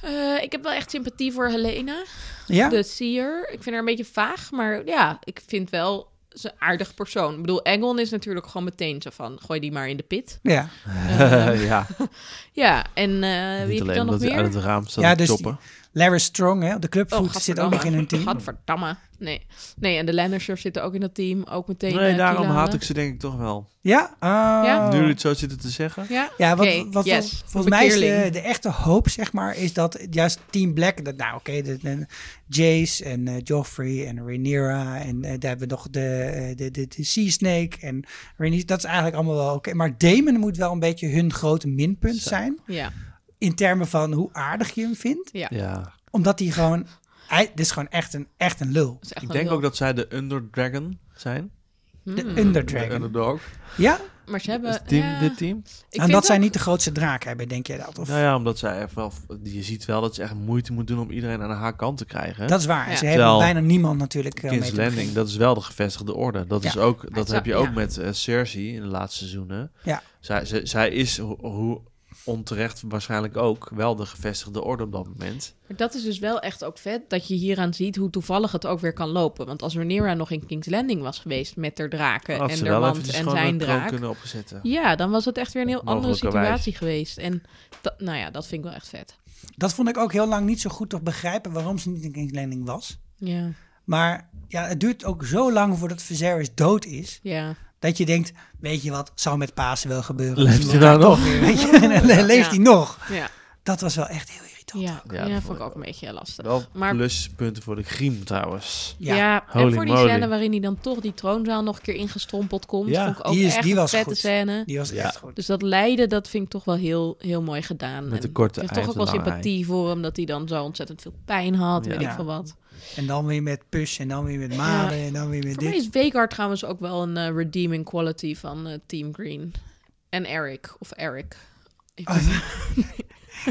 Speaker 5: Eh, ik heb wel echt sympathie voor Helena,
Speaker 1: Ja?
Speaker 5: de seer. Ik vind haar een beetje vaag, maar ja, ik vind wel ze een aardig persoon. Ik bedoel, Engeln is natuurlijk gewoon meteen zo van, gooi die maar in de pit.
Speaker 1: Ja.
Speaker 2: [laughs] ja,
Speaker 5: Ja, en eh wie
Speaker 2: niet
Speaker 5: heb je
Speaker 2: alleen
Speaker 5: dan nog
Speaker 2: omdat hij
Speaker 5: meer?
Speaker 2: uit het raam staat
Speaker 1: Ja,
Speaker 2: te
Speaker 1: dus die-
Speaker 2: choppen.
Speaker 1: Larry Strong, hè, de clubvoet, zit ook
Speaker 5: Oh, gadverdamme.
Speaker 1: nog in hun team.
Speaker 5: Gadverdamme. Nee. nee, en de Lannisters zitten ook in dat team. Ook meteen
Speaker 2: Nee,
Speaker 5: eh,
Speaker 2: daarom
Speaker 5: Kilane.
Speaker 2: haat ik ze denk ik toch wel.
Speaker 1: Ja?
Speaker 5: Ja.
Speaker 1: Oh.
Speaker 2: Nu jullie het zo zitten te zeggen.
Speaker 5: Ja,
Speaker 1: Ja, wat,
Speaker 5: Oké,
Speaker 1: wat
Speaker 5: yes.
Speaker 1: vol- volgens mij is de,
Speaker 5: Bekeerling.
Speaker 1: de echte hoop, zeg maar, is dat juist Team Black, dat, nou oké, de- de- Jace en eh, Joffrey en Rhaenyra en eh, daar hebben we nog de, eh, de, de, de Sea Snake en Rhaenyra, dat is eigenlijk allemaal wel oké. Maar Damon moet wel een beetje hun grote minpunt
Speaker 2: Zo.
Speaker 1: zijn,
Speaker 5: Ja,
Speaker 1: in termen van hoe aardig je hem vindt,
Speaker 5: ja.
Speaker 2: Ja.
Speaker 1: omdat hij gewoon, hij, dit is gewoon echt een, echt een lul.
Speaker 5: Dat is echt
Speaker 2: Ik
Speaker 5: een
Speaker 2: denk
Speaker 5: lul.
Speaker 2: ook dat zij de Underdragon zijn.
Speaker 1: De
Speaker 5: Hmm.
Speaker 2: De
Speaker 1: Underdragon.
Speaker 2: underdog.
Speaker 1: Ja,
Speaker 5: Maar ze hebben...
Speaker 2: Is het team,
Speaker 5: Eh, ja,
Speaker 2: Dit team.
Speaker 5: ik
Speaker 1: en
Speaker 5: vind
Speaker 1: dat zij
Speaker 5: ook-
Speaker 1: niet de grootste draak hebben, denk jij dat? Of,
Speaker 2: Nou ja, omdat zij echt wel... Je ziet wel dat ze echt moeite moet doen om iedereen aan haar kant te krijgen.
Speaker 1: Dat is waar,
Speaker 5: Ja.
Speaker 1: ze hebben
Speaker 2: Terwijl
Speaker 1: bijna niemand natuurlijk eh, mee
Speaker 2: King's
Speaker 1: te beginnen.
Speaker 2: Landing, dat is wel de gevestigde orde. Dat,
Speaker 1: Ja.
Speaker 2: is ook, dat
Speaker 5: zou-
Speaker 2: heb je ook
Speaker 5: ja.
Speaker 2: met eh, Cersei in de laatste seizoenen.
Speaker 1: Ja.
Speaker 2: Zij, zij, zij is, ho- hoe onterecht waarschijnlijk ook, wel de gevestigde orde op dat moment.
Speaker 5: Maar dat is dus wel echt ook vet, dat je hieraan ziet hoe toevallig het ook weer kan lopen. Want als Rhaenyra nog in King's Landing was geweest met haar draken
Speaker 2: Had
Speaker 5: en
Speaker 2: ze
Speaker 5: haar
Speaker 2: wel
Speaker 5: mand
Speaker 2: eventjes
Speaker 5: en
Speaker 2: gewoon
Speaker 5: zijn
Speaker 2: een troon
Speaker 5: draak...
Speaker 2: kunnen opzetten.
Speaker 5: Ja, dan was het echt weer een heel andere
Speaker 2: Mogelijkerwijs.
Speaker 5: situatie geweest. En dat, nou ja, dat vind ik wel echt vet.
Speaker 1: Dat vond ik ook heel lang niet zo goed te begrijpen waarom ze niet in King's Landing was.
Speaker 5: Ja,
Speaker 1: Maar ja, het duurt ook zo lang voordat Viserys dood is.
Speaker 5: ja.
Speaker 1: Dat je denkt, weet je wat, zou met Pasen wel gebeuren.
Speaker 2: [laughs] Leeft
Speaker 1: Misschien
Speaker 2: hij
Speaker 1: wordt
Speaker 2: nou
Speaker 1: toch weer, weet je, en dan leeft
Speaker 5: Ja.
Speaker 1: hij nog?
Speaker 5: Ja,
Speaker 1: Dat was wel echt heel irritant.
Speaker 5: ja,
Speaker 2: Ja,
Speaker 5: ja,
Speaker 2: dat
Speaker 5: vond ik ook een beetje lastig.
Speaker 2: Wel
Speaker 5: maar
Speaker 2: pluspunten voor de griem trouwens.
Speaker 5: Ja,
Speaker 2: Holy
Speaker 5: en voor die
Speaker 2: moly.
Speaker 5: scène waarin hij dan toch die troonzaal nog een keer ingestrompeld komt.
Speaker 2: Ja.
Speaker 5: vond ik ook
Speaker 1: Die is-
Speaker 5: echt
Speaker 1: die
Speaker 5: een
Speaker 1: was
Speaker 5: vette
Speaker 1: goed.
Speaker 5: scène.
Speaker 1: Die was
Speaker 2: Ja.
Speaker 1: echt goed.
Speaker 5: Dus dat lijden, dat vind ik toch wel heel, heel mooi gedaan.
Speaker 2: Met de
Speaker 5: En
Speaker 2: korte
Speaker 5: Ik heb
Speaker 2: ei
Speaker 5: toch ook
Speaker 2: en
Speaker 5: wel
Speaker 2: lange
Speaker 5: sympathie voor hem, dat hij dan zo ontzettend veel pijn had,
Speaker 2: Ja.
Speaker 5: weet ik
Speaker 1: Ja.
Speaker 5: veel wat.
Speaker 1: En dan weer met pus en dan weer met maden en dan weer met
Speaker 5: Voor mij
Speaker 1: dit.
Speaker 5: is Vegard trouwens ook wel een eh, redeeming quality van eh, Team Green. En Eric, of Eric. Ik
Speaker 1: Oh,
Speaker 5: [laughs] weet niet.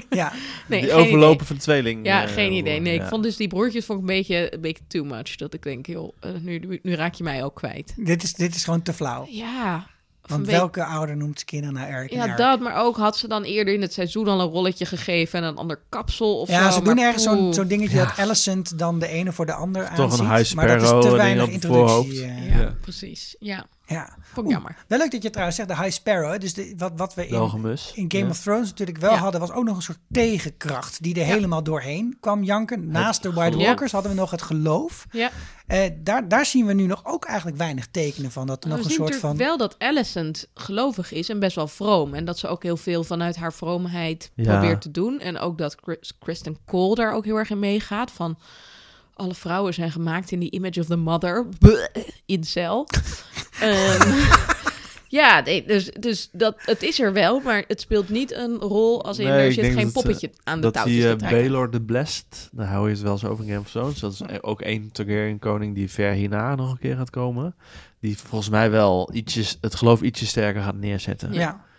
Speaker 1: Ja,
Speaker 5: nee,
Speaker 2: die
Speaker 5: geen idee.
Speaker 2: overlopen van de tweeling.
Speaker 5: Ja,
Speaker 2: eh,
Speaker 5: geen idee. Nee,
Speaker 2: ja.
Speaker 5: ik vond dus die broertjes vond ik een beetje, een beetje too much. Dat ik denk, joh, eh, nu, nu raak je mij ook kwijt.
Speaker 1: dit is, dit is gewoon te flauw.
Speaker 5: Ja. Of een
Speaker 1: Want
Speaker 5: beetje-
Speaker 1: welke ouder noemt zijn kinderen nou Eric en
Speaker 5: Ja,
Speaker 1: Eric?
Speaker 5: dat, maar ook had ze dan eerder in het seizoen al een rolletje gegeven en een ander kapsel of zo.
Speaker 1: Ja, ze doen
Speaker 5: maar
Speaker 1: ergens zo'n
Speaker 5: poeh.
Speaker 1: zo'n dingetje dat Alicent dan de ene voor de ander aanziet.
Speaker 2: Toch een high
Speaker 1: maar dat
Speaker 2: sparrow
Speaker 1: is te
Speaker 2: en die
Speaker 1: weinig
Speaker 2: op het
Speaker 1: introductie.
Speaker 2: voorhoofd.
Speaker 1: eh,
Speaker 5: Ja,
Speaker 2: Ja.
Speaker 5: precies. Ja,
Speaker 1: ja.
Speaker 5: vond ik
Speaker 1: Oeh,
Speaker 5: jammer.
Speaker 1: Wel leuk dat je trouwens zegt, de High Sparrow. hè. Dus de, wat, wat we
Speaker 2: De
Speaker 1: in,
Speaker 2: hoge mus.
Speaker 1: in Game
Speaker 2: Ja.
Speaker 1: of Thrones natuurlijk wel
Speaker 5: Ja.
Speaker 1: hadden, was ook nog een soort tegenkracht die er helemaal doorheen kwam janken. Naast de White
Speaker 2: geloof.
Speaker 1: Walkers hadden we nog het geloof.
Speaker 5: Ja,
Speaker 1: Eh, daar, daar zien we nu nog ook eigenlijk weinig tekenen van. Dat er
Speaker 5: Nou, we
Speaker 1: nog
Speaker 5: zien
Speaker 1: een soort
Speaker 5: natuurlijk
Speaker 1: van.
Speaker 5: wel Dus dat Alicent gelovig is en best wel vroom. En dat ze ook heel veel vanuit haar vroomheid
Speaker 2: Ja.
Speaker 5: probeert te doen. En ook dat Chris- Kristen Cole daar ook heel erg in meegaat van... Alle vrouwen zijn gemaakt in die image of the mother. [laughs] Bleh,
Speaker 2: [laughs]
Speaker 5: Incel. Ehm, [laughs] ja, nee, dus, dus dat, het is er wel, maar het speelt niet een rol als in
Speaker 2: Nee,
Speaker 5: er
Speaker 2: ik
Speaker 5: zit
Speaker 2: denk
Speaker 5: geen
Speaker 2: dat, eh,
Speaker 5: poppetje aan de
Speaker 2: Dat
Speaker 5: touwtjes
Speaker 2: die
Speaker 5: te
Speaker 2: eh
Speaker 5: trekken. Hm.
Speaker 2: Baelor de Blessed, daar hou je het wel eens over in Game of Thrones. Dat is eh, ook één Targaryen koning die ver hierna nog een keer gaat komen. Die volgens mij wel ietsjes, het geloof ietsje sterker gaat neerzetten.
Speaker 1: Ja.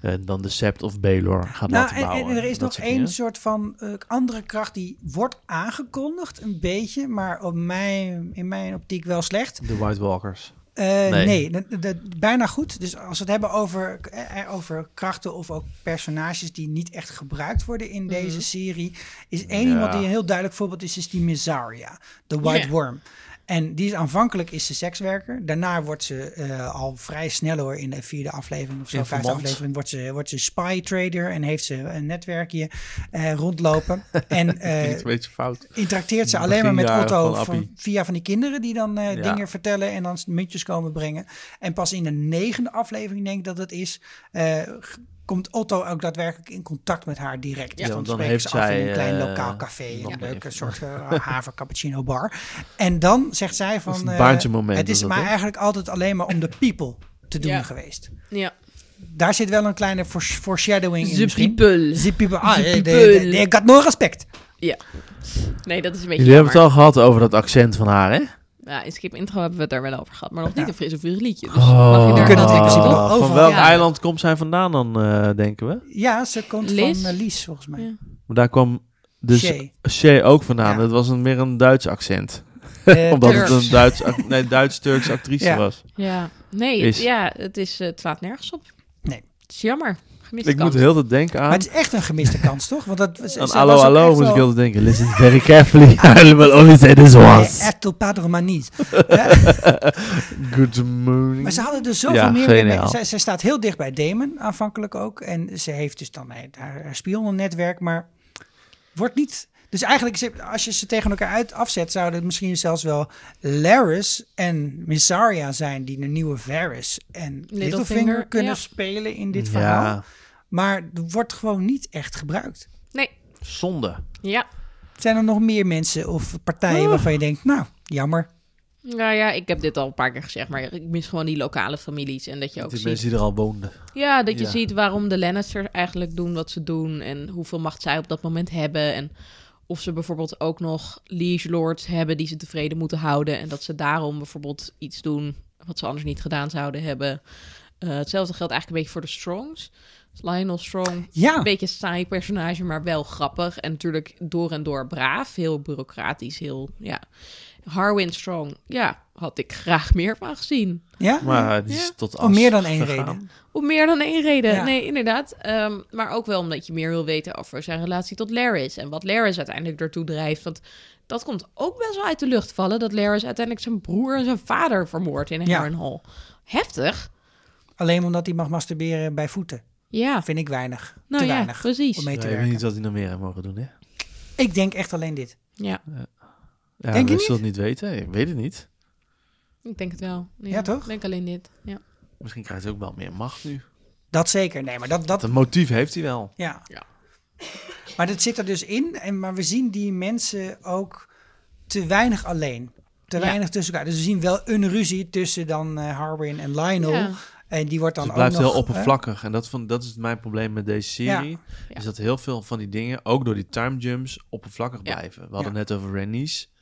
Speaker 2: Eh, dan de Sept of Baelor gaat
Speaker 1: Nou,
Speaker 2: laten
Speaker 1: en,
Speaker 2: bouwen.
Speaker 1: en er is
Speaker 2: Dat
Speaker 1: nog
Speaker 2: soort
Speaker 1: één
Speaker 2: dingen.
Speaker 1: soort van eh, andere kracht die wordt aangekondigd, een beetje, maar op mijn, in mijn optiek wel slecht.
Speaker 2: De White Walkers.
Speaker 1: Eh,
Speaker 2: Nee.
Speaker 1: nee, de- de- bijna goed. Dus als we het hebben over, eh, eh, over krachten of ook personages die niet echt gebruikt worden in deze serie, is één
Speaker 2: Ja.
Speaker 1: iemand die een heel duidelijk voorbeeld is, is die Missaria, de White
Speaker 5: Ja.
Speaker 1: Worm. En die is aanvankelijk is ze sekswerker. Daarna wordt ze eh, al vrij snel hoor in de vierde aflevering of zo,
Speaker 2: Informant.
Speaker 1: vijfde aflevering, wordt ze, wordt ze spy trader en heeft ze een netwerkje eh,
Speaker 2: [laughs]
Speaker 1: rondlopen. en eh,
Speaker 2: Klinkt een beetje fout.
Speaker 1: interacteert ze alleen maar met
Speaker 2: Beginjaren
Speaker 1: Otto
Speaker 2: van
Speaker 1: van-
Speaker 2: Appie.
Speaker 1: via van die kinderen die dan eh,
Speaker 2: Ja.
Speaker 1: dingen vertellen en dan muntjes komen brengen. En pas in de negende aflevering denk ik dat het is, eh, g- komt Otto ook daadwerkelijk in contact met haar direct.
Speaker 2: Ja,
Speaker 1: Dus dan,
Speaker 2: want dan
Speaker 1: spreken
Speaker 2: heeft
Speaker 1: ze af in
Speaker 2: zij,
Speaker 1: een klein
Speaker 2: eh,
Speaker 1: lokaal café,
Speaker 2: nog
Speaker 1: een
Speaker 2: meer
Speaker 1: leuke
Speaker 2: van-
Speaker 1: soort eh,
Speaker 2: [laughs]
Speaker 1: haver cappuccino bar. En dan zegt zij van,
Speaker 2: Dat is een
Speaker 1: eh,
Speaker 2: baantjemoment,
Speaker 1: het
Speaker 2: is
Speaker 1: is
Speaker 2: dat,
Speaker 1: maar
Speaker 2: hè?
Speaker 1: eigenlijk altijd alleen maar om de people te doen
Speaker 5: Ja.
Speaker 1: geweest.
Speaker 5: Ja.
Speaker 1: Daar zit wel een kleine fores- foreshadowing in
Speaker 5: The
Speaker 1: misschien.
Speaker 5: people.
Speaker 1: The people. Ah,
Speaker 5: The
Speaker 1: eh, de-
Speaker 5: people.
Speaker 1: de- de- ik had no respect.
Speaker 5: Ja. Nee, dat is een
Speaker 2: Jullie
Speaker 5: beetje
Speaker 2: hebben
Speaker 5: jammer.
Speaker 2: het al gehad over dat accent van haar, hè?
Speaker 5: Ja, in Skip Intro hebben we het daar wel over gehad. Maar nog niet
Speaker 1: Ja.
Speaker 5: een frisse vuur liedje. Dus
Speaker 2: Oh.
Speaker 5: mag je daar Oh.
Speaker 1: We kunnen het in
Speaker 5: wel
Speaker 1: principe
Speaker 5: over-
Speaker 1: nog
Speaker 2: van
Speaker 1: overal-
Speaker 2: welk
Speaker 5: Ja.
Speaker 2: eiland komt zij vandaan dan, eh, denken we?
Speaker 1: Ja, ze komt
Speaker 5: Liz?
Speaker 1: van eh, Lies, volgens mij.
Speaker 5: Ja.
Speaker 2: Maar daar kwam dus
Speaker 1: Shay.
Speaker 2: Shay ook vandaan.
Speaker 1: Ja.
Speaker 2: Dat was een, meer een Duits accent.
Speaker 1: Eh,
Speaker 2: Omdat het
Speaker 5: Turks.
Speaker 2: een Duits, ac- nee, Duits-Turks actrice
Speaker 1: Ja.
Speaker 2: was.
Speaker 5: Ja, nee,
Speaker 2: Is.
Speaker 5: ja, het, is, eh, het slaat nergens op.
Speaker 1: Nee.
Speaker 5: Het is jammer. Gemiste
Speaker 2: Ik moet
Speaker 5: kans.
Speaker 2: heel dat denken aan...
Speaker 1: Maar het is echt een gemiste kans, toch? Want dat was,
Speaker 2: Aan
Speaker 1: ze
Speaker 2: allo,
Speaker 1: was ook
Speaker 2: allo
Speaker 1: echt
Speaker 2: moest
Speaker 1: wel-
Speaker 2: ik heel te denken. Listen very [laughs] carefully. I will only say this
Speaker 1: Eh,
Speaker 2: once.
Speaker 1: Ertel Padre Manis. Ja,
Speaker 2: Good morning.
Speaker 1: maar ze hadden er zoveel
Speaker 2: Ja,
Speaker 1: meer mee.
Speaker 2: geniaal.
Speaker 1: Zij, zij staat heel dicht bij Damon, aanvankelijk ook. En ze heeft dus dan eh, haar, haar spionnennetwerk, maar wordt niet... Dus eigenlijk, is het- als je ze tegen elkaar uit afzet, zouden het misschien zelfs wel Laris en Missaria zijn... die de nieuwe Varys en Littlefinger,
Speaker 5: Littlefinger,
Speaker 1: kunnen
Speaker 5: ja.
Speaker 1: spelen in dit verhaal.
Speaker 2: Ja,
Speaker 1: Maar het wordt gewoon niet echt gebruikt.
Speaker 5: Nee,
Speaker 2: zonde.
Speaker 5: ja.
Speaker 1: Zijn er nog meer mensen of partijen waarvan je denkt, nou, jammer.
Speaker 5: Nou ja, ik heb dit al een paar keer gezegd, maar ik mis gewoon die lokale families. En dat je ook
Speaker 2: Die
Speaker 5: ziet...
Speaker 2: mensen die er al woonden.
Speaker 5: Ja, dat je
Speaker 2: Ja.
Speaker 5: ziet waarom de Lannisters eigenlijk doen wat ze doen en hoeveel macht zij op dat moment hebben. En of ze bijvoorbeeld ook nog liege lords hebben die ze tevreden moeten houden. En dat ze daarom bijvoorbeeld iets doen wat ze anders niet gedaan zouden hebben. Eh, hetzelfde geldt eigenlijk een beetje voor de Strongs. Lionel Strong,
Speaker 1: Ja.
Speaker 5: een beetje een saai personage, maar wel grappig. En natuurlijk door en door braaf, heel bureaucratisch, heel, ja. Harwin Strong, ja, had ik graag meer van gezien.
Speaker 1: Ja?
Speaker 2: Maar die
Speaker 5: Ja.
Speaker 2: is tot
Speaker 1: Om
Speaker 2: as
Speaker 1: meer dan één
Speaker 2: gegaan.
Speaker 1: reden.
Speaker 5: Om meer dan één reden.
Speaker 1: Ja.
Speaker 5: Nee, inderdaad. Ehm, maar ook wel omdat je meer wil weten over zijn relatie tot Laris. En wat Laris uiteindelijk ertoe drijft. Want dat komt ook best wel uit de lucht vallen. Dat Laris uiteindelijk zijn broer en zijn vader vermoordt in
Speaker 1: Ja.
Speaker 5: Harrenhal. Heftig.
Speaker 1: Alleen omdat hij mag masturberen bij voeten.
Speaker 5: Ja.
Speaker 1: Vind ik weinig.
Speaker 5: Nou
Speaker 1: Te
Speaker 5: ja,
Speaker 1: weinig
Speaker 5: precies.
Speaker 1: om mee
Speaker 2: Ja,
Speaker 1: te
Speaker 2: ik weet
Speaker 1: werken.
Speaker 2: niet wat die nog meer hebben mogen doen, hè?
Speaker 1: Ik denk echt alleen dit.
Speaker 5: Ja,
Speaker 2: Ja,
Speaker 1: Denk je
Speaker 2: we zullen het niet weten. Ik weet het niet.
Speaker 5: ik denk het wel.
Speaker 1: Ja, toch?
Speaker 5: Ik denk alleen dit. Ja.
Speaker 2: Misschien krijgt hij ook wel meer macht nu.
Speaker 1: Dat zeker. Nee, maar dat... dat
Speaker 2: Dat motief heeft hij wel.
Speaker 1: ja.
Speaker 5: Ja.
Speaker 1: Maar dat zit er dus in. En, maar we zien die mensen ook te weinig alleen. Te
Speaker 5: Ja.
Speaker 1: weinig tussen elkaar. Dus we zien wel een ruzie tussen dan eh, Harwin en Lionel.
Speaker 5: Ja.
Speaker 1: En die wordt dan
Speaker 2: Dus het blijft
Speaker 1: ook nog...
Speaker 2: heel oppervlakkig. En dat, van, dat is mijn probleem met deze serie. Is dat heel veel van die dingen, ook door die time jumps, oppervlakkig
Speaker 5: Ja.
Speaker 2: blijven. We hadden
Speaker 1: Ja.
Speaker 2: net over Rennies.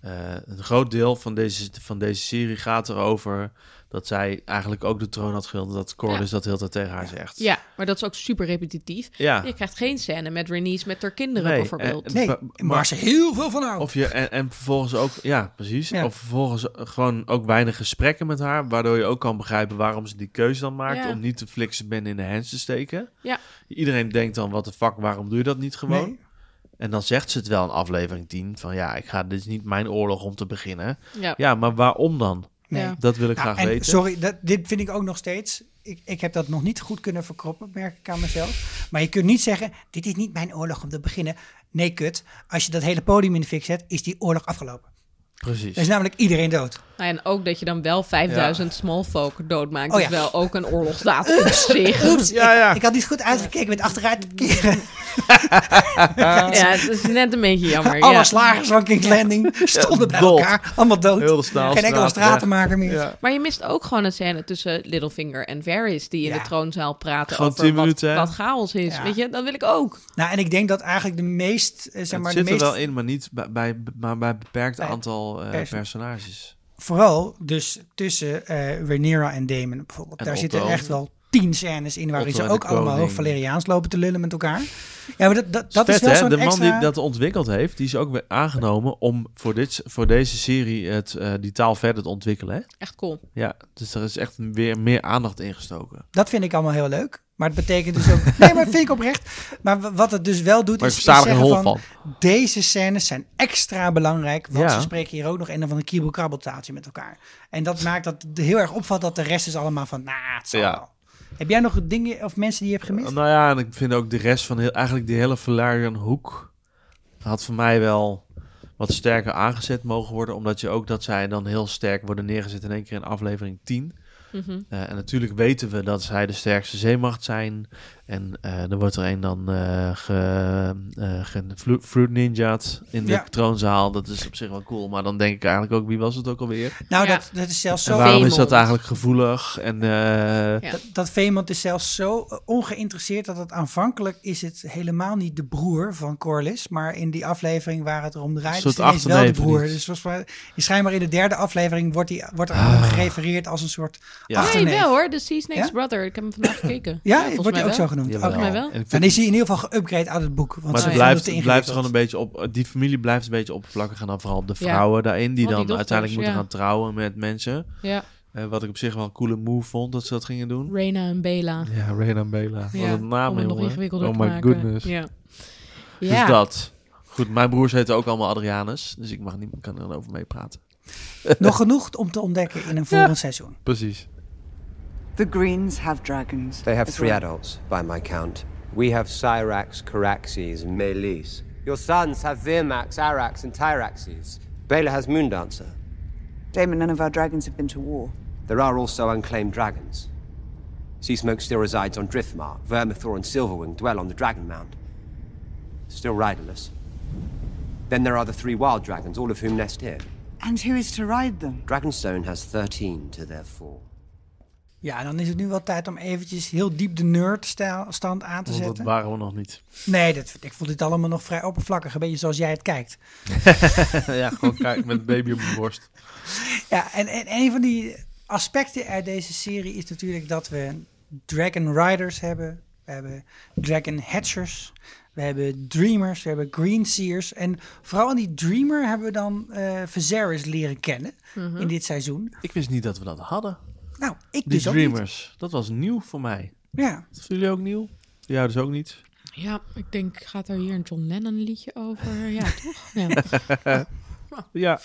Speaker 2: Eh, een groot deel van deze, van deze serie gaat erover dat zij eigenlijk ook de troon had geschilderd. Dat Cordis dat heel de tijd tegen haar zegt.
Speaker 5: ja, maar dat is ook super repetitief.
Speaker 2: Ja.
Speaker 5: Je krijgt geen scène met Renice met haar kinderen
Speaker 2: Nee,
Speaker 5: bijvoorbeeld.
Speaker 2: eh,
Speaker 1: eh,
Speaker 2: ba-
Speaker 1: Nee, maar ze heel veel van houden.
Speaker 2: Of je, en, en vervolgens ook, ja, precies.
Speaker 1: Ja.
Speaker 2: Of vervolgens gewoon ook weinig gesprekken met haar, waardoor je ook kan begrijpen waarom ze die keuze dan maakt
Speaker 5: Ja.
Speaker 2: om niet de flikse ben in de hands te steken.
Speaker 5: Ja.
Speaker 2: Iedereen denkt dan, wat de fuck, waarom doe je dat niet gewoon?
Speaker 1: Nee.
Speaker 2: En dan zegt ze het wel in aflevering 10 van, ja, ik ga, dit is niet mijn oorlog om te beginnen.
Speaker 5: ja.
Speaker 2: Ja, maar waarom dan?
Speaker 1: Nee.
Speaker 5: Ja.
Speaker 2: Dat wil ik
Speaker 1: Nou,
Speaker 2: graag
Speaker 1: en
Speaker 2: weten.
Speaker 1: Sorry, dat, dit vind ik ook nog steeds. Ik, ik heb dat nog niet goed kunnen verkroppen, merk ik aan mezelf. Maar je kunt niet zeggen, dit is niet mijn oorlog om te beginnen. Nee, kut. Als je dat hele podium in de fik zet, is die oorlog afgelopen.
Speaker 2: Precies.
Speaker 1: Er is namelijk iedereen dood.
Speaker 5: Nou ja, en ook dat je dan wel 5000 small folk doodmaakt.
Speaker 1: Oh
Speaker 5: is
Speaker 1: ja.
Speaker 5: wel ook een oorlogsdaad op zich.
Speaker 2: Ja, ja.
Speaker 1: Ik had niet goed uitgekeken met achteruit te keren.
Speaker 5: Ja, het is net een beetje jammer.
Speaker 1: Alle
Speaker 5: ja.
Speaker 1: slagers van King's Landing stonden bij
Speaker 2: dood.
Speaker 1: elkaar. Allemaal dood.
Speaker 2: Heel de Staalstraat
Speaker 1: Geen enkele
Speaker 2: weg.
Speaker 1: stratenmaker meer.
Speaker 2: Ja.
Speaker 5: Maar je mist ook gewoon een scène tussen Littlefinger en Varys... die in
Speaker 1: Ja.
Speaker 5: de troonzaal praten
Speaker 2: Gewoon
Speaker 5: over
Speaker 2: 10
Speaker 5: wat,
Speaker 2: minuten, hè?
Speaker 5: wat chaos is.
Speaker 1: Ja.
Speaker 5: Weet je, dat wil ik ook.
Speaker 1: Nou, en ik denk dat eigenlijk de meest, eh, zeg
Speaker 2: Het
Speaker 1: maar, de
Speaker 2: zit er
Speaker 1: meest
Speaker 2: wel in, maar niet bij, bij, maar bij beperkt
Speaker 1: Bij-
Speaker 2: aantal eh,
Speaker 1: perso-
Speaker 2: personages.
Speaker 1: vooral dus tussen eh Rhaenyra en Damon bijvoorbeeld.
Speaker 2: En
Speaker 1: Daar
Speaker 2: Otto.
Speaker 1: zitten echt wel tien scènes in waarin
Speaker 2: Otto
Speaker 1: ze
Speaker 2: en
Speaker 1: ook
Speaker 2: de
Speaker 1: allemaal
Speaker 2: koning.
Speaker 1: hoog Valeriaans lopen te lullen met elkaar. Ja, maar dat, dat,
Speaker 2: Dat
Speaker 1: dat
Speaker 2: vet,
Speaker 1: is wel
Speaker 2: hè?
Speaker 1: zo'n
Speaker 2: De man
Speaker 1: extra...
Speaker 2: die dat ontwikkeld heeft, die is ook weer aangenomen om voor, dit, voor deze serie het, eh, die taal verder te ontwikkelen. Hè?
Speaker 5: Echt cool.
Speaker 2: Ja, dus daar is echt weer meer aandacht in gestoken.
Speaker 1: Dat vind ik allemaal heel leuk. Maar het betekent dus ook... Nee, maar dat vind ik oprecht. Maar w- wat het dus wel doet,
Speaker 2: Maar ik
Speaker 1: is, is
Speaker 2: versta er geen
Speaker 1: zeggen
Speaker 2: hol
Speaker 1: van,
Speaker 2: van.
Speaker 1: Deze scènes zijn extra belangrijk. Want
Speaker 2: Ja.
Speaker 1: ze spreken hier ook nog een of andere kriebelkrabbeltaaltje met elkaar. En dat maakt dat het heel erg opvalt dat de rest is allemaal van... Nou, het zal
Speaker 2: Ja.
Speaker 1: wel. Heb jij nog dingen of mensen die je hebt gemist?
Speaker 2: Nou ja, en ik vind ook de rest van heel, eigenlijk die hele Valerian Hoek had voor mij wel wat sterker aangezet mogen worden. Omdat je ook dat zij dan heel sterk worden neergezet in één keer in aflevering 10.
Speaker 5: Mhm.
Speaker 2: Eh, en natuurlijk weten we dat zij de sterkste zeemacht zijn. En eh er wordt er een dan eh ge, eh, ge- flu- Fruit Ninja's in de
Speaker 1: Ja.
Speaker 2: troonzaal. Dat is op zich wel cool. Maar dan denk ik eigenlijk ook, wie was het ook alweer?
Speaker 1: Nou,
Speaker 5: Ja.
Speaker 1: dat, dat is zelfs
Speaker 2: en
Speaker 1: zo...
Speaker 2: waarom is dat
Speaker 5: Veemond.
Speaker 2: eigenlijk gevoelig? En eh,
Speaker 5: Ja.
Speaker 1: Dat, dat Veemond is zelfs zo eh, ongeïnteresseerd dat het aanvankelijk is het helemaal niet de broer van Corlys. Maar in die aflevering waar het om draait,
Speaker 2: soort
Speaker 1: is het ineens wel de
Speaker 2: achterneef
Speaker 1: broer.
Speaker 2: iets.
Speaker 1: Dus volgens mij- schijnbaar in de derde aflevering wordt, die, wordt er aan hem gerefereerd als een soort
Speaker 2: Ah. Ja.
Speaker 5: Nee,
Speaker 1: achterneef.
Speaker 5: wel hoor. De Sea Snake's
Speaker 1: Ja?
Speaker 5: Brother. Ik heb hem vandaag gekeken.
Speaker 1: Ja,
Speaker 5: volgens
Speaker 1: wordt
Speaker 5: mij
Speaker 1: hij ook zo
Speaker 5: wel.
Speaker 1: genoemd.
Speaker 2: Jawel.
Speaker 1: Oké.
Speaker 5: mij wel.
Speaker 2: En ik vind-
Speaker 1: Dan is hij in ieder geval geüpgrade uit het boek. Want
Speaker 2: maar
Speaker 1: ze
Speaker 2: het
Speaker 1: vonden
Speaker 5: ja.
Speaker 2: blijft,
Speaker 1: het te
Speaker 2: het
Speaker 1: ingewikkeld.
Speaker 2: blijft gewoon een beetje op. Die familie blijft een beetje oppervlakkig. En dan vooral de
Speaker 5: Ja.
Speaker 2: vrouwen daarin, die
Speaker 5: Want
Speaker 2: dan
Speaker 5: die dochters,
Speaker 2: uiteindelijk moeten
Speaker 5: ja.
Speaker 2: gaan trouwen met mensen.
Speaker 5: Ja.
Speaker 2: Eh, wat ik op zich wel een coole move vond dat ze dat gingen doen.
Speaker 5: Reina en Bela.
Speaker 2: Ja, Reina Bela.
Speaker 5: Ja,
Speaker 2: Wat een naam,
Speaker 5: om het nog
Speaker 2: jongen.
Speaker 5: ingewikkelder
Speaker 2: Oh
Speaker 5: te
Speaker 2: my
Speaker 5: maken.
Speaker 2: goodness.
Speaker 5: Ja.
Speaker 2: Dus
Speaker 5: Ja.
Speaker 2: dat. Goed, mijn broers heten ook allemaal Adrianus, dus ik mag niet, kan er over mee praten.
Speaker 1: Nog genoeg om te ontdekken in een volgend seizoen.
Speaker 2: Precies.
Speaker 8: The Greens have dragons.
Speaker 9: They have
Speaker 8: as
Speaker 9: three
Speaker 8: well.
Speaker 9: adults, by my count. We have Cyrax, Caraxes, and Melis. Your sons have Virmax, Arax, and Tyraxes. Bela has Moondancer.
Speaker 8: Damon, none of our dragons have been to war.
Speaker 9: There are also unclaimed dragons. Sea Smoke still resides on Driftmark. Vermithor and Silverwing dwell on the Dragon Mound. Still riderless. Then there are the three wild dragons, all of whom nest here.
Speaker 8: And who is to ride them?
Speaker 9: Dragonstone has 13 to their four.
Speaker 1: Ja, en dan is het nu wel tijd om eventjes heel diep de nerdstand aan te
Speaker 2: Want dat
Speaker 1: zetten.
Speaker 2: waren we nog niet. [laughs]
Speaker 1: Nee, dat, ik vond dit allemaal nog vrij oppervlakkig. Een beetje zoals jij het kijkt.
Speaker 2: ja, gewoon kijk met een baby op mijn borst.
Speaker 1: Ja, en, en een van die aspecten uit deze serie is natuurlijk dat we Dragon Riders hebben. We hebben Dragon Hatchers. We hebben Dreamers. We hebben Green Seers. En vooral aan die Dreamer hebben we dan eh Viserys leren kennen in dit seizoen.
Speaker 2: Ik wist niet dat we dat hadden.
Speaker 1: Nou, ik
Speaker 2: Die
Speaker 1: dus ook niet.
Speaker 2: Dreamers, dat was nieuw voor mij.
Speaker 1: Ja,
Speaker 2: Dat jullie ook nieuw? Ja, dus ook niet.
Speaker 5: ja, ik denk, gaat er hier een John Lennon liedje over? Ja, toch? Ja.
Speaker 2: Ja.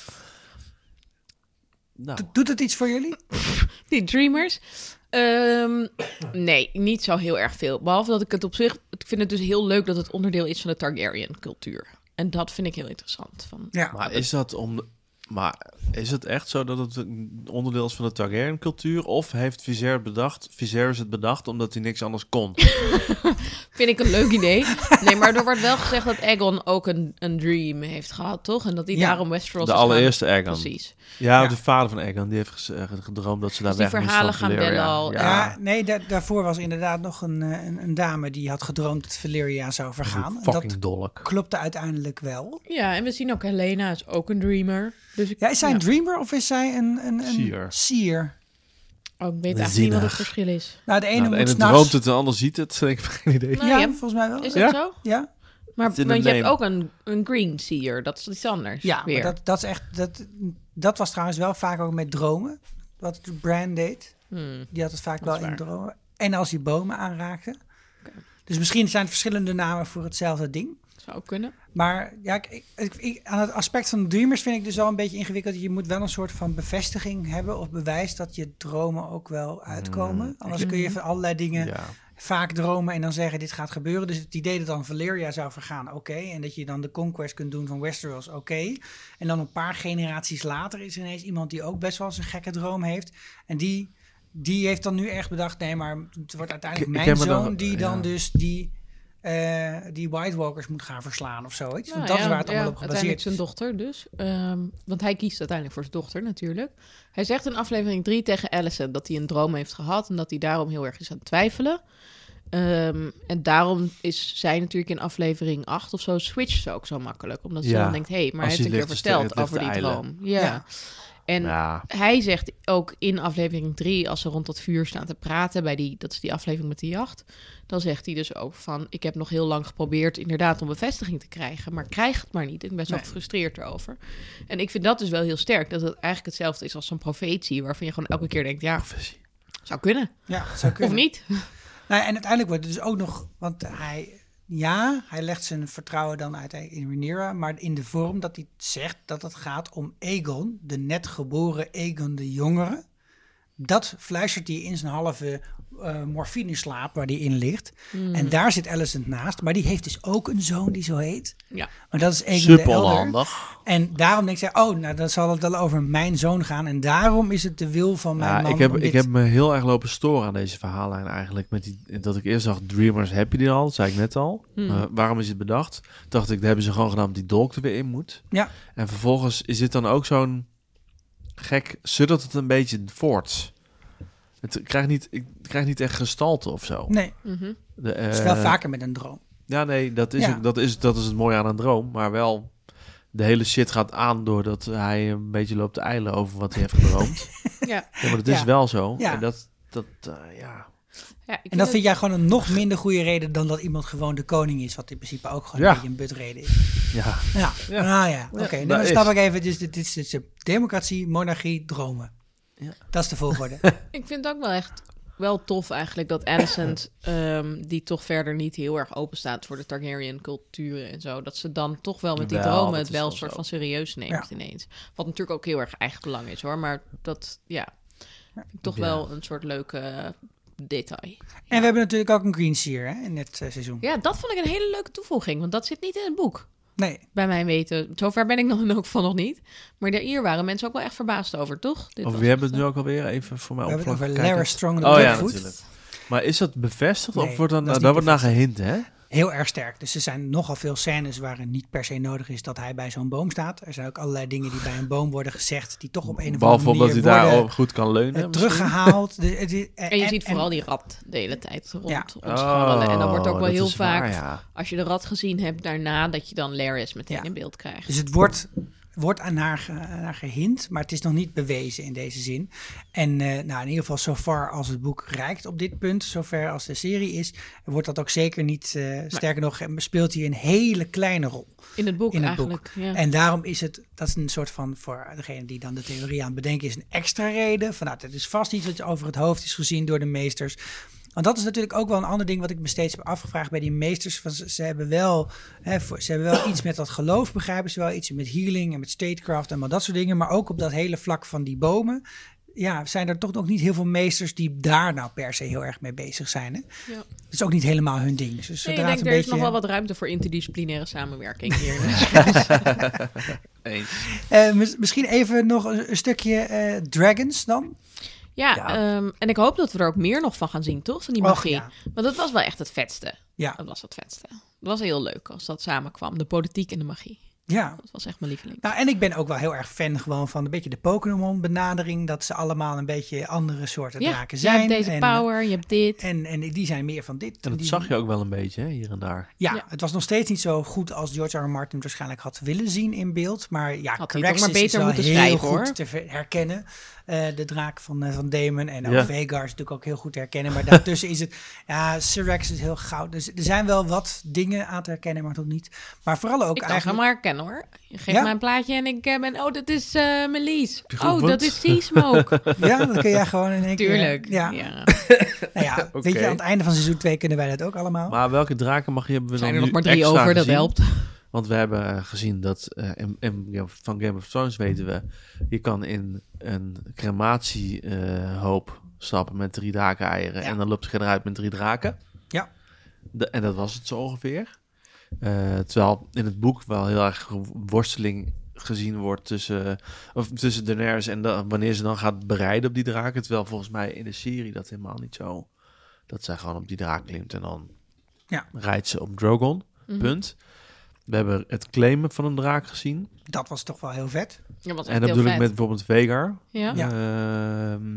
Speaker 2: Nou,
Speaker 1: Do- doet het iets voor jullie?
Speaker 5: Die Dreamers? Ehm, nee, niet zo heel erg veel. Behalve dat ik het op zich... Ik vind het dus heel leuk dat het onderdeel is van de Targaryen-cultuur. En dat vind ik heel interessant. Van,
Speaker 1: Ja.
Speaker 2: maar is dat om... de- Maar is het echt zo dat het een onderdeel is van de Targaryen-cultuur? Of heeft Viserys bedacht, Viserys het bedacht omdat hij niks anders kon?
Speaker 5: Vind ik een leuk idee. [laughs] Nee, maar er wordt wel gezegd dat Aegon ook een, een dream heeft gehad, toch? En dat hij
Speaker 1: Ja.
Speaker 5: daarom Westeros
Speaker 2: De
Speaker 5: is gaan-
Speaker 2: allereerste Aegon.
Speaker 5: Precies.
Speaker 2: Ja,
Speaker 1: Ja.
Speaker 2: de vader van Aegon, die heeft gez- eh, gedroomd dat ze daar
Speaker 5: Dus die
Speaker 2: weg moest
Speaker 5: verhalen
Speaker 2: van
Speaker 5: gaan
Speaker 2: Valyria.
Speaker 5: wel al. eh,
Speaker 2: Ja.
Speaker 1: Ja, nee, da- daarvoor was inderdaad nog een, eh, een, een dame die had gedroomd dat Valyria zou vergaan. En
Speaker 2: Fucking
Speaker 1: dat
Speaker 2: dolk.
Speaker 1: klopte uiteindelijk wel.
Speaker 5: Ja, en we zien ook Helena is ook een dreamer. Dus ik,
Speaker 1: Ja, is zij
Speaker 5: ja.
Speaker 1: een dreamer of is zij een... een, een
Speaker 2: Seer.
Speaker 1: seer?
Speaker 5: Oh, ik weet eigenlijk niet wat het
Speaker 2: Zinnig.
Speaker 5: verschil is.
Speaker 1: Nou, de ene
Speaker 2: Nou, de
Speaker 1: moet
Speaker 2: ene
Speaker 1: s'nachts...
Speaker 2: droomt het, de ander ziet het. [laughs] Ik heb geen idee.
Speaker 5: Nou,
Speaker 1: ja,
Speaker 5: je hebt-
Speaker 1: volgens mij wel.
Speaker 5: is dat
Speaker 2: Ja?
Speaker 5: zo?
Speaker 1: Ja,
Speaker 5: Maar
Speaker 2: It's in
Speaker 5: want
Speaker 2: the
Speaker 5: je hebt
Speaker 2: name.
Speaker 5: ook een, een green seer. Dat is iets anders.
Speaker 1: ja maar
Speaker 5: weer.
Speaker 1: dat, dat is echt... Dat, dat was trouwens wel vaak ook met dromen. Wat Brand deed. Die had het vaak wel in dromen. En als hij bomen aanraakte. Dus misschien zijn het verschillende namen voor hetzelfde ding.
Speaker 5: zou ook kunnen.
Speaker 1: Maar ja, ik, ik, ik- aan het aspect van dreamers vind ik dus wel een beetje ingewikkeld. Je moet wel een soort van bevestiging hebben of bewijs dat je dromen ook wel uitkomen. Anders kun je van allerlei dingen
Speaker 2: Mm, Ja.
Speaker 1: vaak dromen en dan zeggen dit gaat gebeuren. Dus het idee dat dan Valeria zou vergaan, oké. En dat je dan de conquest kunt doen van Westeros, oké. En dan een paar generaties later is er ineens iemand die ook best wel eens een gekke droom heeft. En die, die heeft dan nu echt bedacht, nee, maar het wordt uiteindelijk
Speaker 2: ik
Speaker 1: mijn
Speaker 2: heb me dan-
Speaker 1: zoon die dan
Speaker 2: ja.
Speaker 1: dus die eh, die White Walkers moet gaan verslaan of zoiets.
Speaker 5: Nou
Speaker 1: Want dat
Speaker 5: ja,
Speaker 1: is waar het allemaal
Speaker 5: ja,
Speaker 1: op gebaseerd
Speaker 5: Uiteindelijk zijn
Speaker 1: is.
Speaker 5: dochter dus. Ehm, want hij kiest uiteindelijk voor zijn dochter natuurlijk. Hij zegt in aflevering 3 tegen Allison dat hij een droom heeft gehad... en dat hij daarom heel erg is aan het twijfelen. Ehm, en daarom is zij natuurlijk in aflevering 8 of zo... switcht ze ook zo makkelijk. Omdat ze
Speaker 2: Ja.
Speaker 5: dan denkt, hé, hey, maar
Speaker 2: Als
Speaker 5: hij heeft
Speaker 2: je
Speaker 5: een keer
Speaker 2: ligt te- het
Speaker 5: verteld
Speaker 2: ligt
Speaker 5: over
Speaker 2: te
Speaker 5: die
Speaker 2: eilen.
Speaker 5: droom. Ja.
Speaker 1: Ja.
Speaker 5: En
Speaker 2: Ja.
Speaker 5: hij zegt ook in aflevering 3, als ze rond dat vuur staan te praten, bij die, dat is die aflevering met de jacht, dan zegt hij dus ook van, ik heb nog heel lang geprobeerd inderdaad om bevestiging te krijgen, maar krijg het maar niet. Ik ben zo gefrustreerd erover. En ik vind dat dus wel heel sterk, dat het eigenlijk hetzelfde is als zo'n profetie, waarvan je gewoon elke keer denkt, ja, zou kunnen.
Speaker 1: Ja, dat zou
Speaker 5: Of
Speaker 1: kunnen.
Speaker 5: niet.
Speaker 1: Nou, en uiteindelijk wordt het dus ook nog, want hij, ja, hij legt zijn vertrouwen dan uit in Rhaenyra, maar in de vorm dat hij zegt dat het gaat om Aegon, de net geboren Aegon de Jongere. Dat fluistert hij in zijn halve eh morfineslaap waar hij in ligt.
Speaker 5: Hmm.
Speaker 1: En daar zit Alicent naast, maar die heeft dus ook een zoon die zo heet.
Speaker 5: Ja.
Speaker 1: Maar dat is Aegon de Elder.
Speaker 2: Superhandig.
Speaker 1: En daarom denk ik, oh, nou, dan zal het wel over mijn zoon gaan. En daarom is het de wil van mijn
Speaker 2: Ja,
Speaker 1: man.
Speaker 2: ik, heb,
Speaker 1: om
Speaker 2: ik
Speaker 1: dit-
Speaker 2: heb me heel erg lopen storen aan deze verhaallijn eigenlijk. Met die, dat ik eerst dacht, Dreamers heb je die al, dat zei ik net al.
Speaker 1: Hmm.
Speaker 2: Eh, waarom is het bedacht? Dacht ik, daar hebben ze gewoon gedaan omdat die dolk er weer in moet.
Speaker 1: Ja,
Speaker 2: En vervolgens is dit dan ook zo'n gek, suddert het een beetje voort. Het krijgt niet, ik krijg niet echt gestalte of zo.
Speaker 1: nee,
Speaker 2: De, eh,
Speaker 1: het is wel vaker met een droom.
Speaker 2: Ja, nee, dat is,
Speaker 1: Ja.
Speaker 2: ook- dat, is, dat is het mooie aan een droom. Maar wel, de hele shit gaat aan doordat hij een beetje loopt te eilen over wat hij heeft gedroomd.
Speaker 5: Ja.
Speaker 2: ja, maar dat is
Speaker 5: Ja.
Speaker 2: wel zo.
Speaker 1: Ja.
Speaker 2: En dat, dat eh, ja.
Speaker 5: Ja,
Speaker 1: En dat vind jij gewoon een nog minder goede reden dan dat iemand gewoon de koning is. Wat in principe ook gewoon
Speaker 2: Ja.
Speaker 1: een beetje een butreden is.
Speaker 2: ja.
Speaker 1: Ja, nou ja, oké.
Speaker 2: dat
Speaker 1: dan
Speaker 2: is.
Speaker 1: snap ik even, dus dit, dit is dit is democratie, monarchie, dromen. Dat is de
Speaker 2: [laughs]
Speaker 1: volgorde.
Speaker 5: Ik vind het ook wel echt wel tof eigenlijk
Speaker 2: [clears throat]
Speaker 5: dat Alicent, ehm, die toch verder niet heel erg open staat voor de Targaryen culturen en zo, dat ze dan toch wel met die
Speaker 2: Wel, dat
Speaker 5: dromen het
Speaker 2: is
Speaker 5: wel
Speaker 2: wel
Speaker 5: een soort
Speaker 2: zo.
Speaker 5: van serieus neemt
Speaker 1: Ja.
Speaker 5: ineens. Wat natuurlijk ook heel erg eigen belang is hoor, maar dat ja, vind ik toch
Speaker 2: Ja.
Speaker 5: wel een soort leuke detail.
Speaker 1: En we hebben natuurlijk ook een Green Seer hè, in dit eh, seizoen.
Speaker 5: Ja, dat vond ik een hele leuke toevoeging, want dat zit niet in het boek.
Speaker 1: Nee,
Speaker 5: Bij mijn weten, zover ben ik nog en ook van nog niet. Maar daar- hier waren mensen ook wel echt verbaasd over, toch? Dit
Speaker 2: Of
Speaker 5: was
Speaker 2: we hebben
Speaker 5: echt,
Speaker 2: het nu ook alweer even voor mij
Speaker 1: eh, we hebben het over
Speaker 2: opvlakken.
Speaker 1: Lara Strong de
Speaker 2: Oh ja,
Speaker 1: Blackfoot.
Speaker 2: natuurlijk. Maar is dat bevestigd
Speaker 1: Nee,
Speaker 2: of wordt dan,
Speaker 1: dat is
Speaker 2: dat,
Speaker 1: niet
Speaker 2: wordt naar gehind, hè?
Speaker 1: heel erg sterk. Dus er zijn nogal veel scènes waarin niet per se nodig is dat hij bij zo'n boom staat. Er zijn ook allerlei dingen die bij een boom worden gezegd, die toch op een of andere
Speaker 2: Behalve
Speaker 1: manier
Speaker 2: omdat hij
Speaker 1: worden
Speaker 2: daar ook goed kan leunen.
Speaker 1: eh,
Speaker 2: misschien?
Speaker 1: teruggehaald. De- het- het-
Speaker 5: En je ziet vooral die rat de hele tijd rond
Speaker 1: Ja.
Speaker 5: ons scharrelen. En dan wordt ook
Speaker 2: Oh,
Speaker 5: wel
Speaker 2: dat
Speaker 5: heel
Speaker 2: is waar,
Speaker 5: vaak,
Speaker 2: ja.
Speaker 5: als je de rat gezien hebt daarna, dat je dan Laris meteen
Speaker 1: Ja.
Speaker 5: in beeld krijgt.
Speaker 1: Dus het wordt, wordt aan, haar, ge- aan haar gehind, maar het is nog niet bewezen in deze zin. En eh, nou, in ieder geval, zover als het boek reikt op dit punt, zover als de serie is, wordt dat ook zeker niet. eh, Sterker nog, eh, speelt hij een hele kleine rol.
Speaker 5: In het boek
Speaker 1: in het
Speaker 5: eigenlijk.
Speaker 1: boek.
Speaker 5: Ja.
Speaker 1: En daarom is het, dat is een soort van, voor degene die dan de theorie aan het bedenken is, een extra reden. Van nou, dat is vast iets wat over het hoofd is gezien door de meesters. Want dat is natuurlijk ook wel een ander ding wat ik me steeds heb afgevraagd bij die meesters. Van ze, ze hebben wel, hè, voor- ze hebben wel iets met dat geloof, begrijpen ze wel. Iets met healing en met statecraft en maar dat soort dingen. Maar ook op dat hele vlak van die bomen. Ja, zijn er toch nog niet heel veel meesters die daar nou per se heel erg mee bezig zijn. Hè?
Speaker 5: Ja.
Speaker 1: Dat is ook niet helemaal hun ding. Dus
Speaker 5: Nee,
Speaker 1: zodra
Speaker 5: ik
Speaker 1: het
Speaker 5: denk,
Speaker 1: een
Speaker 5: er
Speaker 1: beetje,
Speaker 5: is nog wel wat ruimte voor interdisciplinaire samenwerking
Speaker 1: [laughs]
Speaker 5: hier.
Speaker 1: Eh, mis- misschien even nog een, een stukje eh, Dragons dan.
Speaker 5: ja, ehm, en ik hoop dat we er ook meer nog van gaan zien, toch? Van die
Speaker 1: Och,
Speaker 5: magie.
Speaker 1: ja.
Speaker 5: Want dat was wel echt het vetste.
Speaker 1: Ja,
Speaker 5: Dat was het vetste. Het was heel leuk als dat samenkwam. De politiek en de magie.
Speaker 1: ja.
Speaker 5: Dat was echt mijn lieveling.
Speaker 1: Nou, en ik ben ook wel heel erg fan gewoon van een beetje de Pokémon-benadering. Dat ze allemaal een beetje andere soorten draken zijn.
Speaker 5: je hebt deze
Speaker 1: en,
Speaker 5: power, je hebt dit.
Speaker 1: En, en die zijn meer van dit.
Speaker 2: En dat
Speaker 1: die-
Speaker 2: zag je ook wel een beetje, hè, hier en daar.
Speaker 1: Ja,
Speaker 5: Ja.
Speaker 1: het was nog steeds niet zo goed als George R. R. Martin het waarschijnlijk had willen zien in beeld. Maar ja,
Speaker 5: Had hij het ook
Speaker 1: Caraxes
Speaker 5: maar beter
Speaker 1: is wel
Speaker 5: moeten
Speaker 1: heel
Speaker 5: schrijven,
Speaker 1: goed
Speaker 5: hoor.
Speaker 1: te ver- herkennen. eh, de draak van, eh, van Damon en
Speaker 2: Ja.
Speaker 1: ook Vegar is natuurlijk ook heel goed te herkennen. Maar daartussen is het, ja, Syrax is heel goud. Dus er zijn wel wat dingen aan te herkennen, maar toch niet. Maar vooral ook
Speaker 5: Ik kan
Speaker 1: eigenlijk...
Speaker 5: ze maar herkennen hoor. Je geeft
Speaker 1: Ja?
Speaker 5: mij een plaatje en ik eh, ben... Oh, dat is eh Melis. Oh,
Speaker 2: goed?
Speaker 5: dat is
Speaker 1: [laughs]
Speaker 5: Seasmoke.
Speaker 1: Ja, dat kun jij gewoon in één keer...
Speaker 5: Tuurlijk.
Speaker 1: Ja,
Speaker 5: Ja.
Speaker 1: Nou ja weet je,
Speaker 2: Oké.
Speaker 1: aan het einde van seizoen 2 kunnen wij dat ook allemaal.
Speaker 2: Maar welke drakenmagie hebben we
Speaker 5: Zijn er
Speaker 2: dan
Speaker 5: nog
Speaker 2: nu
Speaker 5: maar drie
Speaker 2: extra
Speaker 5: over, dat
Speaker 2: gezien?
Speaker 5: helpt.
Speaker 2: Want we hebben eh, gezien dat eh, in- in- ja, van Game of Thrones weten we, je kan in een crematiehoop stappen met drie drakeneieren
Speaker 1: Ja.
Speaker 2: en dan loopt je eruit met drie draken.
Speaker 1: Ja.
Speaker 2: De- en dat was het zo ongeveer. Eh, terwijl in het boek wel heel erg worsteling gezien wordt tussen, of tussen Daenerys en da- wanneer ze dan gaat bereiden op die draken. Terwijl volgens mij in de serie dat helemaal niet zo. Dat zij gewoon op die draak klimt en dan
Speaker 1: Ja. Mhm.
Speaker 2: rijdt ze op Drogon. Punt. We hebben het claimen van een draak gezien.
Speaker 1: Dat was toch wel heel vet.
Speaker 5: Dat was echt
Speaker 2: en dat
Speaker 5: heel
Speaker 2: bedoel ik
Speaker 5: vet.
Speaker 2: met bijvoorbeeld Vegar.
Speaker 5: Ja?
Speaker 1: Ja.
Speaker 2: Ehm,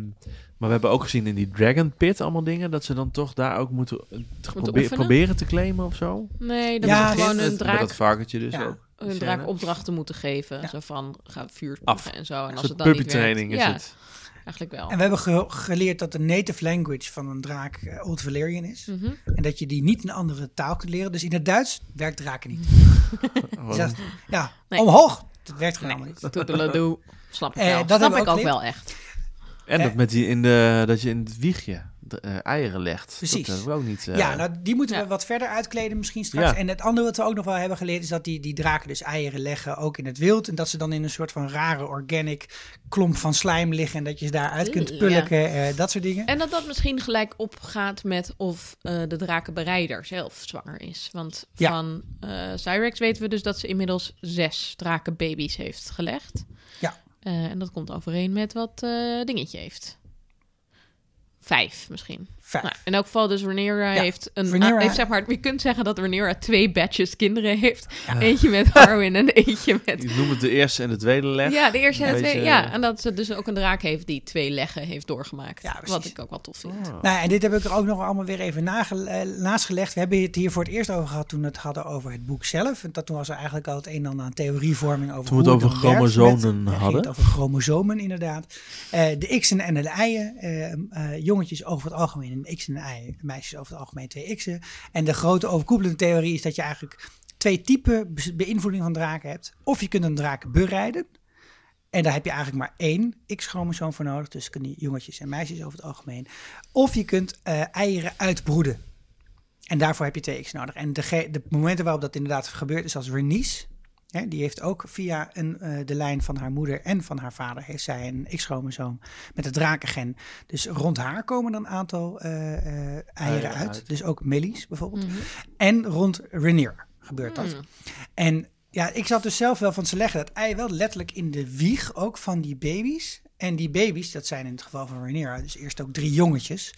Speaker 2: maar we hebben ook gezien in die Dragon Pit allemaal dingen... dat ze dan toch daar ook moeten, eh, te probe-
Speaker 5: oefenen?
Speaker 2: proberen te claimen of zo.
Speaker 5: Nee, dat
Speaker 1: Ja,
Speaker 5: was gewoon
Speaker 1: het-
Speaker 5: een
Speaker 2: Met
Speaker 5: draak,
Speaker 2: dat varkentje dus
Speaker 1: Ja.
Speaker 2: ook.
Speaker 5: een draak opdrachten moeten geven. Zo van, ga vuur
Speaker 2: Af.
Speaker 5: proeven en zo. En
Speaker 2: Een
Speaker 5: als het
Speaker 2: soort
Speaker 5: dan niet werkt-
Speaker 2: puppytraining is
Speaker 5: ja,
Speaker 2: het.
Speaker 5: eigenlijk wel.
Speaker 1: En we hebben ge- geleerd dat de native language van een draak eh, Old Valyrian is.
Speaker 5: Mhm.
Speaker 1: En dat je die niet in een andere taal kunt leren. Dus in het Duits werkt draken niet.
Speaker 2: Gewoon-
Speaker 1: Dus dat- ja,
Speaker 5: Nee.
Speaker 1: omhoog. Dat werkt gewoon
Speaker 5: Nee,
Speaker 1: allemaal niet.
Speaker 5: toedeledoe. Snap ik
Speaker 1: Eh,
Speaker 5: wel.
Speaker 1: dat
Speaker 5: Snap
Speaker 1: hebben we
Speaker 5: ik
Speaker 1: ook
Speaker 5: ook wel echt.
Speaker 2: En
Speaker 1: Eh.
Speaker 2: dat, met die in de, dat je in het wiegje de, eh, eieren legt.
Speaker 1: Precies.
Speaker 2: Dat hebben we ook niet... eh,
Speaker 1: Ja, nou, die moeten
Speaker 5: ja.
Speaker 1: we wat verder uitkleden misschien straks.
Speaker 2: Ja.
Speaker 1: En het andere wat we ook nog wel hebben geleerd... is dat die, die draken dus eieren leggen, ook in het wild. En dat ze dan in een soort van rare organic klomp van slijm liggen... en dat je ze daaruit kunt
Speaker 5: Oeh,
Speaker 1: pulken, eh, dat soort dingen.
Speaker 5: En dat dat misschien gelijk opgaat met of eh, de drakenbereider zelf zwanger is. Want
Speaker 1: Ja.
Speaker 5: van eh Cyrex weten we dus dat ze inmiddels zes drakenbaby's heeft gelegd.
Speaker 1: Ja.
Speaker 5: Eh, en dat komt overeen met wat eh, Dingetje heeft. Vijf misschien.
Speaker 1: Vijf.
Speaker 5: Nou, in elk geval, dus Rhaenyra
Speaker 1: Ja,
Speaker 5: heeft een...
Speaker 1: Rhaenyra-
Speaker 5: ah, heeft, zeg maar, je kunt zeggen dat Rhaenyra twee batches kinderen heeft. Eentje met Harwin en eentje met...
Speaker 2: Ik noem het de eerste en de tweede leg.
Speaker 5: Ja, de eerste en de
Speaker 2: Deze-
Speaker 5: tweede. Ja, en dat ze dus ook een draak heeft die twee leggen heeft doorgemaakt.
Speaker 1: Ja, precies.
Speaker 5: wat ik ook wel tof vind.
Speaker 2: Oh.
Speaker 1: Nou, en dit heb ik er ook nog allemaal weer even nage- eh, naast gelegd. We hebben het hier voor het eerst over gehad toen we het hadden over het boek zelf. En dat toen was er eigenlijk al het een en ander aan theorievorming over
Speaker 2: Toen we
Speaker 1: hoe
Speaker 2: het over
Speaker 1: dan werkt
Speaker 2: chromosomen
Speaker 1: met- Ja, ging
Speaker 2: hadden.
Speaker 1: Het over chromosomen inderdaad. Eh, de x'en en de y'en. Eh, eh, jongetjes over het algemeen een x en een y. Meisjes over het algemeen twee x'en. En de grote overkoepelende theorie is dat je eigenlijk twee typen be- beïnvloeding van draken hebt. Of je kunt een draak bereiden. En daar heb je eigenlijk maar één X-chromosoom voor nodig. Dus kunnen jongetjes en meisjes over het algemeen. Of je kunt eh, eieren uitbroeden. En daarvoor heb je twee X nodig. En de, ge- de momenten waarop dat inderdaad gebeurt is als Renice. Hè, die heeft ook via een, eh, de lijn van haar moeder en van haar vader heeft zij een X-chromosoom met het drakengen. Dus rond haar komen dan een aantal eh, eh, eieren uit.
Speaker 2: uit.
Speaker 1: Dus ook Millies bijvoorbeeld. En rond Renier gebeurt dat. En ja, ik zat dus zelf wel van ze leggen dat ei wel letterlijk in de wieg ook van die baby's. En die baby's, dat zijn in het geval van Rhaenyra, dus eerst ook drie jongetjes.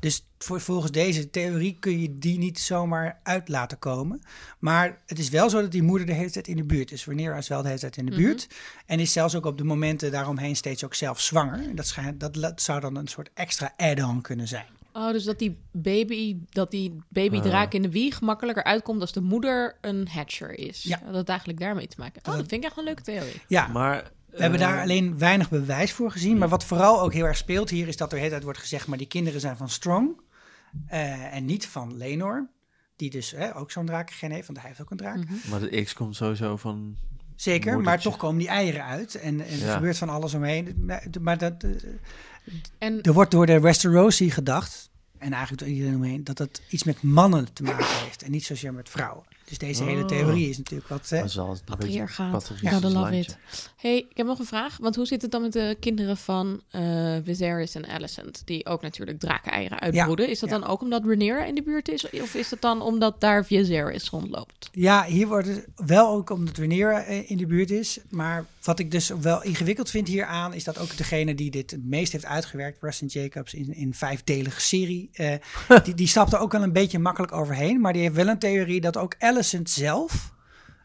Speaker 1: Dus voor, volgens deze theorie kun je die niet zomaar uit laten komen. Maar het is wel zo dat die moeder de hele tijd in de buurt is. Rhaenyra is wel de hele tijd in de buurt. En is zelfs ook op de momenten daaromheen steeds ook zelf zwanger. En Dat, schijnt, dat la- zou dan een soort extra add-on kunnen zijn.
Speaker 5: Oh, dus dat die baby, dat die
Speaker 1: Ah.
Speaker 5: babydraak in de wieg makkelijker uitkomt als de moeder een hatcher is.
Speaker 1: Ja.
Speaker 5: Dat het eigenlijk daarmee te maken. Oh, dat vind ik echt een leuke theorie.
Speaker 1: Ja,
Speaker 2: Maar...
Speaker 1: We hebben
Speaker 2: Eh.
Speaker 1: daar alleen weinig bewijs voor gezien. Maar wat vooral ook heel erg speelt hier is dat er de hele tijd wordt gezegd: maar die kinderen zijn van Strong eh, en niet van Lenor. Die dus eh, ook zo'n drakengen heeft, want hij heeft ook een draak.
Speaker 2: Maar de X komt sowieso van...
Speaker 1: Zeker, maar
Speaker 2: Moedertje.
Speaker 1: toch komen die eieren uit. En, en er
Speaker 2: Ja.
Speaker 1: gebeurt van alles omheen. Maar- Maar dat, eh,
Speaker 5: En
Speaker 1: er wordt door de Westerosi gedacht, en eigenlijk door iedereen omheen, dat dat iets met mannen te maken heeft en niet zozeer met vrouwen. Dus deze hele
Speaker 2: Oh.
Speaker 1: theorie is natuurlijk wat. eh,
Speaker 2: Dat is altijd een beetje
Speaker 5: patriarchaat.
Speaker 2: patriarchisch
Speaker 5: Oh, Ja, de love
Speaker 2: landje.
Speaker 5: it. hey, ik heb nog een vraag. Want hoe zit het dan met de kinderen van eh Viserys en Alicent? Die ook natuurlijk drakeneieren uitbroeden. is dat
Speaker 1: ja.
Speaker 5: dan ook omdat Rhaenyra in de buurt is? Of is dat dan omdat daar Viserys rondloopt?
Speaker 1: Ja, hier wordt het wel ook omdat Rhaenyra eh, in de buurt is. Maar wat ik dus wel ingewikkeld vind hieraan... is dat ook degene die dit het meest heeft uitgewerkt... Rustin Jacobs in een vijfdelige serie... eh, die, die stapt er ook wel een beetje makkelijk overheen. Maar die heeft wel een theorie dat ook Alicent zelf...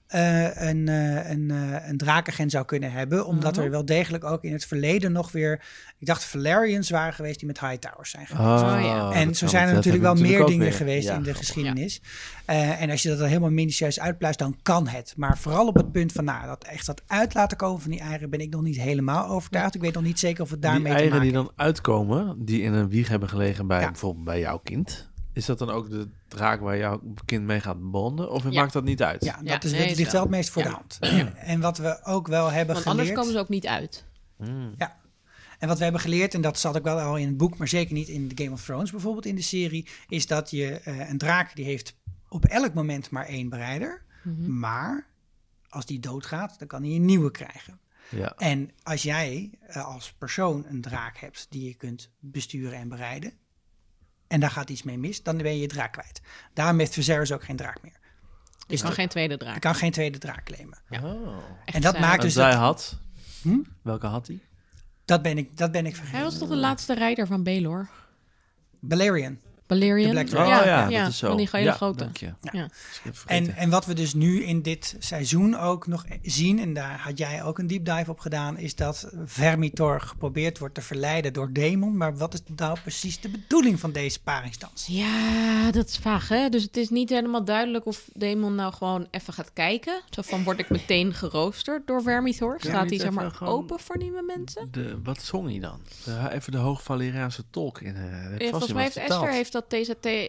Speaker 1: eh, een, eh een, eh, een drakengen zou kunnen hebben. Omdat er wel degelijk ook in het verleden nog weer... Ik dacht Valerians waren geweest die met Hightowers zijn geweest.
Speaker 5: Oh, ja.
Speaker 1: En zo zijn er natuurlijk wel meer dingen geweest in de geschiedenis. Eh, en als je dat dan helemaal minutieus uitpluist, dan kan het. Maar vooral op het punt van, nou, dat echt dat uit laten komen van die eieren ben ik nog niet helemaal overtuigd. Ik weet nog niet zeker of het
Speaker 2: Die
Speaker 1: daarmee te
Speaker 2: eieren
Speaker 1: maken
Speaker 2: die dan uitkomen, die in een wieg hebben gelegen bij
Speaker 1: Ja.
Speaker 2: bijvoorbeeld bij jouw kind. Is dat dan ook de draak waar jouw kind mee gaat bonden? Of
Speaker 5: Ja.
Speaker 2: maakt dat niet uit?
Speaker 1: Ja, dat
Speaker 5: Ja,
Speaker 1: is,
Speaker 5: nee,
Speaker 1: dat ligt
Speaker 5: zo.
Speaker 1: wel het meest voor
Speaker 5: Ja.
Speaker 1: de hand. En, en wat we ook wel hebben
Speaker 5: Want anders
Speaker 1: geleerd...
Speaker 5: komen ze ook niet uit.
Speaker 1: Ja. En wat we hebben geleerd, en dat zat ook wel al in het boek, maar zeker niet in Game of Thrones bijvoorbeeld in de serie, is dat je eh, een draak die heeft op elk moment maar één bereider.
Speaker 5: Mhm.
Speaker 1: Maar als die doodgaat, dan kan hij een nieuwe krijgen.
Speaker 2: Ja.
Speaker 1: En als jij eh, als persoon een draak hebt die je kunt besturen en bereiden, en daar gaat iets mee mis, dan ben je je draak kwijt. Daarom heeft Viserys ook geen draak meer.
Speaker 5: Is nog geen tweede draak.
Speaker 1: Hij kan geen tweede draak claimen.
Speaker 2: Oh.
Speaker 1: en dat
Speaker 5: saai.
Speaker 1: maakt
Speaker 2: En
Speaker 1: dus
Speaker 2: zij
Speaker 1: dat, Hm?
Speaker 2: had... Welke had hij?
Speaker 1: dat ben ik, dat ben ik vergeten.
Speaker 5: Hij was toch de laatste rijder van Belor?
Speaker 1: Balerion.
Speaker 5: Balerion?
Speaker 1: De Black
Speaker 2: Oh
Speaker 1: Dragon.
Speaker 2: ja, dat is zo.
Speaker 5: Van die hele
Speaker 2: ja,
Speaker 5: grote.
Speaker 2: Dank je.
Speaker 5: Ja.
Speaker 2: Dus ik heb vergeten.
Speaker 1: En, en wat we dus nu in dit seizoen ook nog zien, en daar had jij ook een deep dive op gedaan, is dat Vermitor geprobeerd wordt te verleiden door Demon. Maar wat is nou precies de bedoeling van deze paringsdans?
Speaker 5: Ja, dat is vaag, hè? Dus het is niet helemaal duidelijk of Demon nou gewoon even gaat kijken. Zo van, word ik meteen geroosterd door Vermithor? Staat
Speaker 2: niet
Speaker 5: hij zeg maar
Speaker 2: even gewoon-
Speaker 5: open voor nieuwe mensen?
Speaker 2: De, wat zong hij dan? De- even de Hoog-Valeriaanse tolk in. eh, heeft vast
Speaker 5: Ja, volgens mij
Speaker 2: iemand
Speaker 5: heeft Esther
Speaker 2: vertaald.
Speaker 5: heeft dat TZT, eh,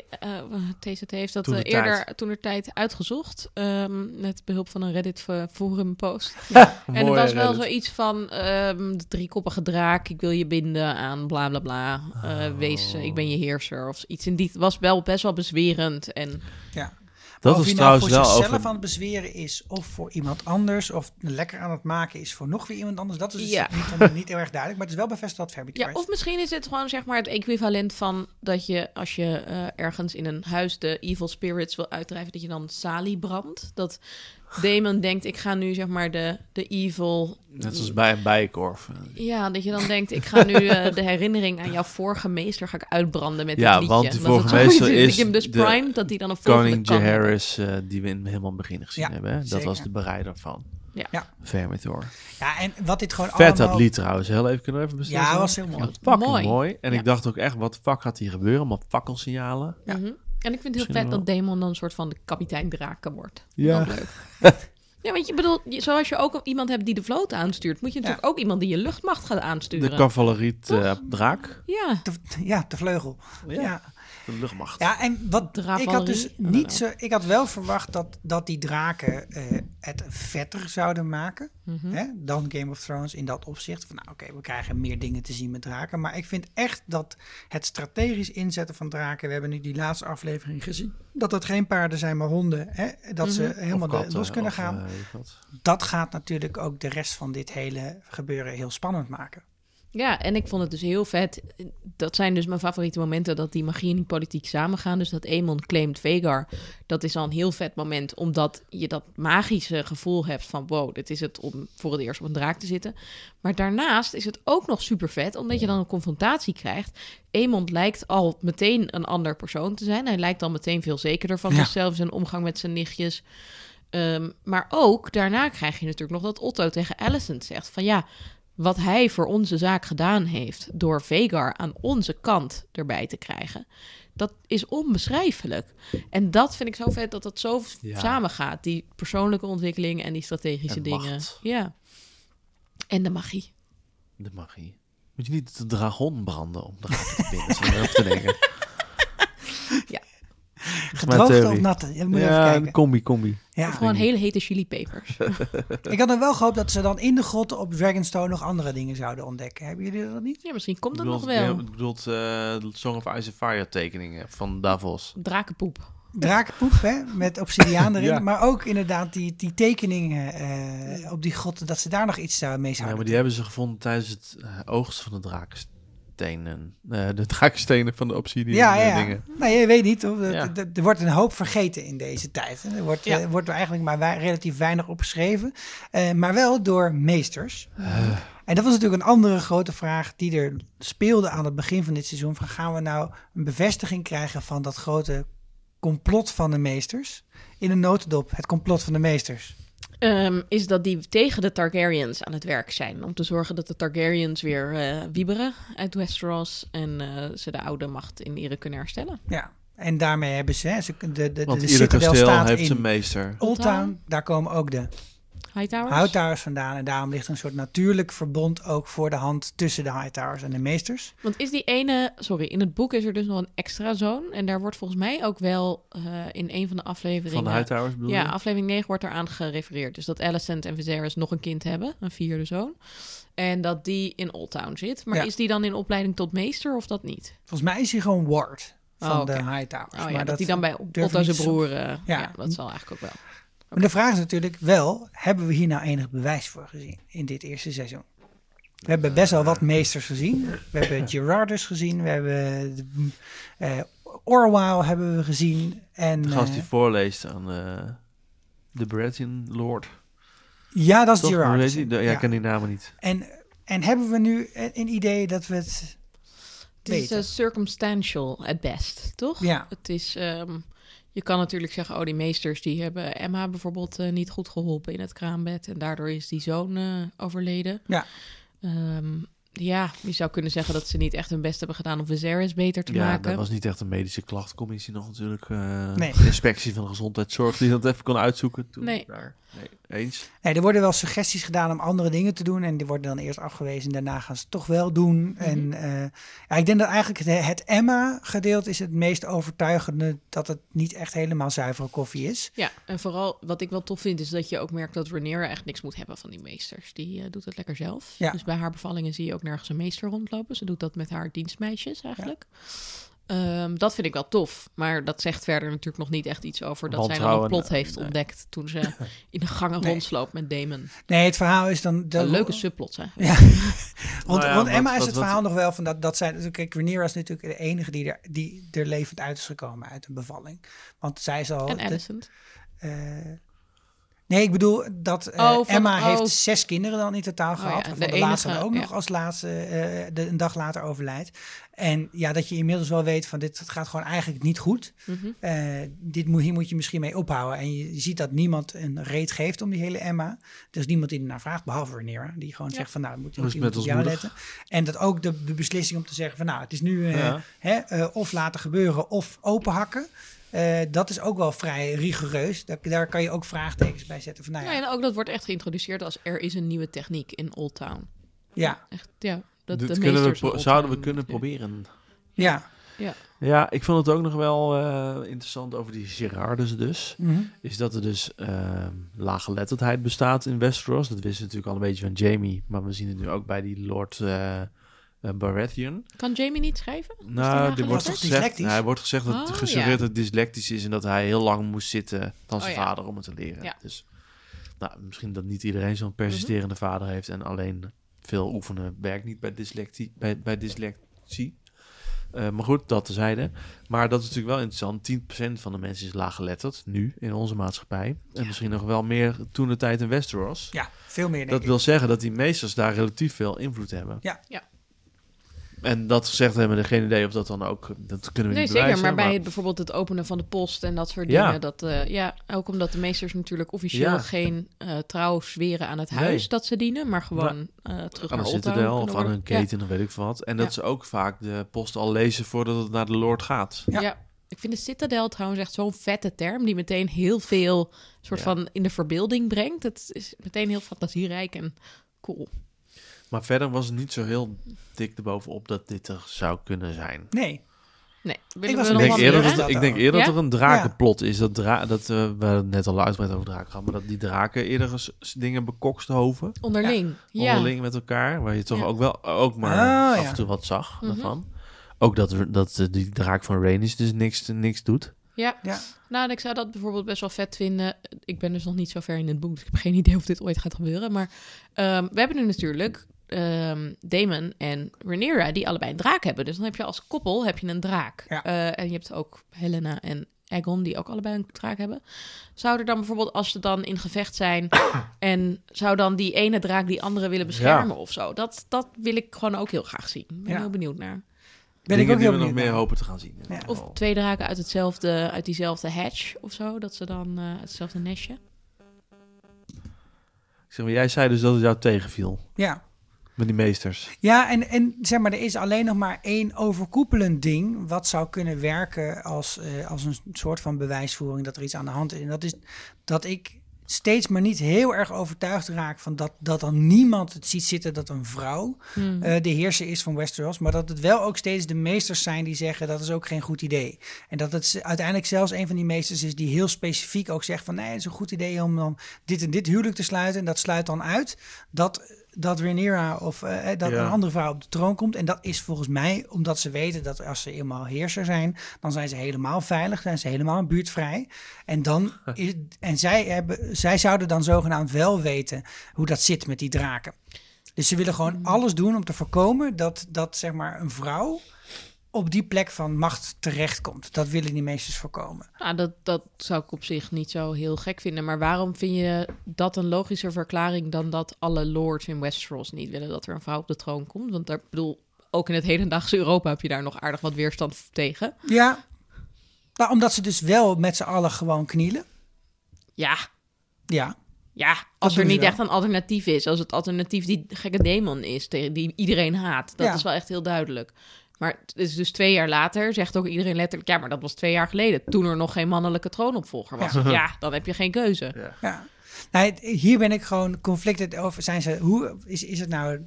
Speaker 5: TZT heeft dat eh,
Speaker 2: Toetertijd.
Speaker 5: eerder toen er tijd uitgezocht. ehm, met behulp van een Reddit vo- forum post. en het
Speaker 2: Mooi,
Speaker 5: was wel
Speaker 2: Reddit.
Speaker 5: zoiets van ehm, de driekoppige draak, ik wil je binden aan bla bla bla. Eh, Wees, eh, ik ben je heerser of iets in die. Het was wel best wel bezwerend. En
Speaker 1: Ja.
Speaker 2: Dat
Speaker 1: of
Speaker 2: was
Speaker 1: hij nou
Speaker 2: trouwens
Speaker 1: voor
Speaker 2: wel
Speaker 1: zichzelf
Speaker 2: over-
Speaker 1: aan het bezweren is, of voor iemand anders, of lekker aan het maken is voor nog weer iemand anders. Dat is dus
Speaker 5: Ja.
Speaker 1: niet, niet heel erg duidelijk, maar het is wel bevestigd dat Vermitor
Speaker 5: Ja,
Speaker 1: is.
Speaker 5: of misschien is het gewoon zeg maar het equivalent van dat je als je eh, ergens in een huis de evil spirits wil uitdrijven, dat je dan Sali brandt. Dat Damon denkt, ik ga nu zeg maar de, de evil.
Speaker 2: Net zoals bij een bijenkorf.
Speaker 5: Ja, dat je dan denkt, ik ga nu eh, de herinnering aan jouw vorige meester ga ik uitbranden met
Speaker 2: Ja,
Speaker 5: dit liedje.
Speaker 2: want die
Speaker 5: Omdat het
Speaker 2: vorige meester
Speaker 5: zoiets dat
Speaker 2: is
Speaker 5: je hem dus
Speaker 2: de
Speaker 5: prime, dat die dan een volgende
Speaker 2: Koning
Speaker 5: kan hebben.
Speaker 2: Jaehaerys, eh die we in helemaal in het begin gezien
Speaker 1: Ja,
Speaker 2: hebben. Hè? Dat
Speaker 1: zeker.
Speaker 2: was de bereider van
Speaker 5: Ja.
Speaker 1: Ja.
Speaker 2: Vermithor.
Speaker 1: Ja, en wat dit gewoon
Speaker 2: Vet dat
Speaker 1: allemaal...
Speaker 2: lied trouwens. Heel even kunnen we even beslissen.
Speaker 1: Ja, was heel mooi.
Speaker 2: Fucking mooi.
Speaker 5: Mooi.
Speaker 2: En
Speaker 5: Ja.
Speaker 2: ik dacht ook echt, wat de fuck gaat hier gebeuren? Allemaal fakkelsignalen.
Speaker 5: Mhm. En ik vind het heel
Speaker 2: Misschien
Speaker 5: vet
Speaker 2: wel.
Speaker 5: dat Demon dan een soort van de kapitein draken wordt.
Speaker 2: Ja.
Speaker 5: Ook leuk. Ja, want je bedoelt, je- zoals je ook iemand hebt die de vloot aanstuurt, moet je natuurlijk ook iemand die je luchtmacht gaat
Speaker 2: De
Speaker 5: aansturen.
Speaker 2: cavalerie eh, draak.
Speaker 5: ja.
Speaker 1: De, ja, de vleugel. ja.
Speaker 2: De luchtmacht.
Speaker 1: Ja, en wat
Speaker 5: Dravarie,
Speaker 1: ik had dus
Speaker 5: I don't
Speaker 1: niet zo.
Speaker 5: know.
Speaker 1: Ik had wel verwacht dat, dat die draken eh, het vetter zouden maken hè, dan Game of Thrones in dat opzicht. Van nou oké, we krijgen meer dingen te zien met draken. Maar ik vind echt dat het strategisch inzetten van draken, we hebben nu die laatste aflevering gezien, dat dat geen paarden zijn maar honden. Hè, dat ze helemaal de-
Speaker 2: eh,
Speaker 1: los kunnen gaan. dat gaat natuurlijk ook de rest van dit hele gebeuren heel spannend maken.
Speaker 5: Ja, en ik vond het dus heel vet. Dat zijn dus mijn favoriete momenten dat die magie en die politiek samengaan. Dus dat Aemon claimt Vegar. Dat is al een heel vet moment, omdat je dat magische gevoel hebt van wow, dit is het om voor het eerst op een draak te zitten. Maar daarnaast is het ook nog super vet, omdat je dan een confrontatie krijgt. Aemon lijkt al meteen een ander persoon te zijn. Hij lijkt al meteen veel zekerder van
Speaker 1: Ja.
Speaker 5: zichzelf, zijn omgang met zijn nichtjes. Ehm, maar ook daarna krijg je natuurlijk nog dat Otto tegen Alicent zegt van ja, wat hij voor onze zaak gedaan heeft door Vegar aan onze kant erbij te krijgen, dat is onbeschrijfelijk. En dat vind ik zo vet dat dat zo
Speaker 2: Ja.
Speaker 5: samengaat, die persoonlijke ontwikkeling en die strategische
Speaker 2: En
Speaker 5: dingen.
Speaker 2: macht.
Speaker 5: Ja. En de magie.
Speaker 2: De magie. Moet je niet de dragon branden om draken te binden? Zonder erover te denken.
Speaker 1: Gedroogd
Speaker 2: theorie.
Speaker 1: of natte? Ja, moet je
Speaker 2: Ja,
Speaker 1: even
Speaker 2: een
Speaker 1: kijken.
Speaker 2: combi, combi.
Speaker 1: Ja.
Speaker 5: Gewoon hele hete chilipepers.
Speaker 1: Ik had dan wel gehoopt dat ze dan in de grotten op Dragonstone nog andere dingen zouden ontdekken. Hebben jullie dat niet?
Speaker 5: ja, misschien komt [laughs] dat
Speaker 2: Bedoelt-
Speaker 5: nog wel.
Speaker 2: ja, bedoelt eh, Song of Ice and Fire tekeningen van Davos.
Speaker 5: Drakenpoep.
Speaker 1: Drakenpoep, hè? Met obsidiaan erin.
Speaker 2: Ja.
Speaker 1: Maar ook inderdaad die, die tekeningen eh, op die grotten, dat ze daar nog iets zou- mee
Speaker 2: Ja,
Speaker 1: zouden
Speaker 2: maar die hebben ze gevonden tijdens het eh, oogsten van de drakenstenen. Eh, de drakenstenen van de obsidian
Speaker 1: Ja,
Speaker 2: eh,
Speaker 1: ja.
Speaker 2: dingen.
Speaker 1: Nou, je weet niet. Hoor. Er-
Speaker 2: Ja.
Speaker 1: Er, er wordt een hoop vergeten in deze tijd. hè. Er wordt,
Speaker 5: Ja.
Speaker 1: eh, wordt er eigenlijk maar wei- relatief weinig opgeschreven. Eh, maar wel door meesters.
Speaker 2: Eh.
Speaker 1: En dat was natuurlijk een andere grote vraag die er speelde aan het begin van dit seizoen. Van gaan we nou een bevestiging krijgen van dat grote complot van de meesters? In een notendop, het complot van de meesters.
Speaker 5: Ehm, is dat die tegen de Targaryens aan het werk zijn. Om te zorgen dat de Targaryens weer eh, wieberen uit Westeros. En eh, ze de oude macht in ere kunnen herstellen.
Speaker 1: Ja. En daarmee hebben ze, hè, ze de, de, de,
Speaker 2: Want
Speaker 1: de
Speaker 2: ieder
Speaker 1: citadel
Speaker 2: kasteel
Speaker 1: staat
Speaker 2: heeft zijn
Speaker 1: in
Speaker 2: meester.
Speaker 1: Old Town. Daar komen ook de
Speaker 5: Hightowers?
Speaker 1: Hightowers vandaan. En daarom ligt een soort natuurlijk verbond ook voor de hand tussen de Hightowers en de meesters.
Speaker 5: Want is die ene... Sorry, in het boek is er dus nog een extra zoon. En daar wordt volgens mij ook wel eh, in een van de afleveringen...
Speaker 2: Van de Hightowers bedoel
Speaker 5: Ja,
Speaker 2: je?
Speaker 5: aflevering 9 wordt eraan gerefereerd. Dus dat Alicent en Viserys nog een kind hebben. Een vierde zoon. En dat die in Old Town zit. Maar
Speaker 1: Ja.
Speaker 5: is die dan in opleiding tot meester of dat niet?
Speaker 1: Volgens mij is hij gewoon ward van
Speaker 5: Oh, oké.
Speaker 1: de Hightowers.
Speaker 5: Oh ja,
Speaker 1: maar
Speaker 5: dat, die dan bij
Speaker 1: durf ik
Speaker 5: Otto zijn
Speaker 1: niet zo-
Speaker 5: broer... eh, ja.
Speaker 1: Ja.
Speaker 5: dat zal eigenlijk ook wel.
Speaker 1: Maar de vraag is natuurlijk wel, hebben we hier nou enig bewijs voor gezien in dit eerste seizoen? We hebben best wel wat meesters gezien. We hebben
Speaker 5: [laughs]
Speaker 1: Gerardus gezien. We hebben eh Orwell hebben we gezien. En,
Speaker 2: De gast die
Speaker 1: eh,
Speaker 2: voorleest aan eh, de Baratheon Lord.
Speaker 1: ja, dat is
Speaker 2: Toch? Hoe
Speaker 1: Gerardus.
Speaker 2: heet die? De- ja, ik ken die namen niet.
Speaker 1: En, en hebben we nu een een idee dat we het
Speaker 5: Het is
Speaker 1: Beter.
Speaker 5: eh, circumstantial at best, toch?
Speaker 1: Ja.
Speaker 5: Het is, ehm, je kan natuurlijk zeggen, oh, die meesters die hebben Emma bijvoorbeeld eh, niet goed geholpen in het kraambed. En daardoor is die zoon eh, overleden.
Speaker 1: Ja.
Speaker 5: Ehm, ja, je zou kunnen zeggen dat ze niet echt hun best hebben gedaan om Viserys beter te
Speaker 2: ja,
Speaker 5: maken.
Speaker 2: dat was niet echt een medische klachtencommissie nog natuurlijk. eh,
Speaker 1: Nee.
Speaker 2: De inspectie van de gezondheidszorg die dat even kon uitzoeken. Toen
Speaker 5: Nee.
Speaker 2: daar. nee. Eens.
Speaker 1: Nee, er worden wel suggesties gedaan om andere dingen te doen. En die worden dan eerst afgewezen. En daarna gaan ze het toch wel doen. En eh, ja, ik denk dat eigenlijk het, het Emma-gedeelte is het meest overtuigende. Dat het niet echt helemaal zuivere koffie is.
Speaker 5: Ja, en vooral wat ik wel tof vind is dat je ook merkt dat Rhaenyra echt niks moet hebben van die meesters. Die eh, doet het lekker zelf.
Speaker 1: Ja.
Speaker 5: Dus bij haar bevallingen zie je ook nergens een meester rondlopen. Ze doet dat met haar dienstmeisjes eigenlijk. Ehm, dat vind ik wel tof. Maar dat zegt verder natuurlijk nog niet echt iets over dat zij dan een
Speaker 2: Wantrouwen,
Speaker 5: plot
Speaker 2: eh,
Speaker 5: heeft
Speaker 2: nee.
Speaker 5: ontdekt toen ze
Speaker 2: [laughs]
Speaker 5: in de gangen
Speaker 1: Nee.
Speaker 5: rondsloopt met Damon.
Speaker 1: Nee, het verhaal is dan... dat-
Speaker 5: Een leuke subplot zijn.
Speaker 1: Ja. want,
Speaker 2: Nou ja,
Speaker 1: want
Speaker 2: wat-
Speaker 1: Emma is
Speaker 2: wat-
Speaker 1: het
Speaker 2: wat-
Speaker 1: verhaal nog wel van dat, dat zij... dus Kijk, Rhaenyra is natuurlijk de enige die er, die er levend uit is gekomen uit een bevalling. Want zij is al...
Speaker 5: En
Speaker 1: de-
Speaker 5: Alicent.
Speaker 1: eh, nee, ik bedoel dat eh,
Speaker 5: Oh, van-
Speaker 1: Emma
Speaker 5: oh.
Speaker 1: heeft zes kinderen dan in totaal
Speaker 5: ja,
Speaker 1: gehad.
Speaker 5: de
Speaker 1: Van de,
Speaker 5: enige,
Speaker 1: laatste dan ook
Speaker 5: ja.
Speaker 1: nog als laatste eh, de, een dag later overlijdt. En ja, dat je inmiddels wel weet van dit gaat gewoon eigenlijk niet goed.
Speaker 5: Mhm.
Speaker 1: Eh, dit moet, hier moet je misschien mee ophouden. En je, ziet dat niemand een reet geeft om die hele Emma. Dus niemand die ernaar vraagt, behalve Rhaenyra. Die gewoon zegt van nou, moet
Speaker 2: Dat
Speaker 1: moet
Speaker 2: is
Speaker 1: iemand
Speaker 2: met ons
Speaker 1: op jou
Speaker 2: moedig.
Speaker 1: letten. En dat ook de, de beslissing om te zeggen van nou, het is nu eh,
Speaker 2: Ja.
Speaker 1: hè, eh, of laten gebeuren of openhakken. Eh, dat is ook wel vrij rigoureus. Daar, daar kan je ook vraagtekens bij zetten. Van, nou
Speaker 5: Ja,
Speaker 1: ja,
Speaker 5: en ook dat wordt echt geïntroduceerd als er is een nieuwe techniek in Old Town.
Speaker 1: ja,
Speaker 5: Echt, ja. Dat
Speaker 2: Dit
Speaker 5: de
Speaker 2: kunnen we
Speaker 5: meesters in
Speaker 2: pro-
Speaker 5: Old
Speaker 2: zouden we
Speaker 5: Town-
Speaker 2: kunnen
Speaker 5: Ja.
Speaker 2: proberen.
Speaker 1: ja.
Speaker 5: Ja.
Speaker 2: Ja, ik vond het ook nog wel eh, interessant over die Gerardus dus.
Speaker 1: Mhm.
Speaker 2: Is dat er dus eh, laaggeletterdheid bestaat in Westeros. Dat wisten we natuurlijk al een beetje van Jamie. Maar we zien het nu ook bij die Lord eh eh, Baratheon.
Speaker 5: Kan Jamie niet schrijven?
Speaker 2: Nou, er wordt
Speaker 5: laaggeletterd?
Speaker 2: gezegd,
Speaker 1: Dyslectisch?
Speaker 2: nou, er wordt gezegd dat
Speaker 5: Oh,
Speaker 2: het
Speaker 5: ja.
Speaker 2: gesuggereerd dat het dyslectisch is en dat hij heel lang moest zitten dan zijn
Speaker 5: Oh, ja.
Speaker 2: vader om het te leren.
Speaker 5: Ja. Mhm.
Speaker 2: Dus nou, misschien dat niet iedereen zo'n persisterende vader heeft en alleen veel oefenen werkt niet bij dyslectie. Bij, bij dyslectie. Eh, maar goed, dat tezijde. Maar dat is natuurlijk wel interessant. 10% van de mensen is laaggeletterd, nu, in onze maatschappij. En misschien nog wel meer toen de tijd in Westeros.
Speaker 1: Ja, veel meer denk
Speaker 2: Dat
Speaker 1: ik.
Speaker 2: wil zeggen dat die meesters daar relatief veel invloed hebben.
Speaker 1: Ja.
Speaker 5: Ja.
Speaker 2: En dat gezegd hebben we er geen idee of dat dan ook... Dat kunnen we
Speaker 5: Nee,
Speaker 2: niet
Speaker 5: zeker.
Speaker 2: bewijzen.
Speaker 5: Maar bij het, bijvoorbeeld het openen van de post en dat soort
Speaker 2: Ja.
Speaker 5: dingen. Dat, eh, ja, ook omdat de meesters natuurlijk officieel
Speaker 2: Ja.
Speaker 5: geen eh, trouw zweren aan het huis
Speaker 2: Nee.
Speaker 5: dat ze dienen. Maar gewoon eh, terug
Speaker 2: aan
Speaker 5: naar
Speaker 2: een
Speaker 5: Oldtown
Speaker 2: citadel
Speaker 5: kunnen
Speaker 2: of aan
Speaker 5: worden.
Speaker 2: een keten of weet ik wat. En dat
Speaker 5: Ja.
Speaker 2: ze ook vaak de post al lezen voordat het naar de Lord gaat.
Speaker 5: Ja.
Speaker 1: Ja.
Speaker 5: ja. Ik vind de citadel trouwens echt zo'n vette term die meteen heel veel soort
Speaker 2: Ja.
Speaker 5: van in de verbeelding brengt. Het is meteen heel fantasierijk en cool.
Speaker 2: Maar verder was het niet zo heel dik erbovenop dat dit er zou kunnen zijn.
Speaker 1: Nee,
Speaker 5: Nee,
Speaker 1: Ik
Speaker 5: willen
Speaker 1: was
Speaker 5: we
Speaker 1: een
Speaker 2: Ik
Speaker 5: nog
Speaker 1: Hollandier,
Speaker 2: denk
Speaker 5: wat
Speaker 2: eerder,
Speaker 5: meer,
Speaker 1: hè?
Speaker 2: dat, ik denk eerder
Speaker 5: Ja?
Speaker 2: dat er een drakenplot is. Dat, dra dat eh, we het net al uitgebreid over draken gehad. Maar dat die draken eerder eens dingen bekoksthoven.
Speaker 5: hè? Onderling. Ja.
Speaker 2: onderling met elkaar, waar je toch
Speaker 5: Ja.
Speaker 2: ook wel ook maar
Speaker 1: Ah,
Speaker 2: af
Speaker 1: ja.
Speaker 2: en toe wat zag
Speaker 5: Mhm.
Speaker 2: daarvan. Ook dat, er- dat eh, die draak van Rhaenys dus niks, niks doet.
Speaker 5: Ja.
Speaker 1: Ja.
Speaker 5: nou en ik zou dat bijvoorbeeld best wel vet vinden. Ik ben dus nog niet zo ver in het boek, dus ik heb geen [laughs] idee of dit ooit gaat gebeuren. Maar ehm, we hebben nu natuurlijk ehm Damon en Rhaenyra, die allebei een draak hebben. Dus dan heb je als koppel heb je een draak.
Speaker 1: Ja.
Speaker 5: Eh, en je hebt ook Helena en Aegon, die ook allebei een draak hebben. Zou er dan bijvoorbeeld, als ze dan in gevecht
Speaker 1: [coughs]
Speaker 5: zijn... en zou dan die ene draak die andere willen beschermen of zo? Dat, dat wil ik gewoon ook heel graag zien. Ik ben
Speaker 1: Ja.
Speaker 5: heel benieuwd naar.
Speaker 1: ben
Speaker 2: Dingen
Speaker 1: ik ook heel
Speaker 2: die we nog
Speaker 1: benieuwd
Speaker 2: meer
Speaker 1: naar.
Speaker 2: hopen te gaan zien. Oh. in
Speaker 1: Ja.
Speaker 2: ieder
Speaker 5: Of
Speaker 2: geval.
Speaker 5: twee draken uit, hetzelfde, uit diezelfde hatch of zo. Dat ze dan eh, uit hetzelfde nestje.
Speaker 2: Ik zeg maar, jij zei dus dat het jou tegenviel
Speaker 1: Ja,
Speaker 2: met die meesters.
Speaker 1: ja en, en zeg maar, er is alleen nog maar één overkoepelend ding... wat zou kunnen werken als, eh, als een soort van bewijsvoering dat er iets aan de hand is. En dat is dat ik steeds maar niet heel erg overtuigd raak... van dat, dat dan niemand het ziet zitten dat een vrouw eh, de heerser is van Westeros... maar dat het wel ook steeds de meesters zijn die zeggen... dat is ook geen goed idee. En dat het z- uiteindelijk zelfs een van die meesters is... die heel specifiek ook zegt van... nee, het is een goed idee om dan dit en dit huwelijk te sluiten... en dat sluit dan uit dat, dat Rhaenyra of eh, dat
Speaker 2: Ja.
Speaker 1: een andere vrouw op de troon komt. En dat is volgens mij omdat ze weten dat als ze eenmaal heerser zijn... dan zijn ze helemaal veilig, zijn ze helemaal buurtvrij... En, dan is, en zij, hebben, zij zouden dan zogenaamd wel weten hoe dat zit met die draken. Dus ze willen gewoon alles doen om te voorkomen dat, dat zeg maar, een vrouw op die plek van macht terechtkomt. Dat willen die meesters voorkomen.
Speaker 5: Nou, dat, dat zou ik op zich niet zo heel gek vinden. Maar waarom vind je dat een logische verklaring dan dat alle lords in Westeros niet willen dat er een vrouw op de troon komt? Want daar ik bedoel, ook in het [laughs] hedendaagse Europa heb je daar nog aardig wat weerstand tegen.
Speaker 1: Ja. Nou, omdat ze dus wel met z'n allen gewoon knielen.
Speaker 5: Ja,
Speaker 1: Ja.
Speaker 5: ja. Als er
Speaker 1: doen ze
Speaker 5: niet
Speaker 1: wel.
Speaker 5: echt een alternatief is. Als het alternatief die gekke demon is, tegen die iedereen haat. Dat
Speaker 1: Ja.
Speaker 5: is wel echt heel duidelijk. Maar het is dus twee jaar later, zegt ook iedereen letterlijk... ja, maar dat was twee jaar geleden, toen er nog geen mannelijke troonopvolger was. Ja,
Speaker 1: Ja.
Speaker 5: dan heb je geen keuze.
Speaker 1: ja. Nou, het- hier ben ik gewoon conflicted over. Zijn ze, hoe is, is het nou.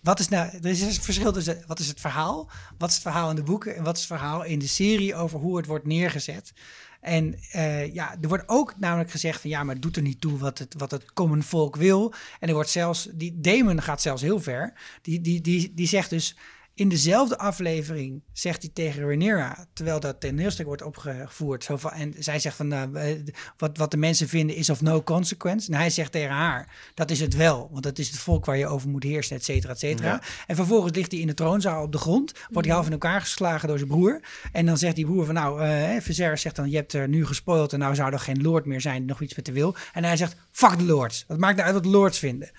Speaker 1: Wat is nou. Er is een verschil tussen. Wat is het verhaal? Wat is het verhaal in de boeken? En wat is het verhaal in de serie over hoe het wordt neergezet? En eh, ja, er wordt ook namelijk gezegd van ja, maar het doet er niet toe wat het, wat het common volk wil. En er wordt zelfs, die Damon gaat zelfs heel ver. Die, die, die, die zegt dus in dezelfde aflevering, zegt hij tegen Rhaenyra, terwijl dat toneelstuk wordt opgevoerd. Zo van, en zij zegt van nou, eh, wat, wat de mensen vinden is of no consequence. En hij zegt tegen haar, dat is het wel, want dat is het volk waar je over moet heersen, et cetera, et cetera.
Speaker 2: Ja.
Speaker 1: En vervolgens ligt hij in de troonzaal op de grond. Wordt hij half in elkaar geslagen door zijn broer. En dan zegt die broer van nou, eh Viserys zegt dan... je hebt er nu gespoild en nou zou er geen lord meer zijn... die nog iets met de wil. En hij zegt, fuck de lords. Wat maakt nou uit wat de lords vinden?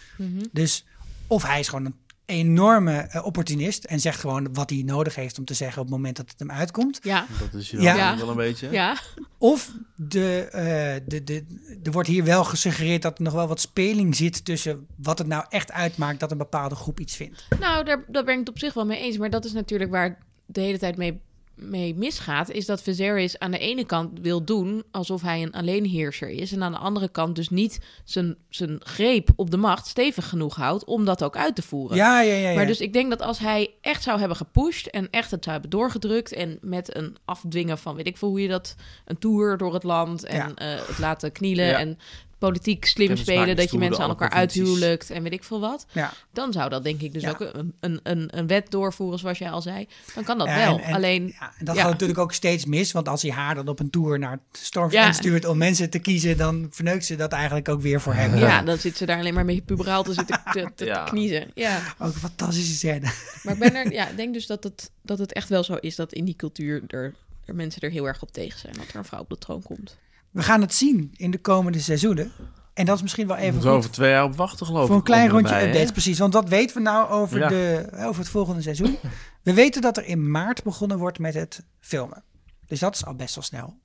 Speaker 1: Dus of hij is gewoon een enorme eh, opportunist... en zegt gewoon wat hij nodig heeft om te zeggen... op het moment dat het hem uitkomt.
Speaker 5: Ja,
Speaker 2: Dat is
Speaker 1: Ja.
Speaker 5: Ja.
Speaker 2: wel een beetje.
Speaker 5: ja.
Speaker 1: Of de, eh, de, de, er wordt hier wel gesuggereerd dat er nog wel wat speling zit... tussen wat het nou echt uitmaakt dat een bepaalde groep iets vindt.
Speaker 5: Nou, daar, daar ben ik het op zich wel mee eens. Maar dat is natuurlijk waar de hele tijd mee mee misgaat, is dat Viserys aan de ene kant wil doen alsof hij een alleenheerser is. En aan de andere kant dus niet zijn, zijn greep op de macht stevig genoeg houdt om dat ook uit te voeren.
Speaker 1: Ja, ja, ja. ja.
Speaker 5: Maar dus ik denk dat als hij echt zou hebben gepusht en echt het zou hebben doorgedrukt en met een afdwingen van weet ik veel hoe je dat, een tour door het land en
Speaker 1: Ja.
Speaker 5: eh, het laten knielen
Speaker 2: Ja.
Speaker 5: en politiek slim
Speaker 2: Kennis
Speaker 5: spelen,
Speaker 2: maken,
Speaker 5: dat je
Speaker 2: stoelen,
Speaker 5: mensen aan
Speaker 2: alle
Speaker 5: elkaar
Speaker 2: provincies.
Speaker 5: uithuwelijkt en weet ik veel wat,
Speaker 1: ja.
Speaker 5: dan zou dat denk ik dus
Speaker 1: Ja.
Speaker 5: ook een, een, een, een wet doorvoeren zoals jij al zei. Dan kan dat
Speaker 1: Ja,
Speaker 5: wel.
Speaker 1: en- en-
Speaker 5: Alleen
Speaker 1: Ja, en dat
Speaker 5: ja.
Speaker 1: gaat natuurlijk ook steeds mis, want als hij haar dan op een tour naar Storm's
Speaker 5: Ja.
Speaker 1: End stuurt om mensen te kiezen, dan verneukt ze dat eigenlijk ook weer voor hem.
Speaker 5: Ja, dan zit ze daar alleen maar mee puberaal te zitten te, te, te
Speaker 2: Ja.
Speaker 5: kniezen. Ja,
Speaker 1: Ook een fantastische scène.
Speaker 5: maar ik ben er, ja, ik denk dus dat het, dat het echt wel zo is dat in die cultuur er, er mensen er heel erg op tegen zijn dat er een vrouw op de troon komt.
Speaker 1: We gaan het zien in de komende seizoenen. En dat is misschien wel even
Speaker 2: Moeten we
Speaker 1: goed
Speaker 2: over twee jaar op wachten, geloof ik.
Speaker 1: voor een klein
Speaker 2: komen
Speaker 1: rondje
Speaker 2: erbij, hè?
Speaker 1: updates, precies. Want wat weten we nou over,
Speaker 2: Ja.
Speaker 1: de, over het volgende seizoen? [laughs] We weten dat er in maart begonnen wordt met het filmen. Dus dat is al best wel snel.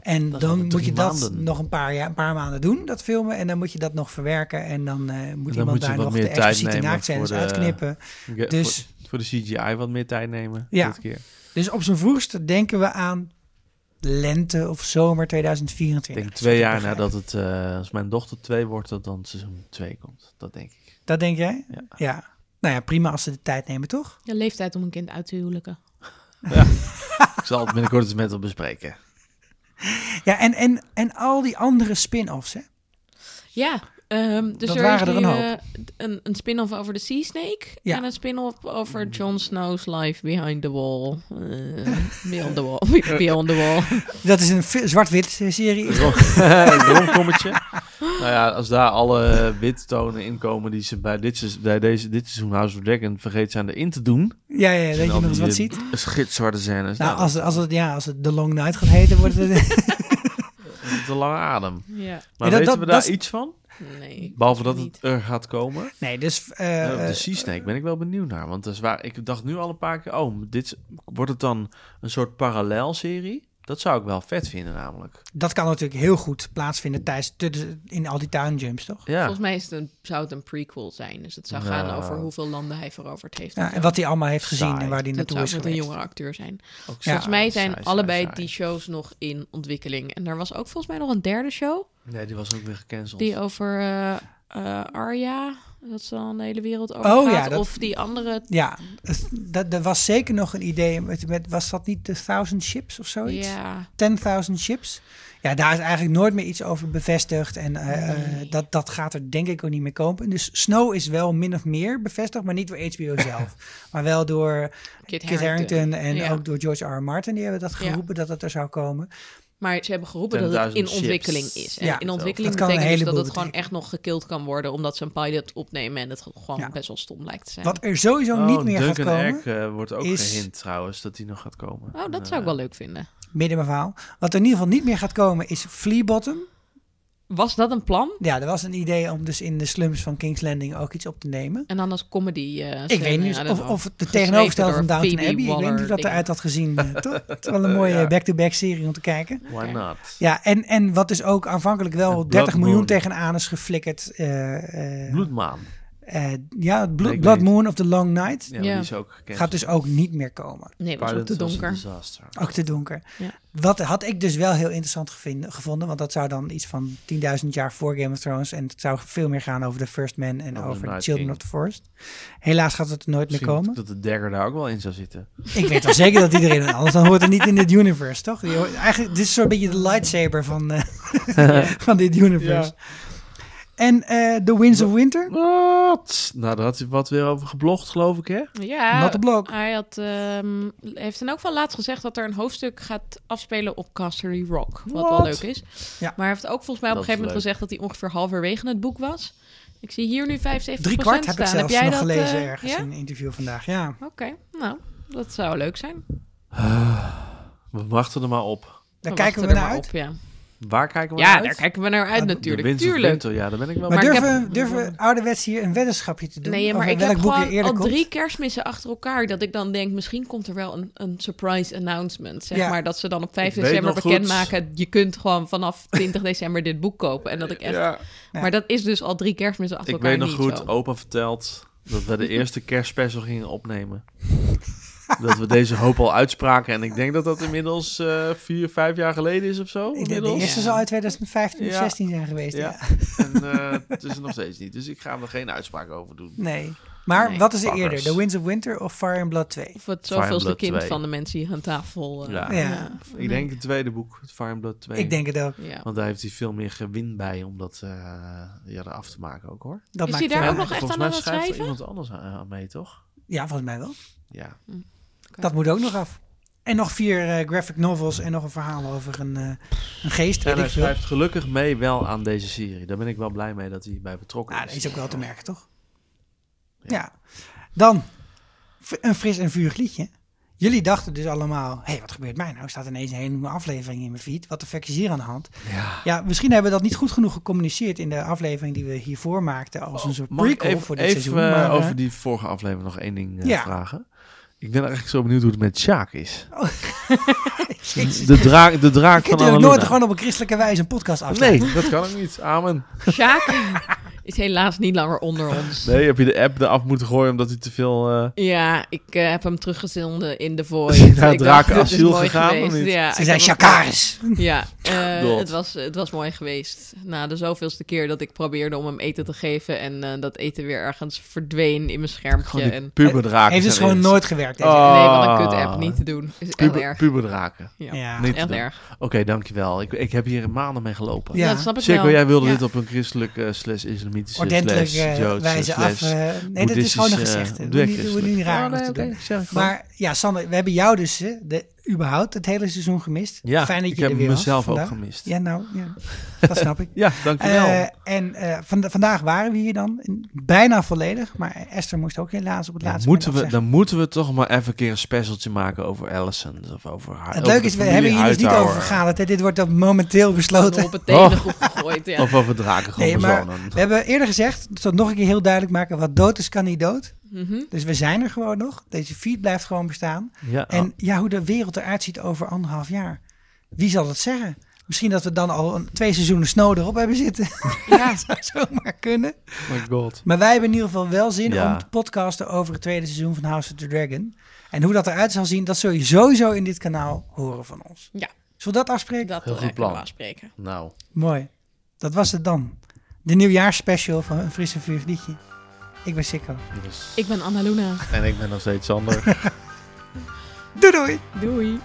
Speaker 1: En
Speaker 2: al
Speaker 1: dan moet
Speaker 2: drie
Speaker 1: je dat
Speaker 2: maanden.
Speaker 1: nog een paar, ja, een paar maanden doen, dat filmen. En dan moet je dat nog verwerken. En dan eh, moet
Speaker 2: moet
Speaker 1: iemand
Speaker 2: je
Speaker 1: daar
Speaker 2: wat
Speaker 1: nog
Speaker 2: meer
Speaker 1: de
Speaker 2: tijd
Speaker 1: expliciete
Speaker 2: nemen
Speaker 1: naaktscènes
Speaker 2: voor de-
Speaker 1: uitknippen.
Speaker 2: Oké,
Speaker 1: Dus-
Speaker 2: Voor, voor de CGI wat meer tijd nemen.
Speaker 1: Ja.
Speaker 2: Dit keer.
Speaker 1: Dus op zijn vroegste denken we aan lente of zomer
Speaker 2: Ik
Speaker 1: 2024.
Speaker 2: denk twee
Speaker 1: Zo
Speaker 2: jaar
Speaker 1: begrijp
Speaker 2: nadat het, eh, als mijn dochter twee wordt, dat dan seizoen twee komt. Dat denk ik.
Speaker 1: ik. Dat denk jij?
Speaker 2: Ja.
Speaker 1: ja. Nou ja, prima als ze de tijd nemen, toch?
Speaker 5: Ja, leeftijd om een kind uit te huwelijken.
Speaker 2: Ik zal het binnenkort eens met haar bespreken.
Speaker 1: Ja, en, en, en al die andere spin-offs, hè?
Speaker 5: Ja, ehm, dus
Speaker 1: Dat
Speaker 5: er
Speaker 1: waren
Speaker 5: is
Speaker 1: er een
Speaker 5: nu,
Speaker 1: hoop.
Speaker 5: eh, een, een spin-off over de Sea Snake
Speaker 1: Ja. Mm.
Speaker 5: en een spin-off over Jon Snow's life behind the wall. Eh,
Speaker 1: [laughs]
Speaker 5: beyond the wall. [laughs] beyond the wall.
Speaker 1: Dat is een fi- zwart-wit serie.
Speaker 2: [laughs] Rom- Een romcommetje. nou ja, als daar alle eh, wittonen in komen die ze bij dit, seizoen- bij deze, dit seizoen House of Dragon vergeten zijn erin te doen.
Speaker 1: Ja, ja, dat je
Speaker 2: En dan
Speaker 1: nog eens wat
Speaker 2: die,
Speaker 1: ziet.
Speaker 2: eh, Gitzwarte scènes.
Speaker 1: Nou,
Speaker 2: Nou,
Speaker 1: als, als, het, ja, als het The Long Night gaat heten, wordt het...
Speaker 2: dat is een lange adem.
Speaker 5: Ja,
Speaker 1: dat-
Speaker 2: Maar weten
Speaker 1: dat-
Speaker 2: we daar
Speaker 1: dat is-
Speaker 2: iets van?
Speaker 5: nee.
Speaker 2: Behalve dat
Speaker 5: niet.
Speaker 2: het er gaat komen.
Speaker 1: Nee, dus... eh,
Speaker 2: Ja, op
Speaker 1: eh,
Speaker 2: de Sea Snake ben ik wel benieuwd naar. Want dat is waar, ik dacht nu al een paar keer... Oh, dit, is- wordt het dan een soort parallelserie? Dat zou ik wel vet vinden namelijk.
Speaker 1: dat kan natuurlijk heel goed plaatsvinden tijdens tussen- in al die townjumps, toch?
Speaker 2: Ja,
Speaker 5: Volgens mij is het een, zou het een prequel zijn. Dus het zou gaan
Speaker 2: Nou.
Speaker 5: over hoeveel landen hij veroverd heeft. en
Speaker 1: Ja,
Speaker 5: zo.
Speaker 1: en wat hij allemaal heeft gezien
Speaker 2: Saai.
Speaker 1: en waar hij
Speaker 5: dat
Speaker 1: naartoe
Speaker 5: zou
Speaker 1: is
Speaker 5: ook met een
Speaker 1: geweest.
Speaker 5: jongere acteur zijn.
Speaker 2: ook
Speaker 5: Volgens mij zijn
Speaker 2: saai,
Speaker 5: allebei
Speaker 2: saai,
Speaker 5: die
Speaker 2: saai.
Speaker 5: shows nog in ontwikkeling. En er was ook volgens mij nog een derde show.
Speaker 2: Nee, die was ook weer gecanceld.
Speaker 5: Die over eh eh, Arya. Dat ze dan de hele wereld over
Speaker 1: Oh
Speaker 5: gaat.
Speaker 1: ja, dat-
Speaker 5: Of die andere.
Speaker 1: Ja, het- dat, er was zeker nog een idee. Met, met- was dat niet de Thousand Ships of zoiets?
Speaker 5: Ja.
Speaker 1: 10.000 chips. Ja, daar is eigenlijk nooit meer iets over bevestigd. En eh, eh, dat, dat gaat er denk ik ook niet meer komen. Dus Snow is wel min of meer bevestigd, maar niet door
Speaker 5: [laughs]
Speaker 1: HBO zelf. maar wel door
Speaker 5: Kit
Speaker 1: Kit,
Speaker 5: Harington.
Speaker 1: Harington. en
Speaker 5: Ja.
Speaker 1: ook door George R. R. Martin. Die hebben dat
Speaker 5: Ja.
Speaker 1: geroepen dat het er zou komen.
Speaker 5: Maar ze hebben geroepen dat het in
Speaker 2: 10.000 chips.
Speaker 5: ontwikkeling is. En
Speaker 1: Ja,
Speaker 5: in ontwikkeling
Speaker 1: dat kan een
Speaker 5: betekent dus dat
Speaker 1: heleboel
Speaker 5: het gewoon echt
Speaker 1: betekenen.
Speaker 5: nog gekild kan worden. Omdat ze een pilot opnemen en het gewoon
Speaker 1: Ja.
Speaker 5: best wel stom lijkt te zijn.
Speaker 1: Wat er sowieso
Speaker 2: Oh,
Speaker 1: niet meer
Speaker 2: Duncan
Speaker 1: gaat komen.
Speaker 2: Egg eh, wordt ook
Speaker 1: is-
Speaker 2: gehint trouwens dat die nog gaat komen. Eh,
Speaker 5: Oh, dat zou ik wel leuk vinden.
Speaker 1: Midden mijn verhaal. Wat er in ieder geval niet meer gaat komen is Fleabottom.
Speaker 5: Was dat een plan?
Speaker 1: Ja, er was een idee om dus in de slums van King's Landing ook iets op te nemen.
Speaker 5: En dan als comedy. eh,
Speaker 1: Ik
Speaker 5: scène,
Speaker 1: weet
Speaker 5: I
Speaker 1: niet
Speaker 5: don't
Speaker 1: of,
Speaker 5: know.
Speaker 1: of het de
Speaker 5: Geschreven
Speaker 1: tegenovergestelde van
Speaker 5: door
Speaker 1: Downton
Speaker 5: Phoebe
Speaker 1: Abbey. Ik weet niet hoe dat
Speaker 5: Waller-Dingen.
Speaker 1: eruit had
Speaker 5: [laughs]
Speaker 1: gezien. eh, toch? Het is wel een mooie back-to-back serie om te kijken.
Speaker 2: Why
Speaker 5: Oké.
Speaker 2: not?
Speaker 1: Ja, en, en wat dus ook aanvankelijk wel
Speaker 2: Het
Speaker 1: 30 miljoen
Speaker 2: Blood Moon.
Speaker 1: tegenaan is geflikkerd. eh, eh,
Speaker 2: Bloedmaan.
Speaker 1: eh, ja, het Blo-
Speaker 2: Nee, ik
Speaker 1: Blood
Speaker 2: weet.
Speaker 1: Moon of the Long Night
Speaker 2: Ja,
Speaker 5: Ja.
Speaker 2: die is ook gecanceld.
Speaker 1: gaat dus ook niet meer komen.
Speaker 5: Nee, was ook
Speaker 2: Pilot
Speaker 5: te
Speaker 2: was dus. een
Speaker 5: donker.
Speaker 2: disaster.
Speaker 1: Ook te donker.
Speaker 5: Ja.
Speaker 1: Wat had ik dus wel heel interessant gevind- gevonden. Want dat zou dan iets van 10.000 jaar voor Game of Thrones. En het zou veel meer gaan over de First Men en
Speaker 2: Over
Speaker 1: over de
Speaker 2: Night
Speaker 1: Children
Speaker 2: King.
Speaker 1: of the Forest. Helaas gaat het er nooit
Speaker 2: Misschien
Speaker 1: meer komen.
Speaker 2: dat de dagger daar ook wel in zou zitten.
Speaker 1: Ik weet wel zeker dat iedereen het anders dan hoort het niet in dit universe, toch? Die hoort- eigenlijk, dit is zo'n beetje de lightsaber van, eh, [laughs] van dit universe. En eh The Winds of Winter?
Speaker 2: Wat? Nou, daar had hij wat weer over geblogd, geloof ik, hè?
Speaker 5: Ja,
Speaker 1: Not a block.
Speaker 5: hij had, ehm, heeft dan ook wel laatst gezegd dat er een hoofdstuk gaat afspelen op Castery Rock. Wat wel
Speaker 2: Wat?
Speaker 5: leuk is.
Speaker 1: Ja.
Speaker 5: Maar hij heeft ook volgens mij
Speaker 2: Dat
Speaker 5: op een
Speaker 2: is
Speaker 5: gegeven moment
Speaker 2: leuk.
Speaker 5: gezegd dat hij ongeveer halverwege het boek was. Ik zie hier nu 75
Speaker 1: Drie kwart heb ik
Speaker 5: staan.
Speaker 1: zelfs
Speaker 5: jij
Speaker 1: nog
Speaker 5: dat,
Speaker 1: gelezen
Speaker 5: eh,
Speaker 1: ergens
Speaker 5: ja?
Speaker 1: in een interview vandaag. Ja,
Speaker 5: Oké, nou, dat zou leuk zijn.
Speaker 2: We wachten er maar op.
Speaker 1: daar
Speaker 5: Dan
Speaker 1: kijken
Speaker 5: wachten
Speaker 1: we
Speaker 5: Oh, er
Speaker 1: naar
Speaker 5: maar
Speaker 1: uit.
Speaker 5: Op, ja,
Speaker 2: Waar kijken we naar
Speaker 5: ja
Speaker 2: uit?
Speaker 5: daar kijken we naar uit
Speaker 1: Ah, de
Speaker 2: De
Speaker 5: natuurlijk.
Speaker 2: Winds of
Speaker 5: Tuurlijk.
Speaker 2: Winter, ja, daar ben ik wel
Speaker 1: Maar,
Speaker 5: Maar ik Oh.
Speaker 1: durven, durven ouderwets hier een weddenschapje te doen?
Speaker 5: Nee, maar
Speaker 1: over
Speaker 5: ik
Speaker 1: welk
Speaker 5: heb
Speaker 1: boek je
Speaker 5: gewoon
Speaker 1: eerder
Speaker 5: al
Speaker 1: komt?
Speaker 5: drie kerstmissen achter elkaar. Dat ik dan denk, misschien komt er wel een, een surprise announcement. Zeg
Speaker 1: Ja.
Speaker 5: maar dat ze dan op 5
Speaker 2: Ik weet
Speaker 5: december
Speaker 2: nog
Speaker 5: bekendmaken. Je kunt gewoon vanaf
Speaker 1: [laughs]
Speaker 5: 20 december dit boek kopen. En dat ik echt. Maar dat is dus al drie kerstmissen achter
Speaker 2: Ik
Speaker 5: elkaar.
Speaker 2: weet nog
Speaker 5: niet
Speaker 2: goed,
Speaker 5: zo.
Speaker 2: opa vertelt dat we de eerste kerstspecial gingen opnemen. dat we deze hoop al uitspraken. En ik denk dat dat inmiddels eh, vier, vijf jaar geleden is of zo.
Speaker 1: Ik denk, de
Speaker 2: Inmiddels.
Speaker 1: eerste zal uit 2015 of
Speaker 2: Ja.
Speaker 1: 16 zijn geweest.
Speaker 2: Ja.
Speaker 1: Ja.
Speaker 2: En eh, het is er nog steeds niet. Dus ik ga er geen uitspraak over doen.
Speaker 1: Nee. Maar
Speaker 2: Nee,
Speaker 1: wat is er
Speaker 2: fuckers.
Speaker 1: eerder? The Winds of Winter of Fire and Blood 2?
Speaker 5: Of het
Speaker 2: Fire
Speaker 5: zoveelste
Speaker 2: Blood
Speaker 5: kind
Speaker 2: 2.
Speaker 5: van de mensen hier aan tafel. eh,
Speaker 2: Ja.
Speaker 1: Ja.
Speaker 2: Ik denk het tweede boek, het Fire and Blood 2.
Speaker 1: Ik denk het ook.
Speaker 5: ja.
Speaker 2: Want daar heeft hij veel meer gewin bij om dat eh ja, eraf te maken ook hoor.
Speaker 1: Dat
Speaker 5: Is
Speaker 1: maakt
Speaker 5: hij daar
Speaker 1: wel-
Speaker 5: ook nog echt
Speaker 2: Volgens mij
Speaker 5: aan aan het
Speaker 2: schrijft er
Speaker 5: schrijven?
Speaker 2: iemand anders aan aan mee, toch?
Speaker 1: Ja, volgens mij wel.
Speaker 2: Ja.
Speaker 1: Hm. Dat moet ook nog af. En nog vier eh, graphic novels en nog een verhaal over een, eh, een geest.
Speaker 2: En
Speaker 1: Weet
Speaker 2: hij
Speaker 1: ik veel.
Speaker 2: schrijft gelukkig mee wel aan deze serie. Daar ben ik wel blij mee dat hij bij betrokken
Speaker 1: Nou,
Speaker 2: is.
Speaker 1: dat is ook wel te merken, toch? Ja. Dan f- een fris en vurig liedje. Jullie dachten dus allemaal, hé, hey, wat gebeurt mij nou? Er staat ineens een hele nieuwe aflevering in mijn feed. Wat de fuck is hier aan de hand?
Speaker 2: Ja.
Speaker 1: Ja, misschien hebben we dat niet goed genoeg gecommuniceerd in de aflevering die we hiervoor maakten als een soort
Speaker 2: Oh, Mag ik
Speaker 1: prequel
Speaker 2: even,
Speaker 1: voor dit
Speaker 2: even,
Speaker 1: seizoen.
Speaker 2: eh,
Speaker 1: maar, eh,
Speaker 2: over die vorige aflevering nog één ding eh,
Speaker 1: Ja.
Speaker 2: vragen? Ik ben eigenlijk zo benieuwd hoe het met Sjaak is.
Speaker 1: Oh. [laughs] jezus.
Speaker 2: De draak, de
Speaker 1: Je
Speaker 2: draak
Speaker 1: kunt
Speaker 2: van
Speaker 1: natuurlijk nooit
Speaker 2: Annalena.
Speaker 1: gewoon op een christelijke wijze een podcast afsluiten.
Speaker 2: Nee, dat kan ook niet. Amen.
Speaker 5: Sjaak [laughs] is helaas niet langer onder ons.
Speaker 2: Nee, heb je de app eraf moeten gooien omdat hij te veel... eh,
Speaker 5: Ja, ik eh, heb hem teruggezonden
Speaker 2: [laughs]
Speaker 5: in de void.
Speaker 2: Is hij naar
Speaker 5: Ik
Speaker 2: draken
Speaker 5: dacht, dit is
Speaker 2: asiel
Speaker 5: mooi
Speaker 2: gegaan of
Speaker 5: geweest.
Speaker 2: niet?
Speaker 5: Ja,
Speaker 1: Ze
Speaker 5: ik
Speaker 1: zijn
Speaker 5: heb hem-
Speaker 1: chakaris.
Speaker 5: Ja, eh,
Speaker 2: God.
Speaker 5: het, was, het was mooi geweest. Na de zoveelste keer dat ik probeerde om hem eten te geven... en eh, dat eten weer ergens verdween in mijn schermpje.
Speaker 2: Gewoon die
Speaker 5: En,
Speaker 2: puberdraken.
Speaker 1: Heeft dus
Speaker 2: zijn
Speaker 1: gewoon
Speaker 2: eerst.
Speaker 1: nooit gewerkt. Deze.
Speaker 2: Oh,
Speaker 5: Nee, wat een kut-app.
Speaker 2: Ah.
Speaker 5: Niet te doen. Is echt
Speaker 2: Puber,
Speaker 5: erg.
Speaker 2: puberdraken.
Speaker 5: Ja,
Speaker 1: Ja.
Speaker 2: Niet te
Speaker 5: echt
Speaker 2: doen.
Speaker 5: erg.
Speaker 2: Oké, dankjewel. Ik, ik heb hier maanden mee gelopen.
Speaker 1: Ja.
Speaker 5: Ja, dat snap ik
Speaker 2: Zeker,
Speaker 5: wel.
Speaker 2: jij wilde
Speaker 5: Ja.
Speaker 2: dit op een christelijke eh, slash islamitische
Speaker 1: Ordentelijk
Speaker 2: slash
Speaker 1: eh,
Speaker 2: joodse
Speaker 1: wijze af.
Speaker 2: slash
Speaker 1: eh, nee, dat is gewoon een
Speaker 2: boeddhistische,
Speaker 1: gezegde.
Speaker 2: eh,
Speaker 1: Doe niet, doe
Speaker 2: christelijk.
Speaker 1: niet raar
Speaker 2: Oh,
Speaker 1: om
Speaker 2: nee,
Speaker 1: te
Speaker 2: oké,
Speaker 1: doen.
Speaker 2: zeg ik wel.
Speaker 1: Maar ja, Sander, we hebben jou dus eh, de, überhaupt het hele seizoen gemist.
Speaker 2: Ja,
Speaker 1: Fijn dat
Speaker 2: ik
Speaker 1: je
Speaker 2: heb
Speaker 1: er weer was
Speaker 2: mezelf ook
Speaker 1: vandaag.
Speaker 2: gemist.
Speaker 1: Ja, nou,
Speaker 2: [laughs]
Speaker 1: ja, dat snap ik.
Speaker 2: Ja, dankjewel.
Speaker 1: Eh, en eh, vanda- vandaag waren we hier dan bijna volledig, maar Esther moest ook helaas op het
Speaker 2: dan,
Speaker 1: laatste
Speaker 2: moeten we,
Speaker 1: moment
Speaker 2: dan moeten we toch maar even een keer een specialtje maken over Allison. Of over haar.
Speaker 1: afzeggen.
Speaker 2: over
Speaker 1: Het leuke
Speaker 2: de
Speaker 1: is, we
Speaker 2: familie
Speaker 1: hebben hier dus niet
Speaker 2: Hightower.
Speaker 1: over vergaderd. Hè. Dit wordt dan momenteel besloten.
Speaker 5: Op het telengroep gegooid, ja.
Speaker 2: Oh. Of over draken gewoon
Speaker 1: Nee, maar
Speaker 2: bezonnen.
Speaker 1: we hebben eerder gezegd, dat we het nog een keer heel duidelijk maken, wat dood is, kan niet dood.
Speaker 5: Mhm.
Speaker 1: Dus we zijn er gewoon nog. Deze feed blijft gewoon bestaan.
Speaker 2: Ja,
Speaker 1: En ja, hoe de wereld eruit ziet over anderhalf jaar. Wie zal dat zeggen? Misschien dat we dan al een, twee seizoenen snow erop hebben zitten. [laughs] Ja, zou zomaar kunnen.
Speaker 2: oh my god.
Speaker 1: Maar wij hebben in ieder geval wel zin
Speaker 2: Ja.
Speaker 1: om te podcasten over het tweede seizoen van House of the Dragon. En hoe dat eruit zal zien, dat zul je sowieso in dit kanaal horen van ons.
Speaker 5: Ja.
Speaker 1: Zullen we dat afspreken?
Speaker 5: Dat
Speaker 2: Heel
Speaker 5: eh,
Speaker 2: goed
Speaker 5: kunnen
Speaker 2: plan.
Speaker 5: we afspreken.
Speaker 2: Nou,
Speaker 1: Mooi. Dat was het dan. De nieuwjaarsspecial van een frisse vuur liedje. Ik ben Sikko.
Speaker 2: dus-
Speaker 5: Ik ben Annaluna.
Speaker 2: en ik ben nog steeds Sander.
Speaker 1: Doei doei!
Speaker 5: Doei.